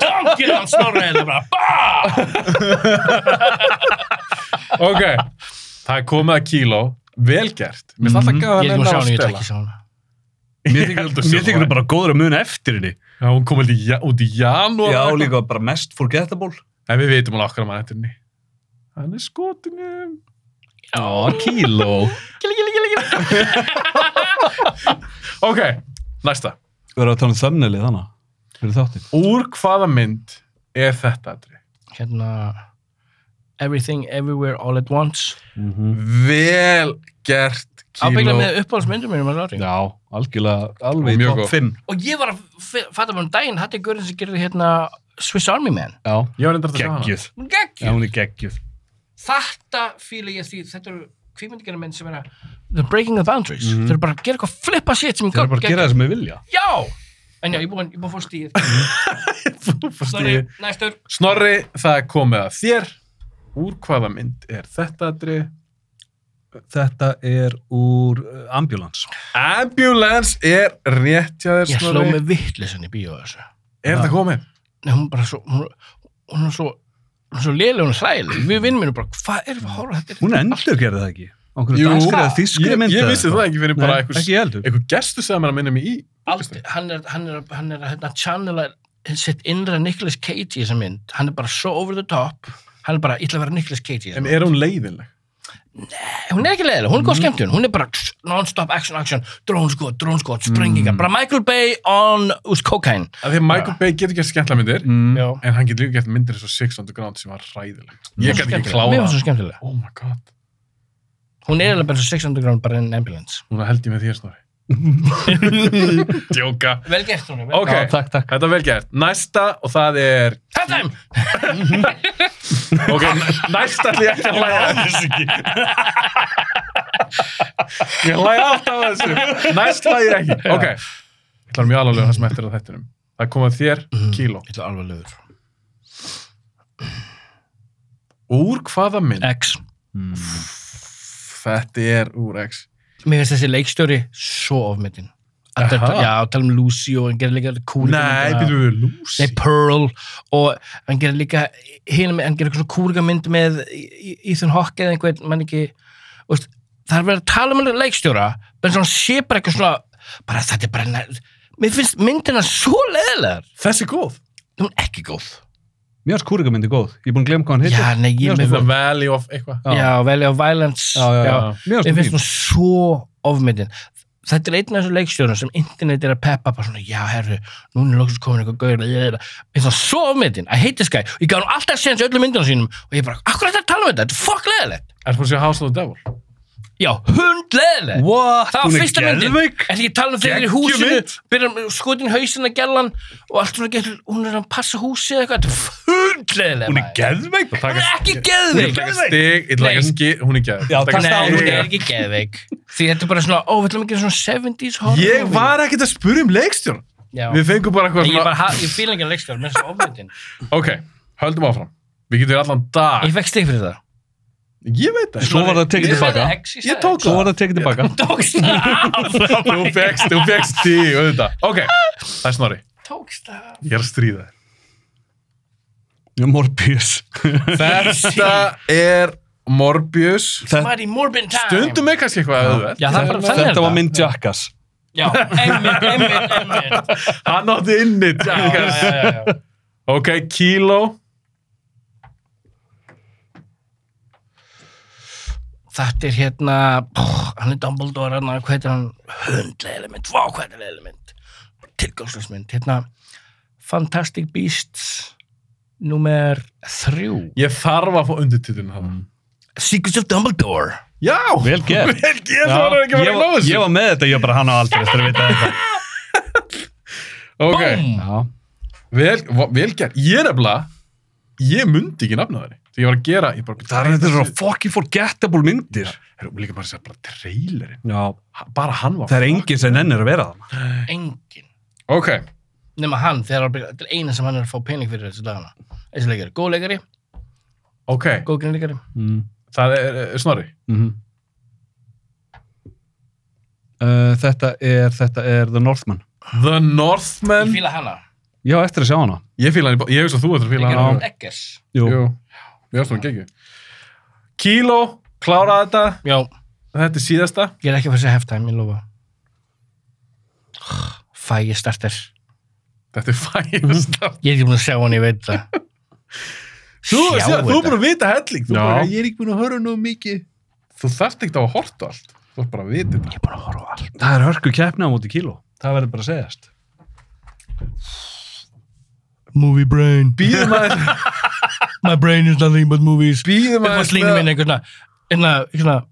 Donkið hann snorrið Það bara BAM!
Ok, það er komið að kíló. Vel gert. Mér finnst alltaf gæða
Mhm. Ég er ekki búin að sjá hann, ég vil ekki sjá hann
Mér þykir mér þykir þú bara góður að muna eftir henni.
Já, hún kom held í, ja- út í janúar.
Já, líka bara mest forgettable.
En við veitum alveg okkar að maður hættir henni. Hann er skotinum.
Já,
kíló.
gili, gili, gili, gili
Ok, næsta.
Við erum að tala um þömmnelið þannig. Fyrir þáttinn.
Úr hvaða mynd er þetta, Andri?
Hérna Everything, Everywhere, All at Once
Vel gert kíló.
Ábyggla með uppáhaldsmyndum mínum að lári
Já, algjörlega, alveg í
Mjög
top
góð.
5.
Og ég var að f- fatta mér um daginn Þetta er görðin sem gerði hérna Swiss Army Man
Já,
Ég var reyndar að sjá hana. (laughs)
Geggjuð.
Hún
Já,
geggjum
hún er geggjuð.
Þetta fíla ég því Þetta eru kvímyndigjana menn sem er að They're breaking the boundaries Þeir eru bara að gera eitthvað flippa shit sem
Mhm. þeir eru bara að gera það sem við vilja.
Já! En já, ég búin, ég búin að fá stíð.
(laughs)
Sorry,
Snorri,
næstur.
Snorri, það er komið að þér. Úr hvaða mynd er þetta, Andri?
Þetta er úr uh, ambulance.
Ambulance er rétt hjá þér,
Ég sló
Snorri.
með vittlisann í bíó þessu.
Er þetta komið?
Nei, hún bara svo, hún, hún er svo, hún er svo léleg, hún er hlægileg. Við vinnum minnum bara, hvað erum við að horfa á þetta?
Hún endur gerði það ekki. Okkur
Jú,
danskri eða þískri
ég,
myndi.
ég vissi það ekki fyrir
Nei,
bara einhver,
ekki ég heldur.
einhver gestur sem er að minna mig í
Aldrei, hann er, hann er, hann er, hérna, channela sitt innra Nicolas Cage í þessa mynd. Hann er bara svo over the top. Hann er bara, ég ætla að vera Nicolas Cage í þessa
en
mynd.
er hún leiðinleg?
Hún er ekki leiðileg, hún er
Mm.
góð skemmtun. Hún er bara tss, non-stop action, action, drónskot, drónskot, sprengingar.
Mm.
Bara Michael Bay on, úst, cocaine.
Af því að Michael Bay getur gert skemmtla myndir
Mm.
Já.
en hann getur líka gert myndir eins og Six Underground sem var ræðileg ég
Svo
gæti ekki
skemmtileg. Mér
klára það.
finnst það skemmtilega.
oh my god,
Hún er alveg bara svo 600 grám bara en ambulance.
núna held ég með þér snorri djóka
Vel gert hún.
ok,
Já, takk, takk.
þetta er vel gert næsta og það er
Halftime!
ok, n- næsta ætlum ég ekki að hlæja að þessu ekki (laughs) ég hlæja alltaf að þessu næst hlæja ég ekki ok, ég ætlar mjög alveg að það sem eftir að þettinum það komað þér, kíló
Þetta er alveg lögur.
úr hvaða mynd
X.
Hmm.
Þetta er úr X.
Mér finnst þessi leikstjóri svo ofmyndin. Að
Aha.
þetta- Já, að tala um Lucy og hann gerir líka kúrika.
við Lucy.
Nei, Pearl og hann gerir líka hinum, hann gerir eitthvað svona kúrika mynd með Ethan Hawke eða einhvern, mann ekki þú veist, það er verið að tala um hann leikstjóra menn svona sé bara eitthvað svona bara þetta er bara, nær- mér finnst myndina svo leðilegar,
Þessi er góð.
hún er ekki góð
Mér finnst kúrika myndi góð. Ég er búin að glemja hvað hann heitir.
Já, nei, ég
Mér
með
The Valley of eitthvað.
Já.
Já, Valley of Violence
Já, já, já. Mér
Mér
finnst
finnst
það
hún svo ofmyndin Þetta er einn af þessum leikstjórnum sem internet er að peppa bara svona, já herru, núna er loksins komin eitthvað gauður, ég er það, mér finnst það svo ofmyndin I hate this guy, ég gaf hún alltaf séns í öllum myndunum sínum og ég bara, akkur þetta að tala um þetta, þetta er fokk leðilegt
Er það að sé House of the Devil?
Já, hund leðilegt
What?
Það var fyrsta myndin, en því ég tala um þegar í
Geggjum
húsinu
mynd.
byrjar skotin hausin að gellan og allt svona getur, hún er að passa húsið eitthvað, þetta er hund
Hún er
leðilegt
geðveik.
Hún er ekki
Hún er
geðveik
ekki stig, illa ekki
Nei.
skil, hún er ekki
Já,
að.
takk.
Nei,
Stál-
hún er ekki geðveik Því þetta er bara svona, ó, við ætlum að gera svona 70s horror
Ég
movie.
var ekkert að spyrja um leikstjórn.
Já.
Við fengum bara
Nei,
eitthvað
Ég,
svona...
bara, ha- ég fíla ekki að leikstjóra, mér er svo ofmyndin
Ok, höldum áfram. Við getum verið allan dag.
Ég fekk stig fyrir það
Ég veit það.
Svo var það tekið
Ég
tilbaka.
fekk X í
Ég
staðinn.
tók
Svo var það tekið tilbaka.
Tókst það af.
Þú fegst, þú fegst því, auðvitað. Ok, það er snorri.
Tókst það af.
Ég er að stríða þér.
(laughs) Ég er Morbius.
Þetta er Morbius.
Mighty Morbin time
Stundum er kannski eitthvað auðvitað.
Já, það er bara þannig er
Þetta var
þetta.
mynd Jackass.
Já, einmitt, einmitt, einmitt
Hann átti inni.
Já, já, já, já, já.
Ok, kíló.
þetta er hérna, pff, hann er Dumbledore, hann, hvað heitir hann, hundlega mynd, vá, hvað heitir leiðileg mynd, tilgjóðslegsmynd, hérna, Fantastic Beasts, númer þrjú,
Ég þarf að fá undirtitlun hann.
Secrets of Dumbledore.
Já! (laughs)
Vel gert.
Vel gert,
Já,
það var
ég,
ekki að vera að
var,
glóða
ég
þessu.
var með þetta, ég var bara hann á aldrei eftir að vita þetta.
Ok,
Búm!
Já.
vel, va- vel gert. Ég er nefnilega, ég myndi ekki nafna þeirri. Þegar ég var að gera, ég bara...
Það er þetta svona fucking forgettable myndir.
Heru, líka bara að segja, bara trailerinn.
Já.
Ha- Bara hann var...
Það er enginn sem ennir að vera það.
Engin.
Ok,
Nefna hann, þegar hann byrja, þetta er eina sem hann er að fá pening fyrir þessu dagana. Þessi leikari, góð leikari,
ok.
góð greinleikari.
Mm.
Það er, er snorri.
Mm. Uh, þetta er, þetta er The Northman.
The
Ég
Northman.
fíla hana.
Já, eftir að sjá hana.
Ég fíla hann, í bo- ég veist að þú ættir að fíla
Leikari
hann.
Robert Eggers.
Jú.
Jú. Við erum svona geggjum. Kíló, klára þetta.
Já,
Þetta er síðasta.
ég er ekki að fara að segja halftime, ég lofa. Fæ ég starter.
Þetta er (laughs) fæðist.
Ég er ekki búin að sjá hann, ég veit það.
(laughs) Þú,
Sjá
sé, þú er
þetta.
búin að vita helling. Þú
Já.
bara, ég er ekki búin að höra nú mikið. Þú þarft ekkert á að horta allt. Þú er bara að vita þetta.
Ég er bara að horfa á allt.
Það er hörku keppni á móti kíló. Það verður bara að segjast.
Movie brain.
Býðum (laughs) aðeins,
My brain is nothing but movies.
býðum
Það var
aðeins.
slínu minn einhvern veginn. Einhvern veginn.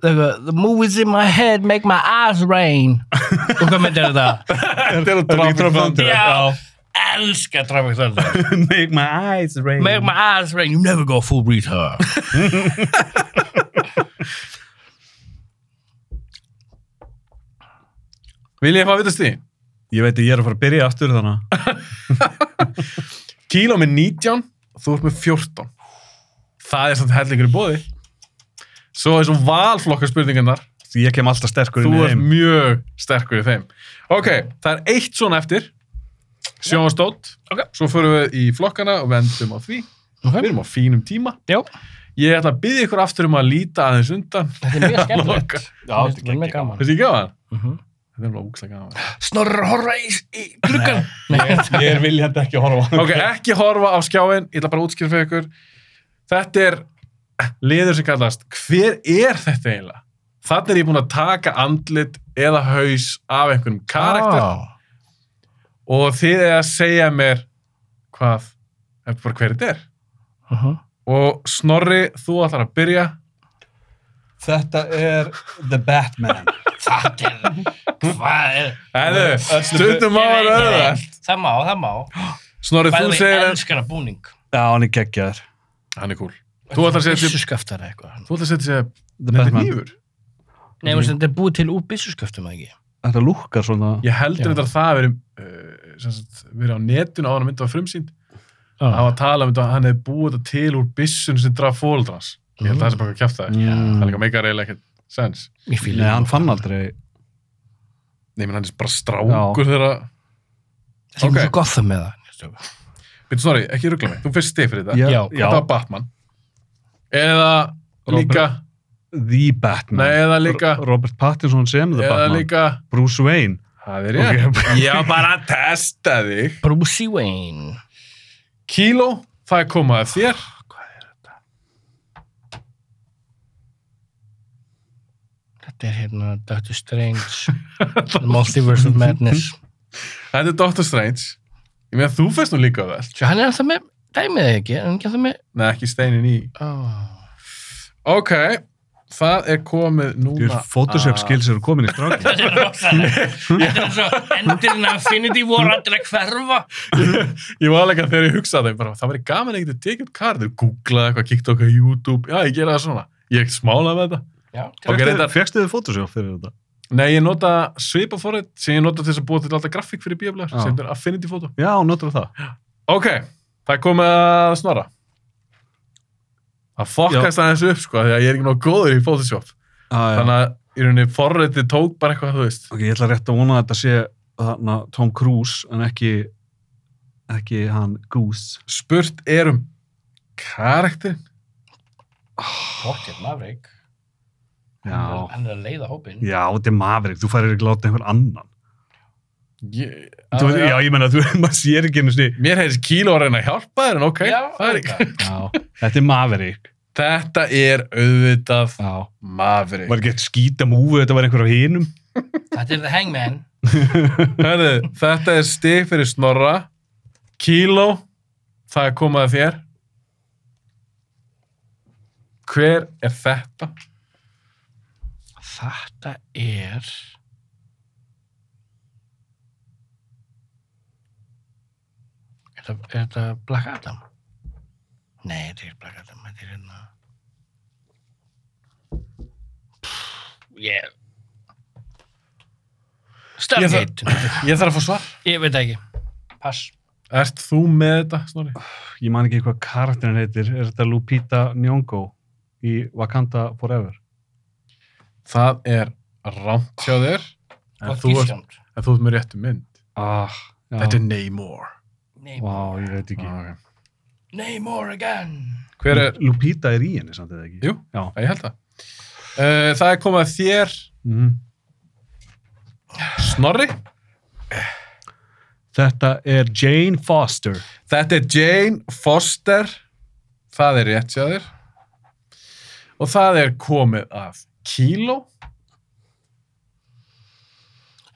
The, the movies in my head make my eyes
(laughs)
rain. Og hvað mynd er þetta?
Þetta er að drafa
Thunder.
Já. Elskar Traffic Thunder.
(laughs) Make my eyes rain.
Make my eyes rain. You never go full retard.
Vil ég fá að vita stíði?
Ég veit að ég er að fara að byrja aftur þannig.
Kíló með 19, þú ert með 14. Það er samt hellingur í bóði. Svo er svona valflokkarspurningarnar.
Því Ég kem alltaf sterkur inn
Þú
í
ert
þeim.
mjög sterkur í þeim. Ok, það er eitt svona eftir. Sjónastótt.
Ok.
Svo förum við í flokkana og vendum á því.
Ok.
Við erum á fínum tíma.
Já.
Ég ætla að byggja ykkur aftur um að líta aðeins undan.
Þetta er mjög skemmtilegt.
Já,
Mér
þetta
finnst
er
mjög
geggjað.
gaman.
Þetta er gaman.
Mhm.
Þetta er alveg úkslega gaman.
Snorri er að horfa í, í gluggan. Nei.
Ég er viljandi ekki að horfa.
(laughs) Ok, ekki horfa á skjáin. Ég ætla bara að útskýra fyrir ykkur. Þetta er liður sem kallast. Hver er þetta eiginlega? Þannig er ég búinn að taka andlit eða haus af einhverjum karakter. og þið er að segja mér hvað, er bara hver þetta er
Mhm.
og Snorri, þú ætlar að byrja
Þetta er The Batman.
Það er, hvað er?
eða, stundum á
Ég
að
veit, ég
röða
veit. Það má, það má.
Snorri,
Bæði
þú
mig
segir að
elskar að búning.
Já, hann er geggjaður.
hann er cool þú ætlar að segja sér,
Byssuskaftar eða eitthvað.
þú ætlar að segja sér
The
þetta er
Batman.
nýfur
Nei, mm. þetta er búið til úr byssusköftum, eða ekki?
Þetta lúkkar svona.
ég heldur
Já.
þetta að það hafi verið uh, sem sagt, verið á netinu á hann að mynda á frumsýnd
Já.
það var að tala um þetta að hann hefði búið þetta til úr byssun sem draf fóldrans ég held að það sé bara að kjæfta það það er
Mm.
líka meika reyla ekkert sens
Ég
Nei,
fýla
hann fann aldrei.
Nei, menn hann er bara strákur þegar að
Það er
ok.
mjög gott það með það.
Býttu Snorri, ekki ruggla mig, þú fyrst stið fyrir þetta
Já,
Þetta var Batman Eða
Robert-
líka
The Batman.
Nei, eða líka
Robert Pattinson sem The
Eða
Batman.
líka
Bruce Wayne.
Það er ég Ég var bara að testa þig
Brucey Wayne.
Kíló, það er komað af þér
Þetta er hérna
(laughs)
Doctor Strange. The Multiverse of Madness.
Þetta er Doctor Strange Ég meina, þú fyrst nú líka vel
Svo hann er alltaf með dæmið, eða ekki? Er Hann er ekki alltaf með...
Nei, ekki steinin í
Oh.
Ok, það er komið
Ég
núna
er Photoshop
að-
skills eru komin í
(laughs)
strákin.
Þetta er rosalega. Þetta er (laughs) eins og endurinn af Infinity War allir að hverfa.
Ég var alveg að þegar ég hugsaði bara, Það væri gaman að ég geti tekið upp kardir Googlaði eitthvað, kíkti okkur á YouTube Já, ég gera það svona Ég smálaði með þetta
Já, til
Ok, reyndar-
Fekstu þið Photoshop fyrir þetta?
Nei, ég nota svipaforrið sem ég nota til þess að búa til alltaf grafík fyrir bíablar
Já.
sem er Affinity Photo.
Já, notur það.
Ok, það er komið að snora. Það fokkast aðeins upp, sko, því að ég er ekki nóg góður í Photoshop.
Ah,
Þannig að í rauninni forriði tók bara eitthvað, þú veist.
Ok, ég ætla rétt að vona að þetta sé þarna, Tom Cruise en ekki, ekki hann Goose.
Spurt er um karakterinn.
Pocket Maverick.
Já,
Hann er að leiða hópin.
já þetta er Maverick, þú færir ekki að láta einhvern annan.
Ég-
Ah, þú,
Já,
já.
já.
ég menna, þú, (laughs) maður sér ekki einu sinni.
Mér heyrðist kíló að reyna að hjálpa þér, en ok.
Já, (laughs)
það er
auðvitað.
ekki.
Já, þetta er Maverick.
Þetta er auðvitað
Já.
Maverick.
Var ekki eitt skýta múfi, þetta var einhver af hinum.
Þetta er the hangman.
Herðu, þetta er stig fyrir Snorra. Kíló, það er komað að þér. Hver er þetta?
Þetta er... Er þetta- er þetta Black Adam? Nei, þetta er ekki Black Adam, þetta er hérna... Pff, Ég... Stargate.
Ég þarf að fá svar.
Ég veit það ekki. Pass.
Ert þú með þetta, Snorri?
Ég man ekki hvað karakterin heitir. Er þetta Lupita Nyong'o í Wakanda Forever?
Það er rámt hjá þér. En
Gott
þú, ert,
gísjönd.
en þú ert með réttu mynd.
Ah, já.
Þetta er Namor.
Name,
Vá, ég veit ekki.
Ah, ok.
name more again.
Hver er...
Lupita er í henni samt eða ekki?
Jú,
Já.
ég held það. Uh, það er komað að þér,
Mm.
Snorri.
Þetta er Jane Foster.
Þetta er Jane Foster. Það er rétt hjá þér. Og það er komið af Kilo.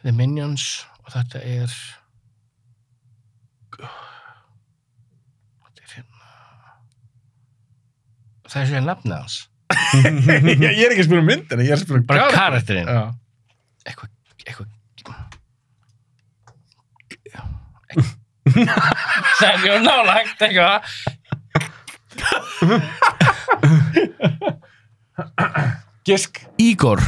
The Minions og þetta er þetta er hérna það er svo ég nafnið hans
(laughs) ég, ég er ekki að spila um myndina, ég er að spila um
bara
karakter. Já.
karakterinn eitthvað eitthvað það er mjög nálagt eitthvað
Gisk.
Igor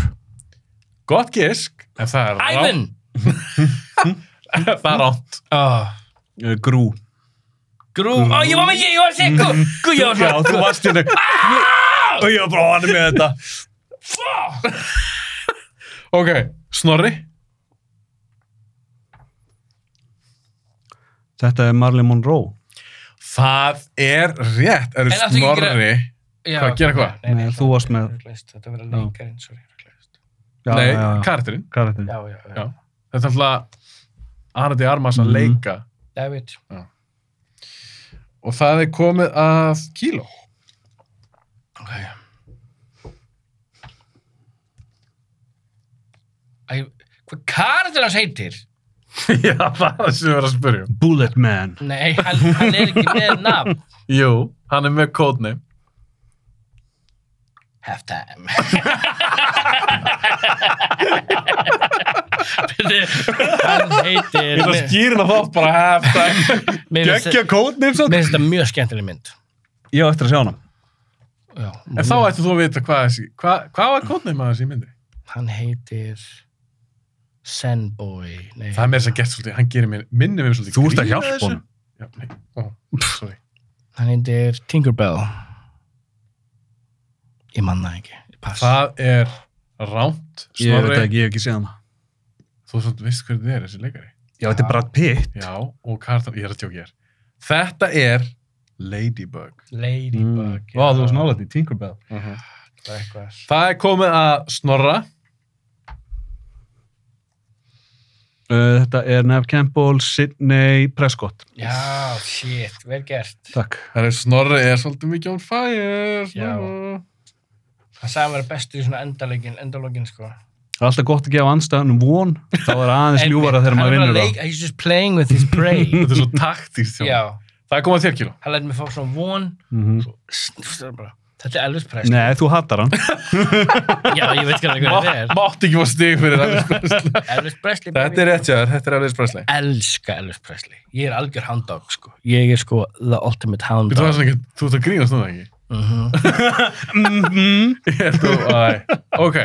Gott gisk. En það er rátt.
Ivan
(laughs) það er rátt.
oh.
Uh, grú.
Grú ó ég var með ég ég var að segja Grú Grú ég var
Já,
svona
þú varst hérna. Og ég var bara á hann með þetta.
Ok, Snorri.
Þetta er Marley Monroe.
Það er rétt.
En
Eru
áttu ekki að gera-
Snorri.
Já,
Hvað, gera hvað?
nei, nei,
Nei, þú varst með-
rugglaðist, þetta verður leikarinn sorry rugglaðist.
Já,
Nei,
já, já.
karakterinn.
karakterin.
já já já
Já. Þetta er alltaf Arnaldi Armas að
Mhm.
leika.
David
Og það er komið að Kilo.
Okay. Æ, hvað karakter hans heitir?
(laughs) Já, það er það sem við erum að spyrja. um.
Bullet Man.
Nei, hann, hann er ekki með nafn.
Jú, hann er með kódneim.
Halftime. Bíddu, hann heitir...
Ég ætla að skýrna þátt bara halftime.
Mér finnst
Gekkja kódneim svo.
mér finnst þetta mjög skemmtileg mynd.
Ég á eftir að sjá hana.
Já, Mm.
En þá ættu þú að vita hvað þessi, hvað, hvað var kódneim að þessi myndi?
Hann heitir... Senboy. Nei,
Það er með þess að gert svolítið, hann gerir mér, minnir mér svolítið.
Þú ert að
grín
hjálpa
þessu.
honum.
Já, nei, ó, (laughs) sorry.
Hann heitir Tinkerbell. Ég manna ekki. Pass.
Það er rámt,
Ég veit
snorri.
ekki, ég hef ekki séð hana.
Þú svona veist hvernig þið er þessi leikari.
Já, þetta er Brad Pitt.
Já, og Kartan, ég er að tjóka ég er. Þetta er Ladybug.
Ladybug.
Mm. Vá, þú varst nálægt í Tinkerbell.
náttúrulega.
Það er komið að snorra.
Uh, þetta er Nev Campbell, Sidney Prescott.
Já, shit, vel gert.
Takk.
Það er snorri, er svolítið mikið on fire.
Já.
Snorra.
Það sagði að vera bestur í svona endalögin, endalögin, sko.
Það er alltaf gott að gefa anstæðanum von. Þá er
(laughs)
aðeins ljúfara þegar maður vinnur
það.
það.
He's just playing with his
(laughs)
prey.
Þetta er svo taktíkt. hjá honum.
(laughs) Já,
Það er komið að þér, Kilo.
hann lætt mér fá svona von.
Mhm.
Snústur bara. Þetta er Elvis Presley.
Nei, þú hattar hann.
Já, ég veit ekki alveg hvað
(laughs)
þetta er.
Mátt ekki fá stig fyrir Elvis Presley.
Elvis Presley.
Þetta er rétt hjá þér, þetta er Elvis Presley.
Elska Elvis Presley. Ég er algjör hound dog, sko. Ég er sko the ultimate hound
Þú
dog.
veist ekki, þú ert að grínast núna ekki?
Mhm.
(laughs) Ég held að, æ, ok.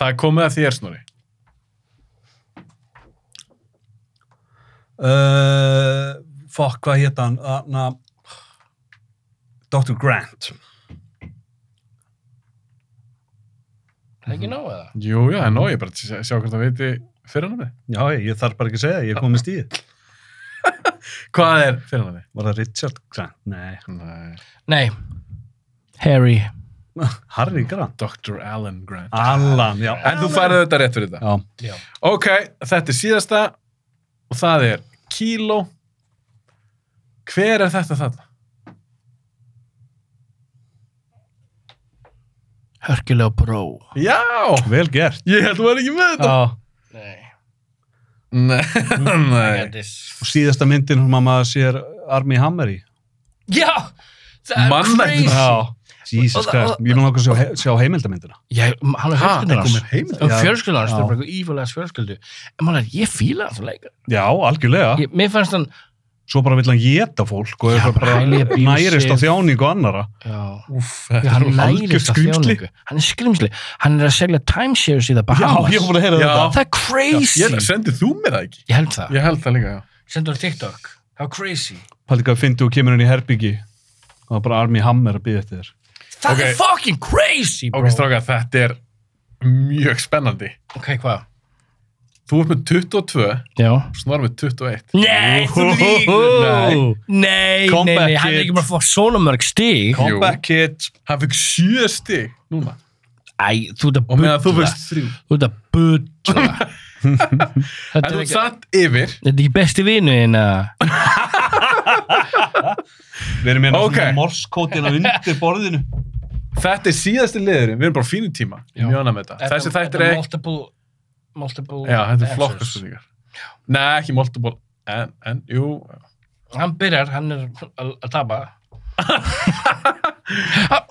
Það er komið að þér, Snorri.
Uh, fuck, hvað hétt hann? Þarna... Dr. Grant.
Það er ekki nóg eða?
Jú, já, en ná, ég er bara að sjá- sjá hvort það veiti fyrirnafni.
Já, ég, ég þarf bara ekki að segja, ég komist í þið.
Hvað er fyrirnafni?
Var það Richard Grant? Nei.
Nei.
Nei. Harry.
Harry Grant.
Dr. Alan Grant.
Allan, já.
En þú færið þetta rétt fyrir þetta.
Já.
Já.
Ok, þetta er síðasta og það er kíló. Hver er þetta þetta?
Hörkilega bró.
Já!
Vel gert.
Ég held að vera ekki með þetta.
Já.
Nei.
Ah, Nei, (laughs) nei.
Og síðasta myndin hún mamma sér Armi Hammer í.
Já, það er
Mannægt.
crazy.
Já. Jesus
Og- og-
Christ. Ég mun okkur sjá, he- sjá heimildamyndina.
Ég, hann er
Ha,
fjölskyldur
einhver
hans.
með heimild?
Um
Já.
fjölskyldur hans, það
Já.
er bara eitthvað ífælega fjölskyldu. En maður er, ég fíla hann svo leika.
Já, algjörlega.
Ég, mér fannst hann,
Svo bara vill hann geta fólk og
Já,
er bara
pæli að bíða
nærist á
sig.
þjáningu annara.
já,
Úff,
já
þetta er
hann
alveg-
nærist á
skrímsli.
þjóningu. Hann er skrimsli. Hann er að selja timeshares í það
Já,
Bahamas.
ég var búin að heyra
Já.
þetta.
það er crazy.
Ég- Sendið þú mér það ekki?
Ég held það.
Ég held það líka, já.
Sendur á TikTok. Það er crazy.
Paldi hvað fyndi og kemur henni í herbyggi. Það var bara Armi Hammer að byggja eftir þér.
Það
Ok.
er fucking crazy, bro.
Ok, strákar, þetta er mjög spennandi.
Ok, hvað?
Þú ert með 22,
Já.
snar með 21.
Nei, þú líkur.
Nei.
Nei, nei,
Comeback
nei, hann er
kid.
ekki bara að fá svona mörg stig.
Kom- Jú.
kid.
Hann fikk 7 stig núna.
Æ, þú ert að
Og meðan þú
bulla.
fyrst 3.
Þú ert að bulla. þetta
En
er
þú ert
ekki,
satt yfir.
þetta er ekki besti vinu en að...
Við erum hérna
Ok.
okay. morskótina undir borðinu.
Þetta er síðasti liðurinn. Við erum bara á fínu tíma.
Já.
Mjög annað með þetta. Þessi þættir er ekki...
Multiple, multiple...
Já, þetta er
answers.
flokkarspurningar. Nei, ekki multiple. En, en, jú.
Hann byrjar, hann er að að tapa.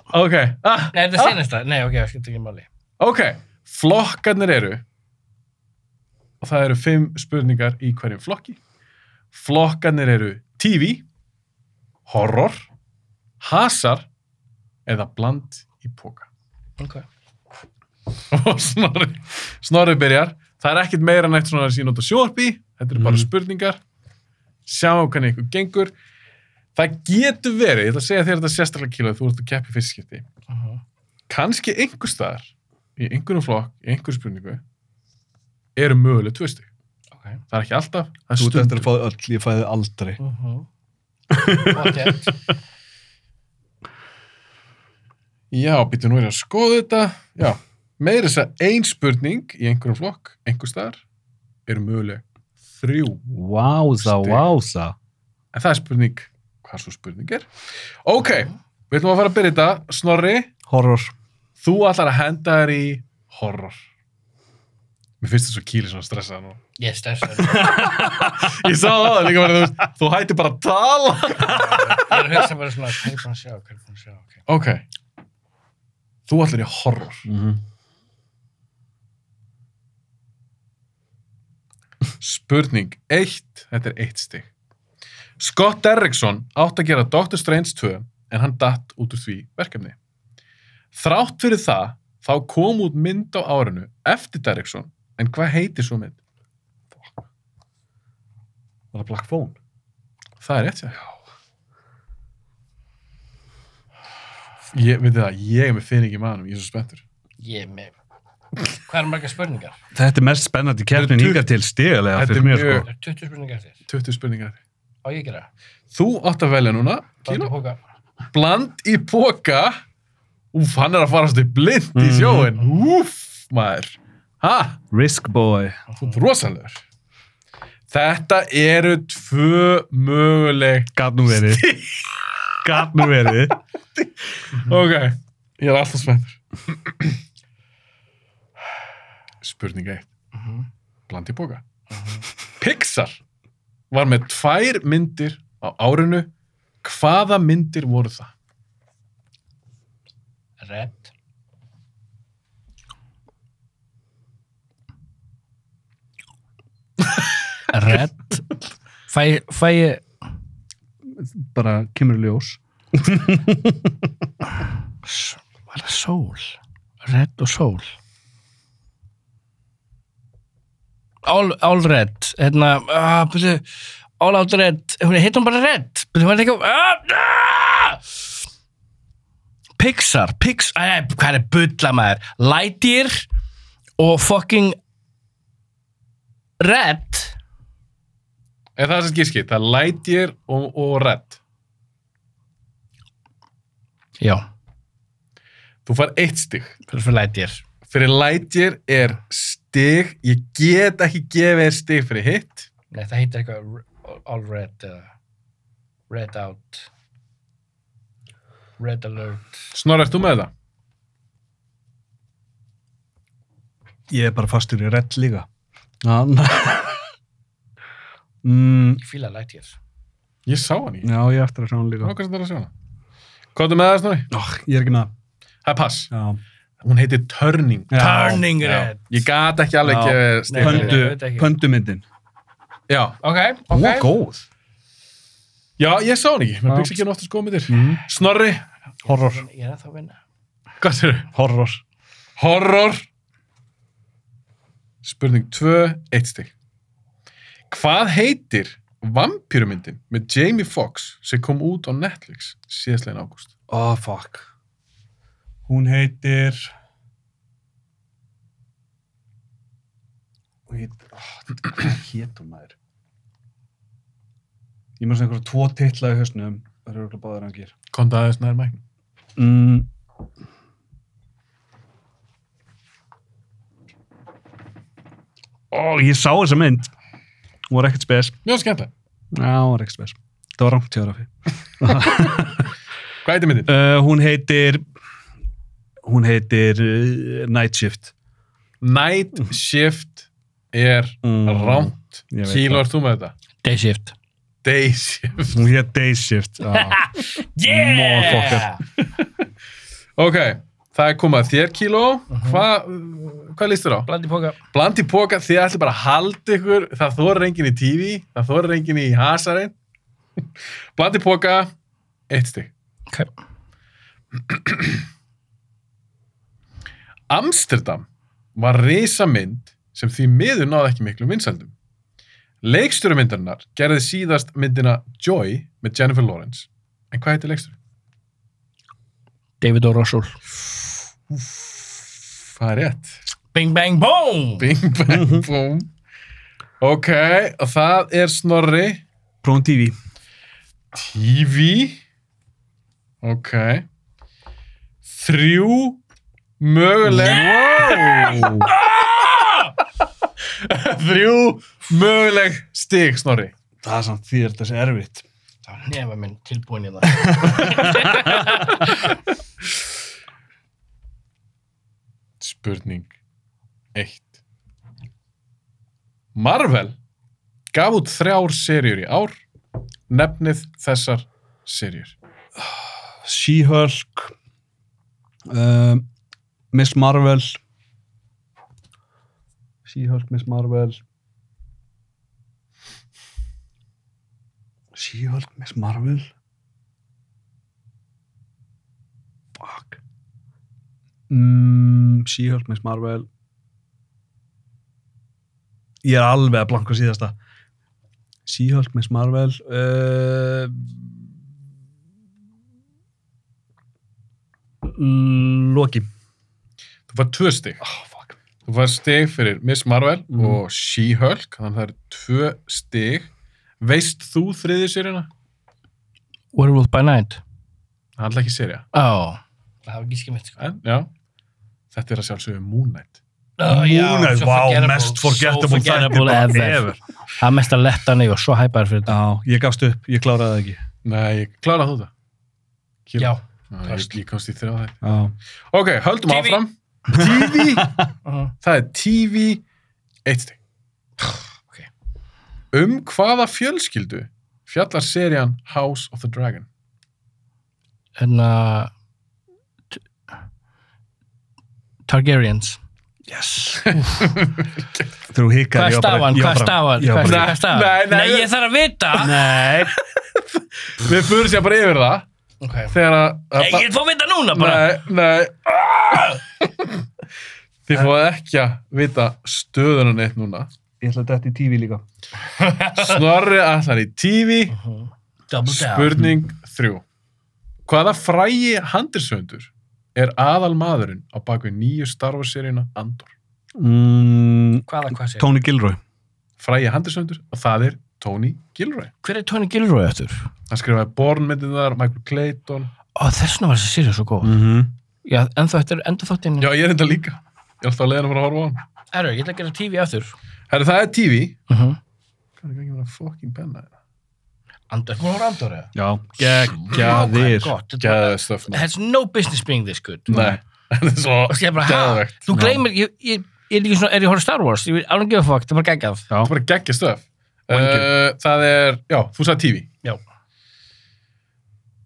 Ok, ah,
Nei, þetta er senasta. Nei, ok, það skiptir ekki máli.
ok. Flokkarnir eru. Og það eru 5 spurningar í hverjum flokki. Flokkarnir eru TV, horror, hasar eða bland í póka.
Ok.
(laughs) og Snorri, Snorri byrjar það er ekkert meira en eitt svona sín út á sjóarpi þetta eru bara spurningar sjáum hvernig ykkur gengur það getur verið, ég ætla að segja þér þetta sérstaklega kíla þú ert að keppi fyrstskipti
Mhm.
kannski einhver staðar í einhverjum flokk, í einhverjum spurningu eru möguleg tvö stygg
Ok.
það er ekki alltaf, það er
Þú ert eftir
stundum
að fá þau öll, ég fæði aldrei.
Mhm. Gott gert.
já, býtum nú er ég að skoða þetta já, meira þess að ein spurning í einhverjum flokk, einhver staðar eru möguleg þrjú
Váza,
Stig.
váza.
En það er spurning, hvað svo spurning er? Ok, við ætlum að fara að byrja þetta. Snorri,
Horror.
þú ætlar að henda þér í horror. Mér finnst það svo kýli svona stressað nú.
Ég er stressað.
Ég sá það áður líka verið, þú veist, þú hætti bara að tala.
Ég er að hugsa bara svona, hvað er búin að sjá, hvað er búin að sjá, ok.
Ok, þú ætlar í horror. Spurning 1, þetta er eitt stig. Scott Derrickson átt að gera Doctor Strange 2 en hann datt út úr því verkefni. Þrátt fyrir það þá kom út mynd á árinu eftir Derrickson en hvað heitir svo mynd?
Var það Black Phone?
Það er rétt sér. Ég, veit það, ég er með finning í maðanum, ég er svo spenntur.
Ég er með, hvað eru margar spurningar?
Þetta er mest spennandi
Þetta
kjærnin
er
ykkar til stigalega
Þetta
fyrir
er
mér,
mjög-
sko.
Það eru 20 spurningar eftir.
20 spurningar.
Á ég að gera?
Þú átt að velja núna, Kino.
Kíló? Hóka.
Bland í póka. Úf, hann er að farast í blind í
Mm.
sjóin. Úf, maður. Ha?
Risk Boy.
Þú ert rosalegur. Þetta eru tvö möguleg.
Gat nú verið. (laughs) Gat nú verið. Mm.
Ok, ég er alltaf spenntur. Spurning 1.
Mhm.
Bland í boka. Pixar var með tvær myndir á árinu. Hvaða myndir voru það?
Red. Red. Fæ, fæ ég,
Bara kemur í ljós.
var það sól? Red og sól. All, all red, hérna, ah, byrju, all out red, hún heit hún bara red, byrju, hún er ekki, ah, ah! Pixar, Pixar, æ, æ, hvað er bulla maður, Lightyear og fucking red,
Er það sem gískið? Það er Lightyear og, og Red.
já,
Þú far eitt stig.
fyrir fyrir Lightyear,
Fyrir Lightyear er stig. Ég get ekki gefið þér stig fyrir hitt.
nei það heitir eitthvað r- all red eða red out, red alert,
Snorra, ert þú með það?
Ég er bara fastur í redd líka. Já, (laughs) næ. mm,
Ég fíla læt hér.
Ég sá hann í.
já, ég er eftir að sjá hann líka.
Hvað er það að sjá hana? Hvað er með það snúi?
Ó, ég er ekki með það.
Það er pass.
Já.
Hún heitir Turning.
Já.
Turning Red.
Ég gat ekki alveg
Já.
gefið
Nei,
stefið.
nei, nei,
Pöndu,
veit ekki.
pöndumyndin.
Já.
Ok,
Hún
ok.
var góð.
Já, ég sá hann ekki. Mér
Já.
byggst ekki hann oftast góð myndir.
Mm.
Snorri.
Horror.
Ég er ennþá að vinna.
Hvað er
Horror.
Horror. Spurning 2, eitt stig. Hvað heitir vampýrumyndin með Jamie Foxx sem kom út á Netflix síðastlegin ágúst?
Oh, fuck. Hún heitir... Hún heitir... Oh, hvað hétt hún maður? Ég maður sem einhverja tvo titla í hausnum. Það eru örugglega báðir angir.
Kom það aðeins nær mæknum.
Mm. Ó, ég sá þessa mynd. Hún var ekkert spes.
Mjög skemmtilega.
Já, hún var ekkert spes. Það var rangt hjá Rafi.
Hvað heitir myndin?
Uh, hún heitir... Hún heitir uh, Night Shift.
Night Shift er
Mm.
rámt.
Ég veit
Kíló, er þú með þetta?
Day (laughs) shift. Ah.
Day Shift.
Hún hétt Day Shift. Já.
Yeah!
Motherfucker.
Ok, það er komað þér kíló.
Mhm.
Hva, hvað líst þér á?
Blandi póka.
Blandi póka, þið ætli bara að halda ykkur. Það þorir enginn í TV, það þorir enginn í (laughs) hasarinn. Blandi póka, eitt stygg.
Ok.
(clears throat) Amsterdam var risamynd sem því miður náði ekki miklu vinsældum. Leikstjórumyndarinnar gerði síðast myndina Joy með Jennifer Lawrence. En hvað heitir leikstjóri?
David O. Russell.
Það er rétt.
Bing, bang, boom!
Bing, (laughs) bang, boom. Ok, og það er Snorri
Prón TV.
TV. Ok. Þrjú möguleg...
Wow!
(laughs) Þrjú möguleg stig, Snorri.
Það er samt því er þetta þessi erfitt.
Það var nefa minn tilbúin í það. (laughs)
Spurning 1. Marvel gaf út þrjár serjur í ár. Nefnið þessar serjur.
She-Hulk. Um, Miss Marvel. She-Hulk, Miss Marvel. She-Hulk, Miss Marvel. Fuck. Mm, She-Hulk, Miss Marvel. Ég er alveg að blanka á síðasta. She-Hulk, Miss Marvel. Uh, mm, Loki.
Þú fær tvö stig.
Oh, fuck.
Þú fær stig fyrir Miss Marvel
Mhm.
og She-Hulk. Þannig að það eru tvö stig. Veist þú þriðið serjuna?
Werewolf by Night.
Það er alltaf ekki serja.
Ó. Það hafa ekki skimitt, sko.
En, já. Þetta er að sjálfsögðu Moon Knight.
Oh,
Moonlight, vá, mest forgettable
so forgettable
þættir
ever.
bara
Það er mest að letta ney og svo hæpaður fyrir þetta.
Já, ég gafst upp, ég kláraði það ekki.
Nei, kláraði þú það? Kíla.
Já.
Ná, ég, ég komst í þrjá þetta.
Já.
Ok, höldum
TV.
áfram. TV.
Uh,
Það er TV eitt steg.
Ok.
Um hvaða fjölskyldu fjallar serían House of the Dragon?
en að... Targaryens. Yes.
Þegar hún hikaði,
Hvað er
ég var bara-
stafan?
ég
Hvað er
var bara-
stafan?
ég var
Hvað
bara-
er stafan?
Nei, nei,
nei,
nei.
ég þarf að vita.
Nei.
Við fyrir sér bara yfir það
Okay.
þegar að...
Nei,
að-
ég fór að vita núna bara.
Nei, nei. Þið fóðu ekki að vita stöðuna neitt núna.
Ég ætla að detta í TV líka.
Snorri allar í TV,
Double down.
spurning þrjú. Hvaða frægi handilsöndur er aðal maðurinn á bakvið nýju Star Wars seríuna Andor?
Mm,
Hvaða, hvað segir?
Tony Gilroy.
Frægi handilsöndur og það er Tony Gilroy.
Hver er Tony Gilroy eftir?
Hann skrifaði Born-myndirnar, Michael Clayton.
Ó, þess vegna var þessi sérið svo góð.
-hmm.
Já, en þá eftir enda þáttinn.
Já, ég er þetta líka. Ég er alltaf að leiða hann að horfa á hann.
Erru, ég ætla að gera TV eftir.
Herri, það er TV.
Uh -huh.
Hvað er ekki að fucking benna þetta?
Andor, hún var Andor eða?
Já.
Nákvæmlega
Geggjaðir.
gott. Þetta
Gæðið stöfna.
has no business being this good.
Nei, (laughs) þetta er svo
Og ég bara, hæ?
gæðvegt.
Þú gleymir, ég, ég ég er ekki svona, er ég horið Star Wars ég vil alveg gefa fokk, það er bara geggjað
Það er bara geggja stöf.
Wanker.
Uh, það er, já, þú sagði TV.
Já.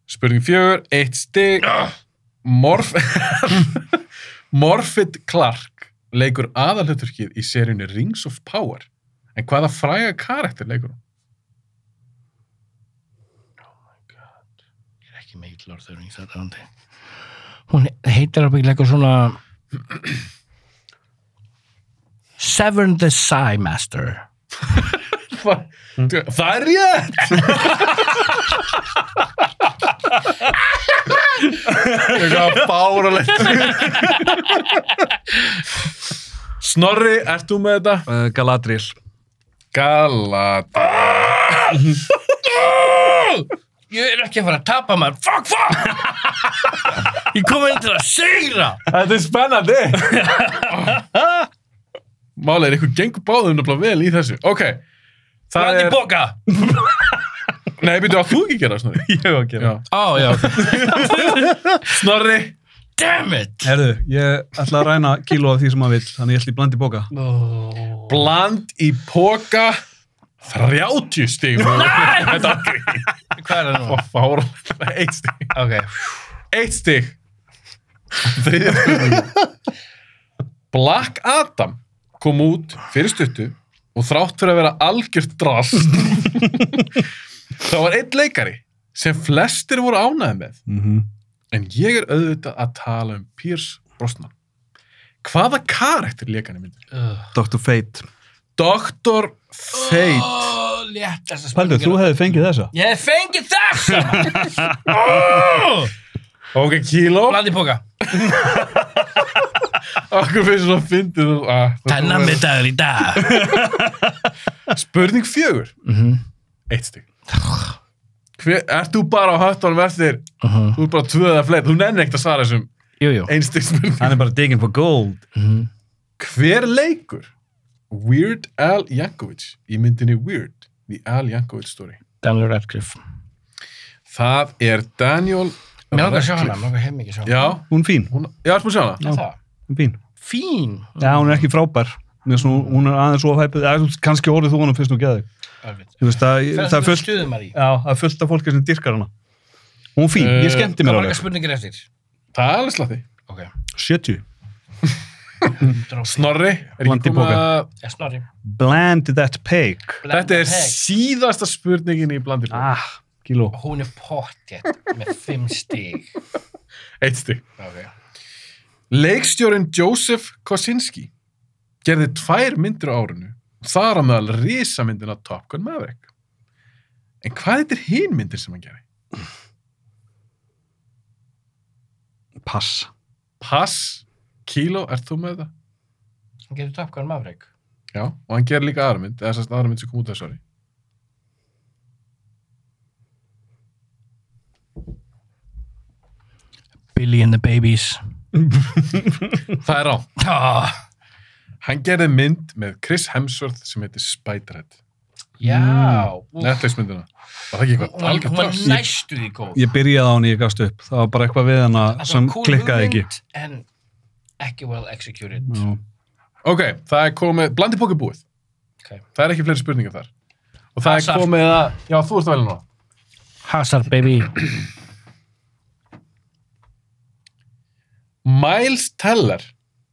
Spurning fjögur, eitt stig. Morf... (laughs) Morfid Clark leikur aðalhuturkið í seríunni Rings of Power. En hvaða fræga karakter leikur hún?
ég er ekki með Lord of the Rings aðdáandi. hún heitir alveg eitthvað svona Severn the Psy Master
Það, Hm? það er rétt! Eitthvað báralegt. Snorri, ert þú með þetta?
Uh, Galadriel.
Galata.
ég er ekki að fara að tapa maður fuck, fuck (laughs) ég kom inn til að sigra
Þetta er
(laughs)
spennandi. Málið er, ykkur gengur báðum nefnilega vel í þessu. Ok, það
Randi
er...
Boga
Nei, byrju, að þú ekki gera það, Snorri?
Ég hef að gera.
(laughs) Já.
ó, já, ok.
Snorri.
damn it
Herðu, ég ætla að ræna kíló af því sem maður vill, þannig ég ætla í blandi bóka.
Bland í póka 30 stig. Þetta
hvað er það nú?
var fáralegt. Eitt stig.
ok,
Eitt stig. Þriðja spurningin. Black Adam kom út fyrir stuttu og þrátt fyrir að vera algjört drast (laughs) þá var einn leikari sem flestir voru ánæði með
Mhm.
en ég er auðvitað að tala um Pierce Brosnan hvaða karakter leikari myndir?
Dr. Fate.
Dr. Fate
ó, léttast að
Paldur, þú hefði fengið þessa.
ég hef fengið þess (laughs)
ok, kíló
Landi Boga
okkur finnst svo að fyndi þú ah, þetta
Tenna
var-
middagur í dag
spurning fjögur
Mhm.
Eitt stig. Hver, ert þú bara á höttunum eftir?
Mhm.
Þú er bara tvö eða fleiri. Þú nennir ekkert að svara þessum
Jújú
einstig spurning.
Hann er bara digging for gold.
Hver leikur Weird Al Yankovic í myndinni Weird, The Al Yankovic Story?
Daniel Radcliffe
Það er Daniel
Mér langar að sjá hana,
Radcliffe.
mér langar heim ekki að sjá hana
Já,
Hún er fín.
hún, já, ertu búin að sjá hana?
Er það?
Hún er fín.
Fín
Já, hún er ekki frábær. Mér finnst Hún hún er aðeins svo hæpið. eða þú- Kannski orðið þú honum fyrst nú geðið. Þú veist, það, það er fullt,
Stöðum að í
já, það er fullt af fólki sem dyrkar hana. Hún er fín. Ég skemmti
Eh,
mér
Hvað var
alveg.
ekki spurningir eftir?
Það er alveg slatti.
Ok
70.
Drófi
Snorri, er
Blandi
ekki komið
Boga.
að...
Eh, Snorri
Bland that pig.
Þetta er
Peg.
síðasta spurningin í blandir.
Ah, kíló.
Hún er pottjett með fimm stig
Eitt stig.
Ok
Leikstjórin Joseph Kosinski gerði tvær myndir á árinu þar á meðal risamyndina Top Gun Maverick. En hvað þetta er hinn myndir sem hann gerði?
Pass.
Pass, Kilo, ert þú með það?
Hún getur Top Gun Maverick
Já, og hann gerði líka aðra mynd, eða sérst aðra mynd sem kom út
(laughs)
þessari.
Billy and the Babies
Það er á.
Já
Hann gerði mynd með Chris Hemsworth sem heitir Spiderhead.
Já Úff.
Netflix myndina. Var það ekki
Hún
eitthvað
var-
algjörn
hún var
plast?
næstu því góð
Ég byrjaði á hann ég gafst upp. Það var bara eitthvað við hana
Þetta
sem
var cool
klikkaði ekki. Mm.
hugmynd, En ekki well executed
Já.
Ok, það er komið, blandi bóki búið.
Ok.
Það er ekki fleiri spurningar þar. Og það
Passar.
er komið að, já, þú ert að velja núna.
Hazard baby
Miles Teller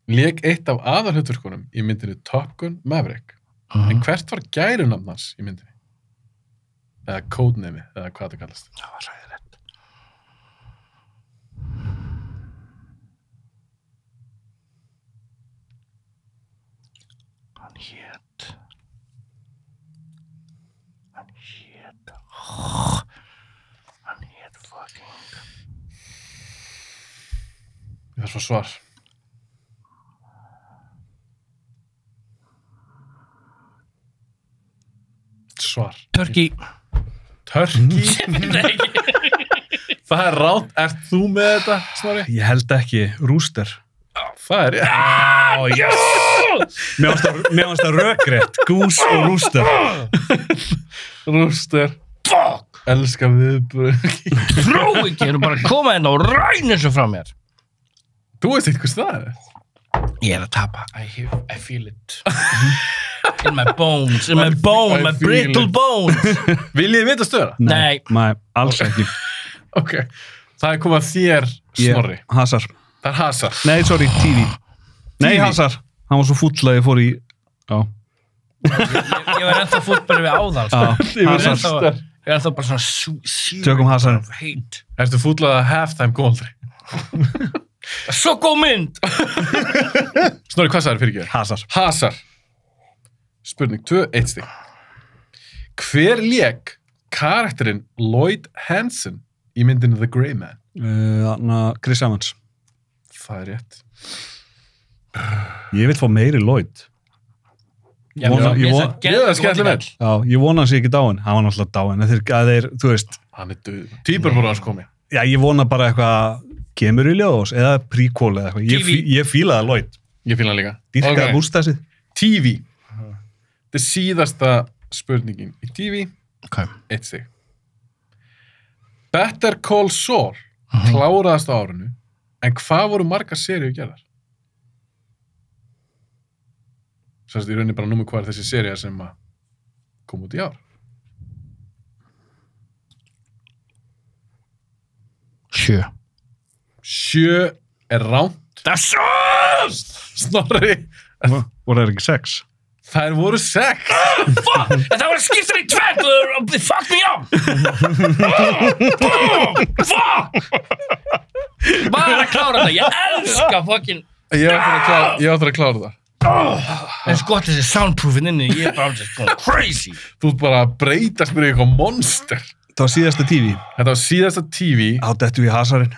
leik eitt af aðalhutverkunum í myndinu Top Gun Maverick
Mm-hmm. Ah.
en hvert var gærunamn hans í myndinu? eða kódnemi eða hvað það kallast
Það var ræðilegt Hann hét Hann hét oh, Hann hét fucking
ég þarf svo svar svar
Turkey
Törki (laughs) það er rátt, ert þú með þetta snorri?
Ég held ekki. Rúster.
það er ég
Ó, yes! Mér fannst það- mér fannst það rökrétt. Gús og rúster.
Rúster,
Fuck
elska viðbröð (laughs)
hérna Trú ekki, erum bara að koma inn og ræna þessu frá mér
þú veist eitthvað það er
Ég er að tapa. I, hear, I feel it. in my bones, in my
I
bone,
feel
my
it.
brittle (laughs) bones.
Viljið þið vita stöðuna?
Nei.
Nei, alls ekki.
Ok. Það er komað þér,
Ég-
Snorri.
Hazar.
Það er hasar.
Nei, sorry, Tíri. Nei,
Tíri.
Hazar. Hann var svo fúll að ég fór í... Já. (laughs)
Ég var ennþá fútbölu við áðan.
Já,
sko. Ég var
Hazar.
ennþá- ég var ennþá bara svona sú, sí,
Tökum Hazar.
hate.
Ertu fúllað að halftime góldri?
Svo góð mynd!
Snorri, hvað sagði fyrir ekki þér?
Hazar.
Hasar. Spurning 2, eitt stig. Hver lék karakterinn Lloyd Hansen í myndinu The Grey Man?
Þannig að Eh, Chris Evans.
Það er rétt.
Ég vil fá meiri Lloyd.
Já,
Vona- ég
mér
von-
finnst það
Ég er það skemmtilega vel.
Já, ég vona hans ég ekki dáin. Hann var náttúrulega dáin. en Þeir, að þeir, þú veist,
Hann er döð. Týpur voru hans komið.
já, ég vona bara eitthvað kemur í ljós eða prequel eða eitthvað. Ég,
TV.
fí, ég fílaði Lloyd.
Ég fíla hann líka.
Dýrkaði okay.
Ok.
bústæsið.
TV. Þetta er síðasta spurningin í TV.
Ok.
Eitt stig. Better Call Saul kláraðast á árinu, en hvað voru margar seríu gerðar? Sannst í rauninni bara númur hvað er þessi seríu sem að kom út í ár.
Sjö.
Sjö er ránt.
Það er svo!
(laughs) Snorri,
Voru það ekki sex?
þær voru sex.
Fuck! Það var að skipta þér í tvenn og þú fuck me up! Boom! Fuck! Bara að klára þetta, ég elska fucking...
Ég ætla að klára, ég ætla að klára það.
Það er sko gott þessi soundproofin inni, ég er bara just going crazy.
Þú ert bara að breytast mér í eitthvað monster.
Það var síðasta TV.
Þetta var síðasta TV.
Á dettu í Hazarinn.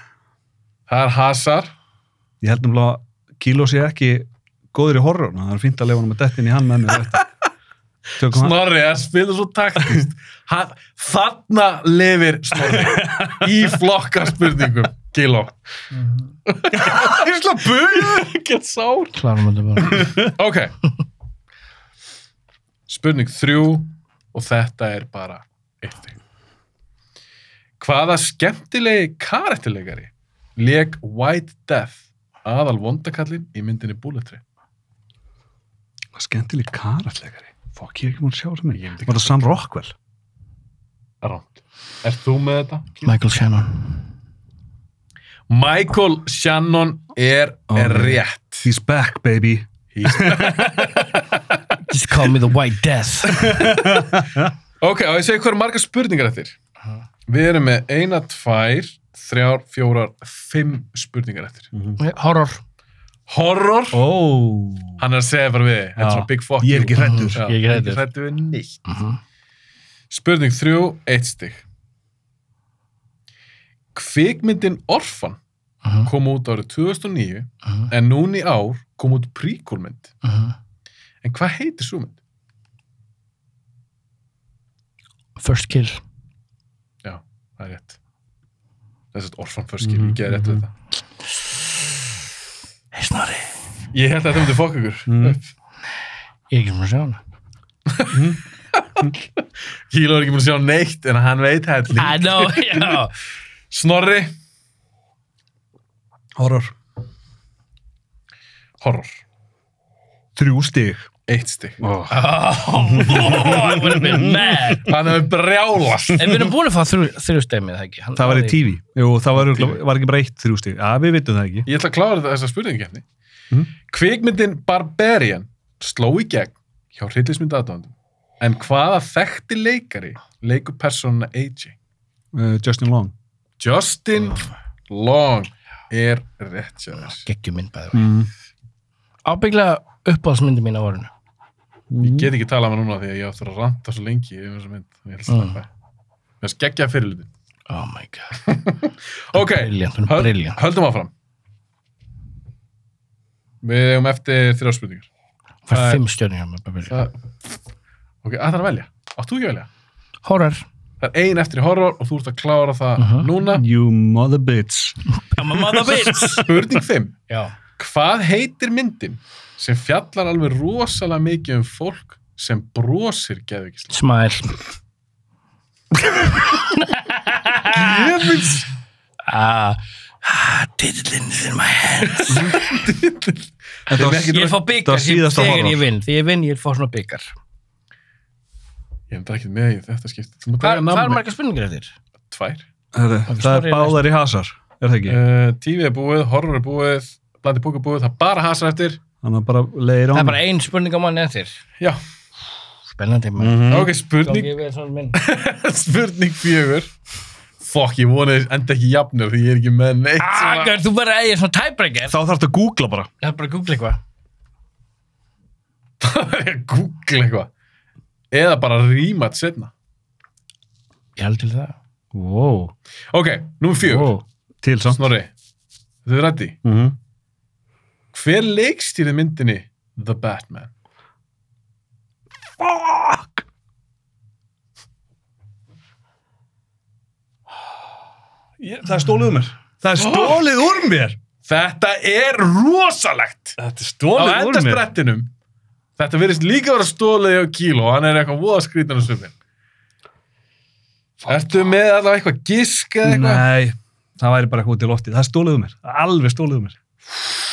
Það er Hazar.
Ég held nefnilega að Kíló sé ekki góður í horror. Það er fínt að lefa hann með dettin í hann með mér. Tökum hann.
Snorri að spila svo taktist þarna lifir (laughs) Snorri í flokka spurningum Kilo Ég ætla að buðu Get sár
Klárum þetta bara.
Ok Spurning þrjú og þetta er bara eitt þing Hvaða skemmtilegi karakterleikari leik White Death aðal vondakallin í myndinni Bullet Train
Skemmtileg karatlegari. Fokk, ég er ekki múin að sjá
Ég
það
myndi
mig.
ekki-
Var það Sam Rockwell?
Rámt Er þú með þetta?
Michael Shannon.
Michael Shannon er, er
Oh.
rétt
He's back, baby.
Just call me the white death.
Ok, og ég segi hvað eru margar spurningar eftir. Við erum með eina, tvær, þrjár, fjórar, fimm spurningar eftir.
Horror.
Horror,
Oh.
hann er að segja bara við, þetta er
Já,
svona big fuck
ég er
you.
ekki hræddur.
Já,
Ég er ekki hræddur.
hræddur við neitt. Spurning þrjú, eitt stig. Kvikmyndin Orfan
Mhm.
kom út árið 2009,
mhm,
en núna í ár kom út príkulmynd. En hvað heitir svo mynd?
First kill.
Það er rétt. Þessast Orfan fyrst skil,
Mhm,
ég geði rétt við
mhm.
þetta.
Hey Snorri.
Ég held að þetta myndi fokk ykkur
Mm.
upp.
Ég er ekki sem að sjá hana.
Kíló er ekki búin að sjá neitt en hann veit helling.
I know, (laughs) já.
Snorri,
Horror.
horror,
Þrjú stig.
eitt stig.
Oh.
Oh, (laughs) I would have been mad.
Hann hefur brjálast.
(laughs) En við erum búin að fá þrjú, þrjú stemmið, það ekki? Hann
Það var í
náði-
TV. Jú, það var, örugglega- var ekki bara eitt þrjú stig. Já, við vitum það ekki.
Ég ætla að klára þetta- þessa spurningkeppni.
Mm.
Kvikmyndin Barbarian sló í gegn hjá hryllismynda aðdóndum. En hvaða þekkti leikari leikur persónuna AJ?
Uh, Justin Long.
Justin
Ah.
Long er rétt hjá þess.
geggjum mynd bæði.
Mm.
Ábygglega uppáðsmyndi mín á orðinu.
Mm.
Ég get ekki talað með núna því að ég áttur að ranta svo lengi yfir þessa mynd. Ég ætla að
Mm.
slappa. Mér er skeggja fyrirlutin.
Oh my god. (laughs)
Ok,
Briljant, hún er
Höld-
briljant.
Höldum áfram. Við hefum eftir þrjá spurningar.
Það
Það
er
er-
fimm stjörnir hjá mér, bara byrja.
Það... Ok, að það er að velja. Átt þú ekki að velja?
Horror.
Það er ein eftir í horror og þú ert að klára það
Mhm.
núna.
You mother bitch.
I'm a mother bitch.
Spurning 5.
(laughs) Já.
Hvað heitir myndin sem fjallar alveg rosalega mikið um fólk sem brosir geðvikislega?
Smile.
Jöfnins!
Ah, ah, titillinn is in my hands
Þetta var
ég fá
þetta
byggar
var síðasta
þegar
horror.
ég vinn þegar ég vinn ég fá svona byggar
Ég hef ekki með í þetta skipt. Þú maður
hvað
taka
hvað er
namni.
marga spurningar eftir?
Tvær.
Herðu, Það
Snorri
er
er
báðar í hasar, er það ekki?
Uh, TV er búið, horror er búið, blandi búk er búið, það er bara hasar eftir.
Þannig að bara leiðir á
það er
mig.
bara ein spurning á manni eftir
Já,
spennandi mann
Mhm.
ok, spurning,
ég verið svona minn
(laughs) spurning fjögur. Fokk, ég vona þess enda ekki jafnir því ég er ekki með neitt. sem að- (laughs)
Agar, Ah, þú verður að eiga svona tæbreykir
Þá þarfst að googla bara.
það er bara að googla eitthvað
Það er að googla eitthvað. Eða bara rýma þetta setna.
ég held til það
Wow.
Ok, númer fjögur.
wow. Til samt.
Snorri, þau er rætti.
Mm -hmm.
Hver leikstýrið myndinni The Batman?
Fuck! Ég, það er stólið úr mér. Það er stólið úr mér!
Þetta er rosalegt!
Þetta er
Á
stólið úr mér.
endasprettinum. Þetta verðist líka vera stólið á kíló, hann er eitthvað voða skrítan á svipin. Ertu með allavega eitthvað gisk eða eitthvað?
Nei, það væri bara eitthvað út í loftið. Það er stólið úr mér. Alveg stólið úr mér.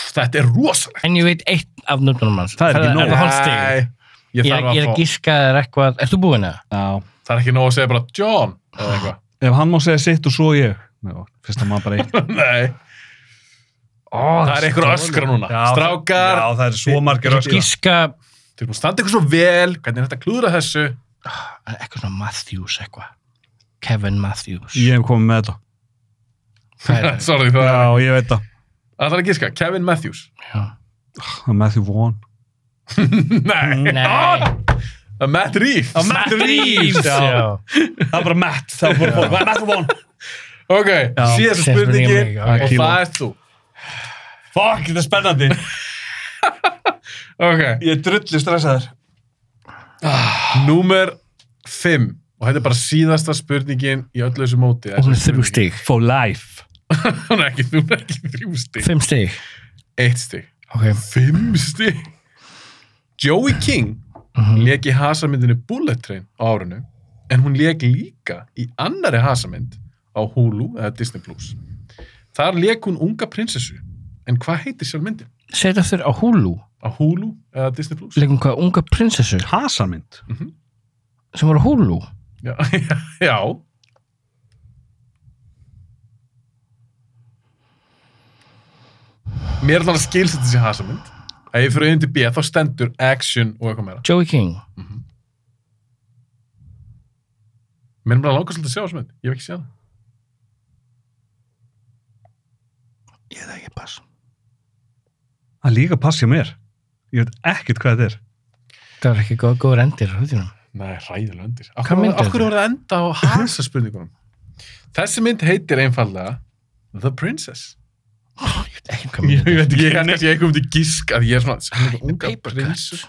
Þetta er rosalegt.
en ég veit eitt af nöfnunum hans
Það er ekki nóg.
það hálft stig.
ég
ég
þarf
ég er
að
að
fá.
gíska að það er eitthvað er þú búinn eða?
Já.
Það er ekki nóg að segja bara John eða eitthvað. (laughs)
Ef hann má segja sitt og svo ég. Nei, fyrst að maður bara (laughs) eitt.
Nei,
Ó,
það er eitthvað öskra núna.
Já,
Strákar,
Já, það er svo margir
Ég
öskra.
gíska
þeir eru búin að standa eitthvað svo vel, hvernig er þetta að klúðra þessu?
eitthvað svona Matthews eitthvað Kevin Matthews
Ég hef komið með þetta.
Hvað er það?
(laughs) Sorry, það
Já, ég veit það.
Það er að giska, Kevin Matthews (laughs)
Já.
Það er Matthew Vaughn.
Nei,
(laughs) Nei,
það er
Mm.
Matt Reeves
Matt
Reeves
já.
já.
Það er bara Matt. Það er bara fólk. Hvað er Matthew Vaughn?
Ok,
Já.
síðasta
Síðasta
spurningin
spurningin,
og
ok.
það er þú
Fuck, þetta er spennandi.
Ok,
Ég er drullu stressaður.
númer 5 og þetta er bara síðasta spurningin í öllu þessu móti
Og hún er
Þessi
þrjú
spurning.
stig
For life.
(laughs) Hún er ekki, hún er ekki þrjú stig
Fimm stig
Eitt stig
okay.
Fimm stig Joey King
Mhm.
lék í hasamyndinu Bullet Train á árinu en hún lék líka í annari hasamynd á Hulu eða Disney Plus Þar lék hún unga prinsessu en hvað heitir sjálf myndin?
Segð aftur á Hulu
á Hulu eða Disney Plus
Leikum hvað unga prinsessu
Hasamynd.
sem var á Hulu
já, (laughs) já. mér er þannig að skilst þetta sé hasamynd ef ég fyrir undir B þá stendur action og eitthvað meira Mhm.
Joey King
mér er bara að langa svolítið að sjá þessum mynd ég hef ekki séð það
Ég það ekki pass
Það er líka pass hjá mér. Ég veit ekkert hvað þetta er.
Það er ekki góð, góður endir á hlutinum
nei, ræðilega undir
Hvað mynd er
af hverju
þetta?
voru það (laughs) enda á hasa spurningunum þessi mynd heitir einfallega The Princess
Ekki hvað mér
veit ekki ég held að ég eitthvað myndi gísk að ég er svona sem er unga
Paper
prinsessu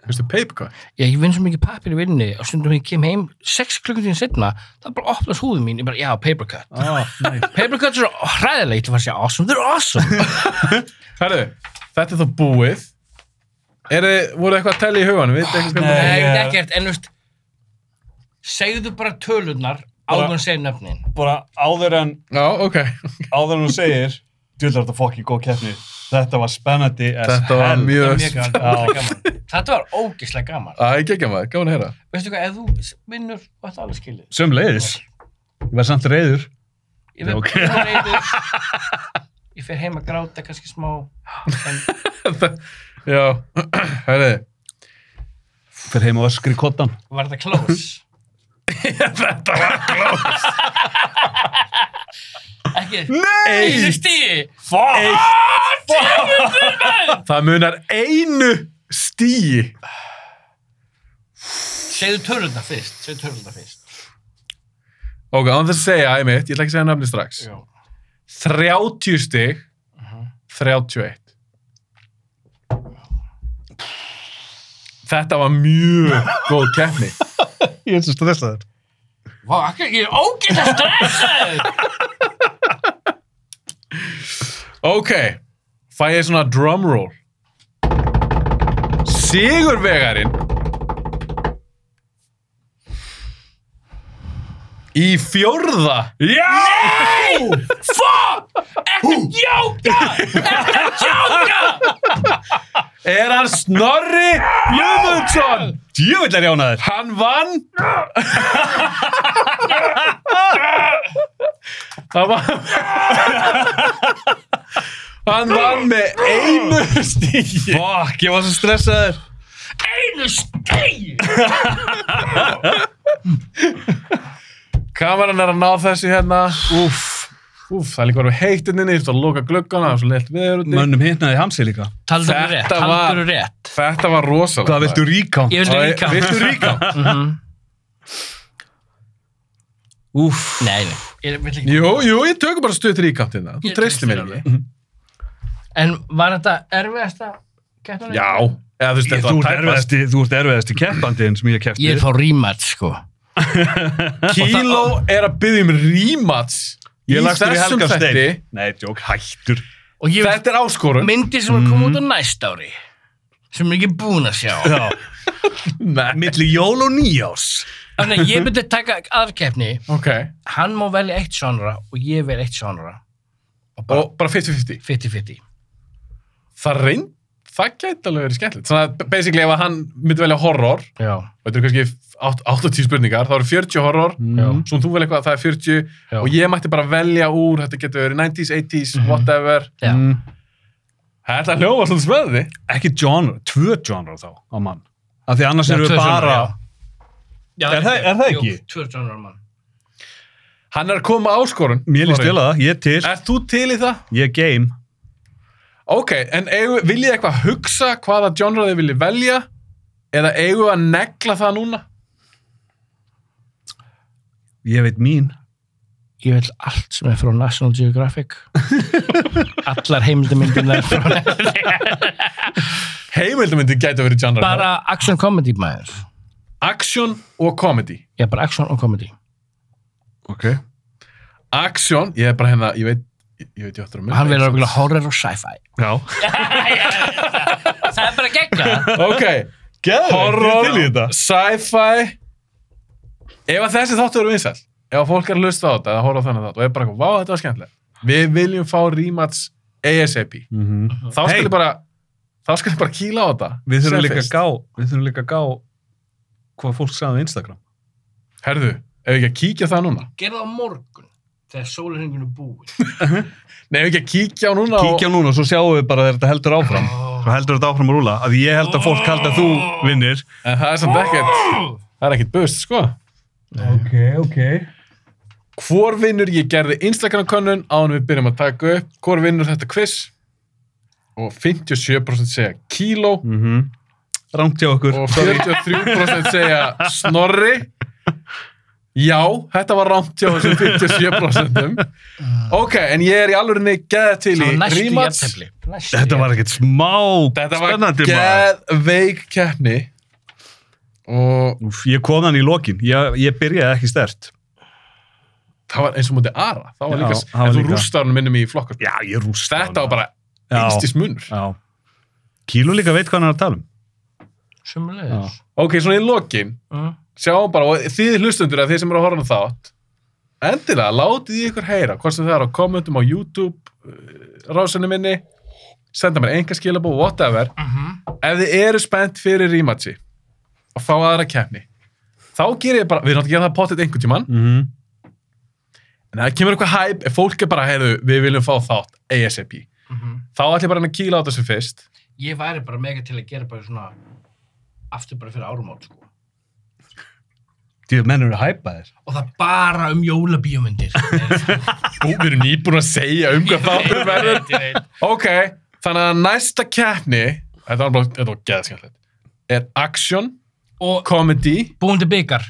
veistu, papercut
Já, ég vinn svo mikið pappir í vinninni og stundum ég kem heim 6 klukkutíðin setna það bara opnast húðu mín, ég bara, já, paper cut
(laughs) Ah,
Paper cuts eru hræðilegt, það var að segja awesome, they're
(laughs)
awesome
Herru, þetta er þá búið. Er þið, voru eitthvað að tella í huganum? Við eitthvað hvað það
Nei,
er.
ég veit ekkert, en veist segðu bara tölurnar áður en segir nöfnin
bara áður en,
Já, ok.
áður en hún segir, djúlar þetta fokk í góð keppni. Þetta var spennandi as
(laughs) Þetta var
hell.
mjög-
Það er mjög gaman,
Já.
ógeðslega gaman. Þetta var ógislega gaman
Æ, ekki ekki maður, gáði að heyra.
Veistu hvað, ef þú vinnur og þetta alveg skilið
Sum leiðis. Ég var samt reyður.
Ég verð
Ok.
okay. reyður Ég fer heim að gráta kannski smá en
Já, (clears throat) herru.
Fyrir heim og öskri kottan.
var þetta close?
(laughs) þetta var klóð.
Ekki Einu stíði
Eitt. Það munar einu stíi.
Segðu tölurnar fyrst Segðu tölurnar fyrst
Ok, án þess að segja, æmitt, ég ætla ekki að segja nafni strax.
Já.
30 stig, 31. Þetta var mjög góð keppni.
Ég er svo stressaður.
Vá, akkur, ég er ógeðslega stressaður
Ok, fæ ég svona drumroll. Sigurvegarinn Í fjórða
Já!
Fuck! Ertu að djóka? Ertu að djóka?
er hann Snorri Ljúmundsson.
Djövill er jánaður.
Hann vann. hann vann. hann vann með einu stíki.
Fuck, ég var svo stressaður.
Einu stegi!
Kameran er að ná þessu hérna. Úff. Úff, það er líka verið heitt inninni, þú ert að loka gluggana, það er svo leitt viður úti.
Mönnum hitnaði hamsi líka.
Taldur þú rétt,
Þetta var-
taldur þú rétt.
Þetta var rosalega.
Hvað viltu ríká?
Ég vil
Æ,
ríka.
viltu ríka?
Mhm.
Úf.
Nei, nei. Ég vil ekki.
Jú, jú, ég tökum bara stuð til ríkáttina. Þú
Ég
treystir
treysti
mér
þér
alveg.
En var þetta erfiðasta keppnin?
Já. Eða þú veist,
Ég,
þetta
þú,
var
ert
tæpast.
erfiðasti, þú ert erfiðasti keppandiðin sem ég hef keppt
Ég er
við.
fá rímat, sko.
Kíló er að byggja um rímats
Ég lagst fyrir
þessum
Helga
þætti.
Stein. Nei, djók, hættur.
Og ég
Þetta er áskorun.
myndir sem mm. kom út á næst ári. Sem ég er ekki búinn að sjá.
Já.
Nei.
Milli jól og nýjás.
Þannig að ég myndi taka aðkeppni.
Ok.
Hann má velja eitt sjónra og ég vel eitt sjónra. Og bara
Og bara 50-50.
50-50.
Það reynd, það gæti alveg verið skemmtilegt. Svona, að basically, ef að hann myndi velja horror,
Já.
Mm.
og þetta eru kannski átt- 80 spurningar, þá eru 40 horror,
Já.
svo þú velja eitthvað, það er 40,
Já.
og ég mætti bara velja úr, þetta getur verið 90s, 80s, whatever.
Já.
Mm. Þetta hljóma svolítið smöði.
Ekki genre, tvö genre þá á mann. Af því annars erum
tvö
við bara...
sjónra, já. Já,
Er það- er það ekki?
Jú, tvö sjónra mann.
Hann er að koma með áskorun.
Mér líst
Snorri.
vel að það, ég er til,
Ert þú til í það?
ég er game.
Ok, en eigum- viljið þið eitthvað hugsa hvaða genre þið viljið velja eða eigum við að negla það núna?
Ég veit mín.
Ég vil allt sem er frá National
(laughs)
Geographic. Allar heimildamyndunar frá... (laughs)
Heimildamöndi gæti að vera genre.
bara action comedy maður.
Action og comedy.
Já, bara action og comedy.
Ok.
Action, ég er bara hérna, ég veit, ég, ég veit ég áttur að
Og
mynda.
hann verður okkurlega horror og sci-fi.
Já.
Það er bara (laughs) gegna.
Ok,
Geðveikt, ég
um
er til í
horror,
þetta.
sci-fi. Ef að þessi þáttu eru vinsall, ef að fólk er að lusta á þetta eða horfa á þennan þátt og er bara eitthvað, vá, þetta var skemmtilega. Við viljum fá rematch ASAP. Þá
Hey.
skulle bara, þá skulle bara kýla á þetta.
Við þurfum
sem
líka að
fyrst.
gá, við þurfum líka að gá hvað fólk sagði á Instagram.
Herðu, ef við ekki að kíkja á það núna?
Gerða á morgun, þegar sólurhenginu búið.
Nei, ef við ekki að kíkja á núna
Kíkja
og...
núna og svo sjáum við bara þegar þetta heldur áfram.
Svo heldur þetta áfram að rúla. Að ég held að fólk held að þú vinnir.
En það er samt ekkert, það er ekkert bust, sko.
Ok, ok.
Hvor vinnur ég gerði Instagram-könnun án við byrjum að taka upp, hvor vinnur þetta quiz? Og 57% segja kíló
Mm -hmm.
Rangt hjá okkur.
og 43% segja snorri. Já, þetta var rámt hjá þessum 57%. Ok, en ég er í alvörinni geða til í
Það var næstu
rímats.
jæftefli.
Þetta var ekkert smá
Þetta var
spennandi maður.
geðveik keppni og
Úf, ég kom þannig í lokin. Ég, ég byrjaði ekki stert.
það var eins og mútið Ara það var
Já,
líka,
það var
en þú
líka.
rústar hann minnum í flokkarspil
Já, ég rúst
þetta var bara
Já.
einstis munur
Já. Kíló líka veit hvað hann er að tala um.
Sumulegis.
ok, svona í lokin,
Mm.
sjáum bara og þið hlustundur að þið sem eru að horfa á þátt endilega, látið í ykkur heyra hvort sem það er á kommentum á YouTube uh, rásunni minni senda mér einhver skilabó, whatever
Mhm,
ef þið eru spennt fyrir rematchi og fá aðra keppni þá gerir ég bara, við erum náttúrulega að gera það pottet einhvern tímann
Mm -hmm.
Mhm.
en það kemur eitthvað hæp, ef fólk er bara, heyrðu, við viljum fá þátt ASAP
mhm.
þá ætlum ég bara að kýla á þessu fyrst
Ég væri bara mega til að gera bara svona aftur bara fyrir árumót, sko.
Því að menn eru að hæpa þér.
Og það bara um
(laughs)
jólabíómyndir.
Bú, við erum nýbúin að segja um hvað þáttur verður. Ok, þannig að næsta keppni, þetta var bara, þetta var geðskjöldlega, er action,
Og
comedy,
búin til byggar.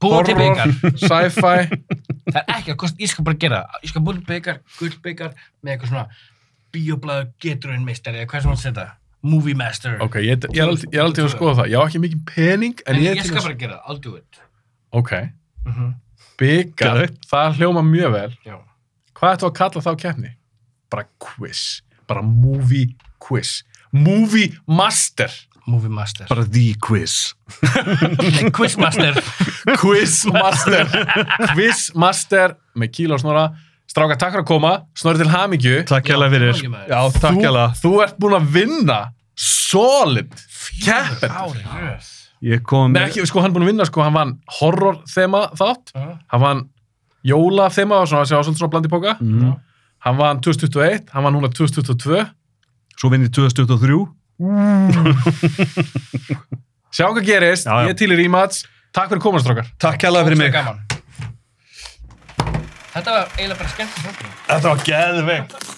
Búin til
horror,
byggar.
sci-fi.
Það er ekki að kosta, ég skal bara gera það. Ég skal búin til byggar, gull byggar, með eitthvað svona bíoblæðu geturinn meistari, eða hvað sem hann setja. Movie master.
Ok, ég, ég, er aldrei, ég er aldrei að skoða það. Ég á ekki mikið pening, en
En
ég
ég
er
skal
til að...
bara gera það, I'll do it.
Ok,
Mm
byggar, það hljóma mjög vel.
Já.
Hvað ættu að kalla þá keppni? Bara quiz, bara movie quiz. Movie master.
Movie Master.
Bara the quiz.
Nei,
(laughs)
Quizmaster.
Quizmaster Quizmaster með kíla og snora stráka takk fyrir að koma, snora til hamingju
Takk
Já,
hjá fyrir.
hamingju, maður.
Já, takk hjá
þú ert búin að vinna solid keppin
Ári, röð.
Ég kom
Nei, ekki, sko, hann er búin að vinna, sko, hann vann horror þema þátt,
Já.
hann vann jóla þema, svona, sem var svolítið svona blandi póka
Mm.
hann vann 2021, hann vann núna 2022
Svo vinn ég 2023.
sjá hvað gerist,
Já, já.
ég er til í rímats takk fyrir komast, strákar
Takk hérlega fyrir mig.
Gaman. Þetta var eiginlega bara skemmt í fólkinu.
Þetta var geðveikt.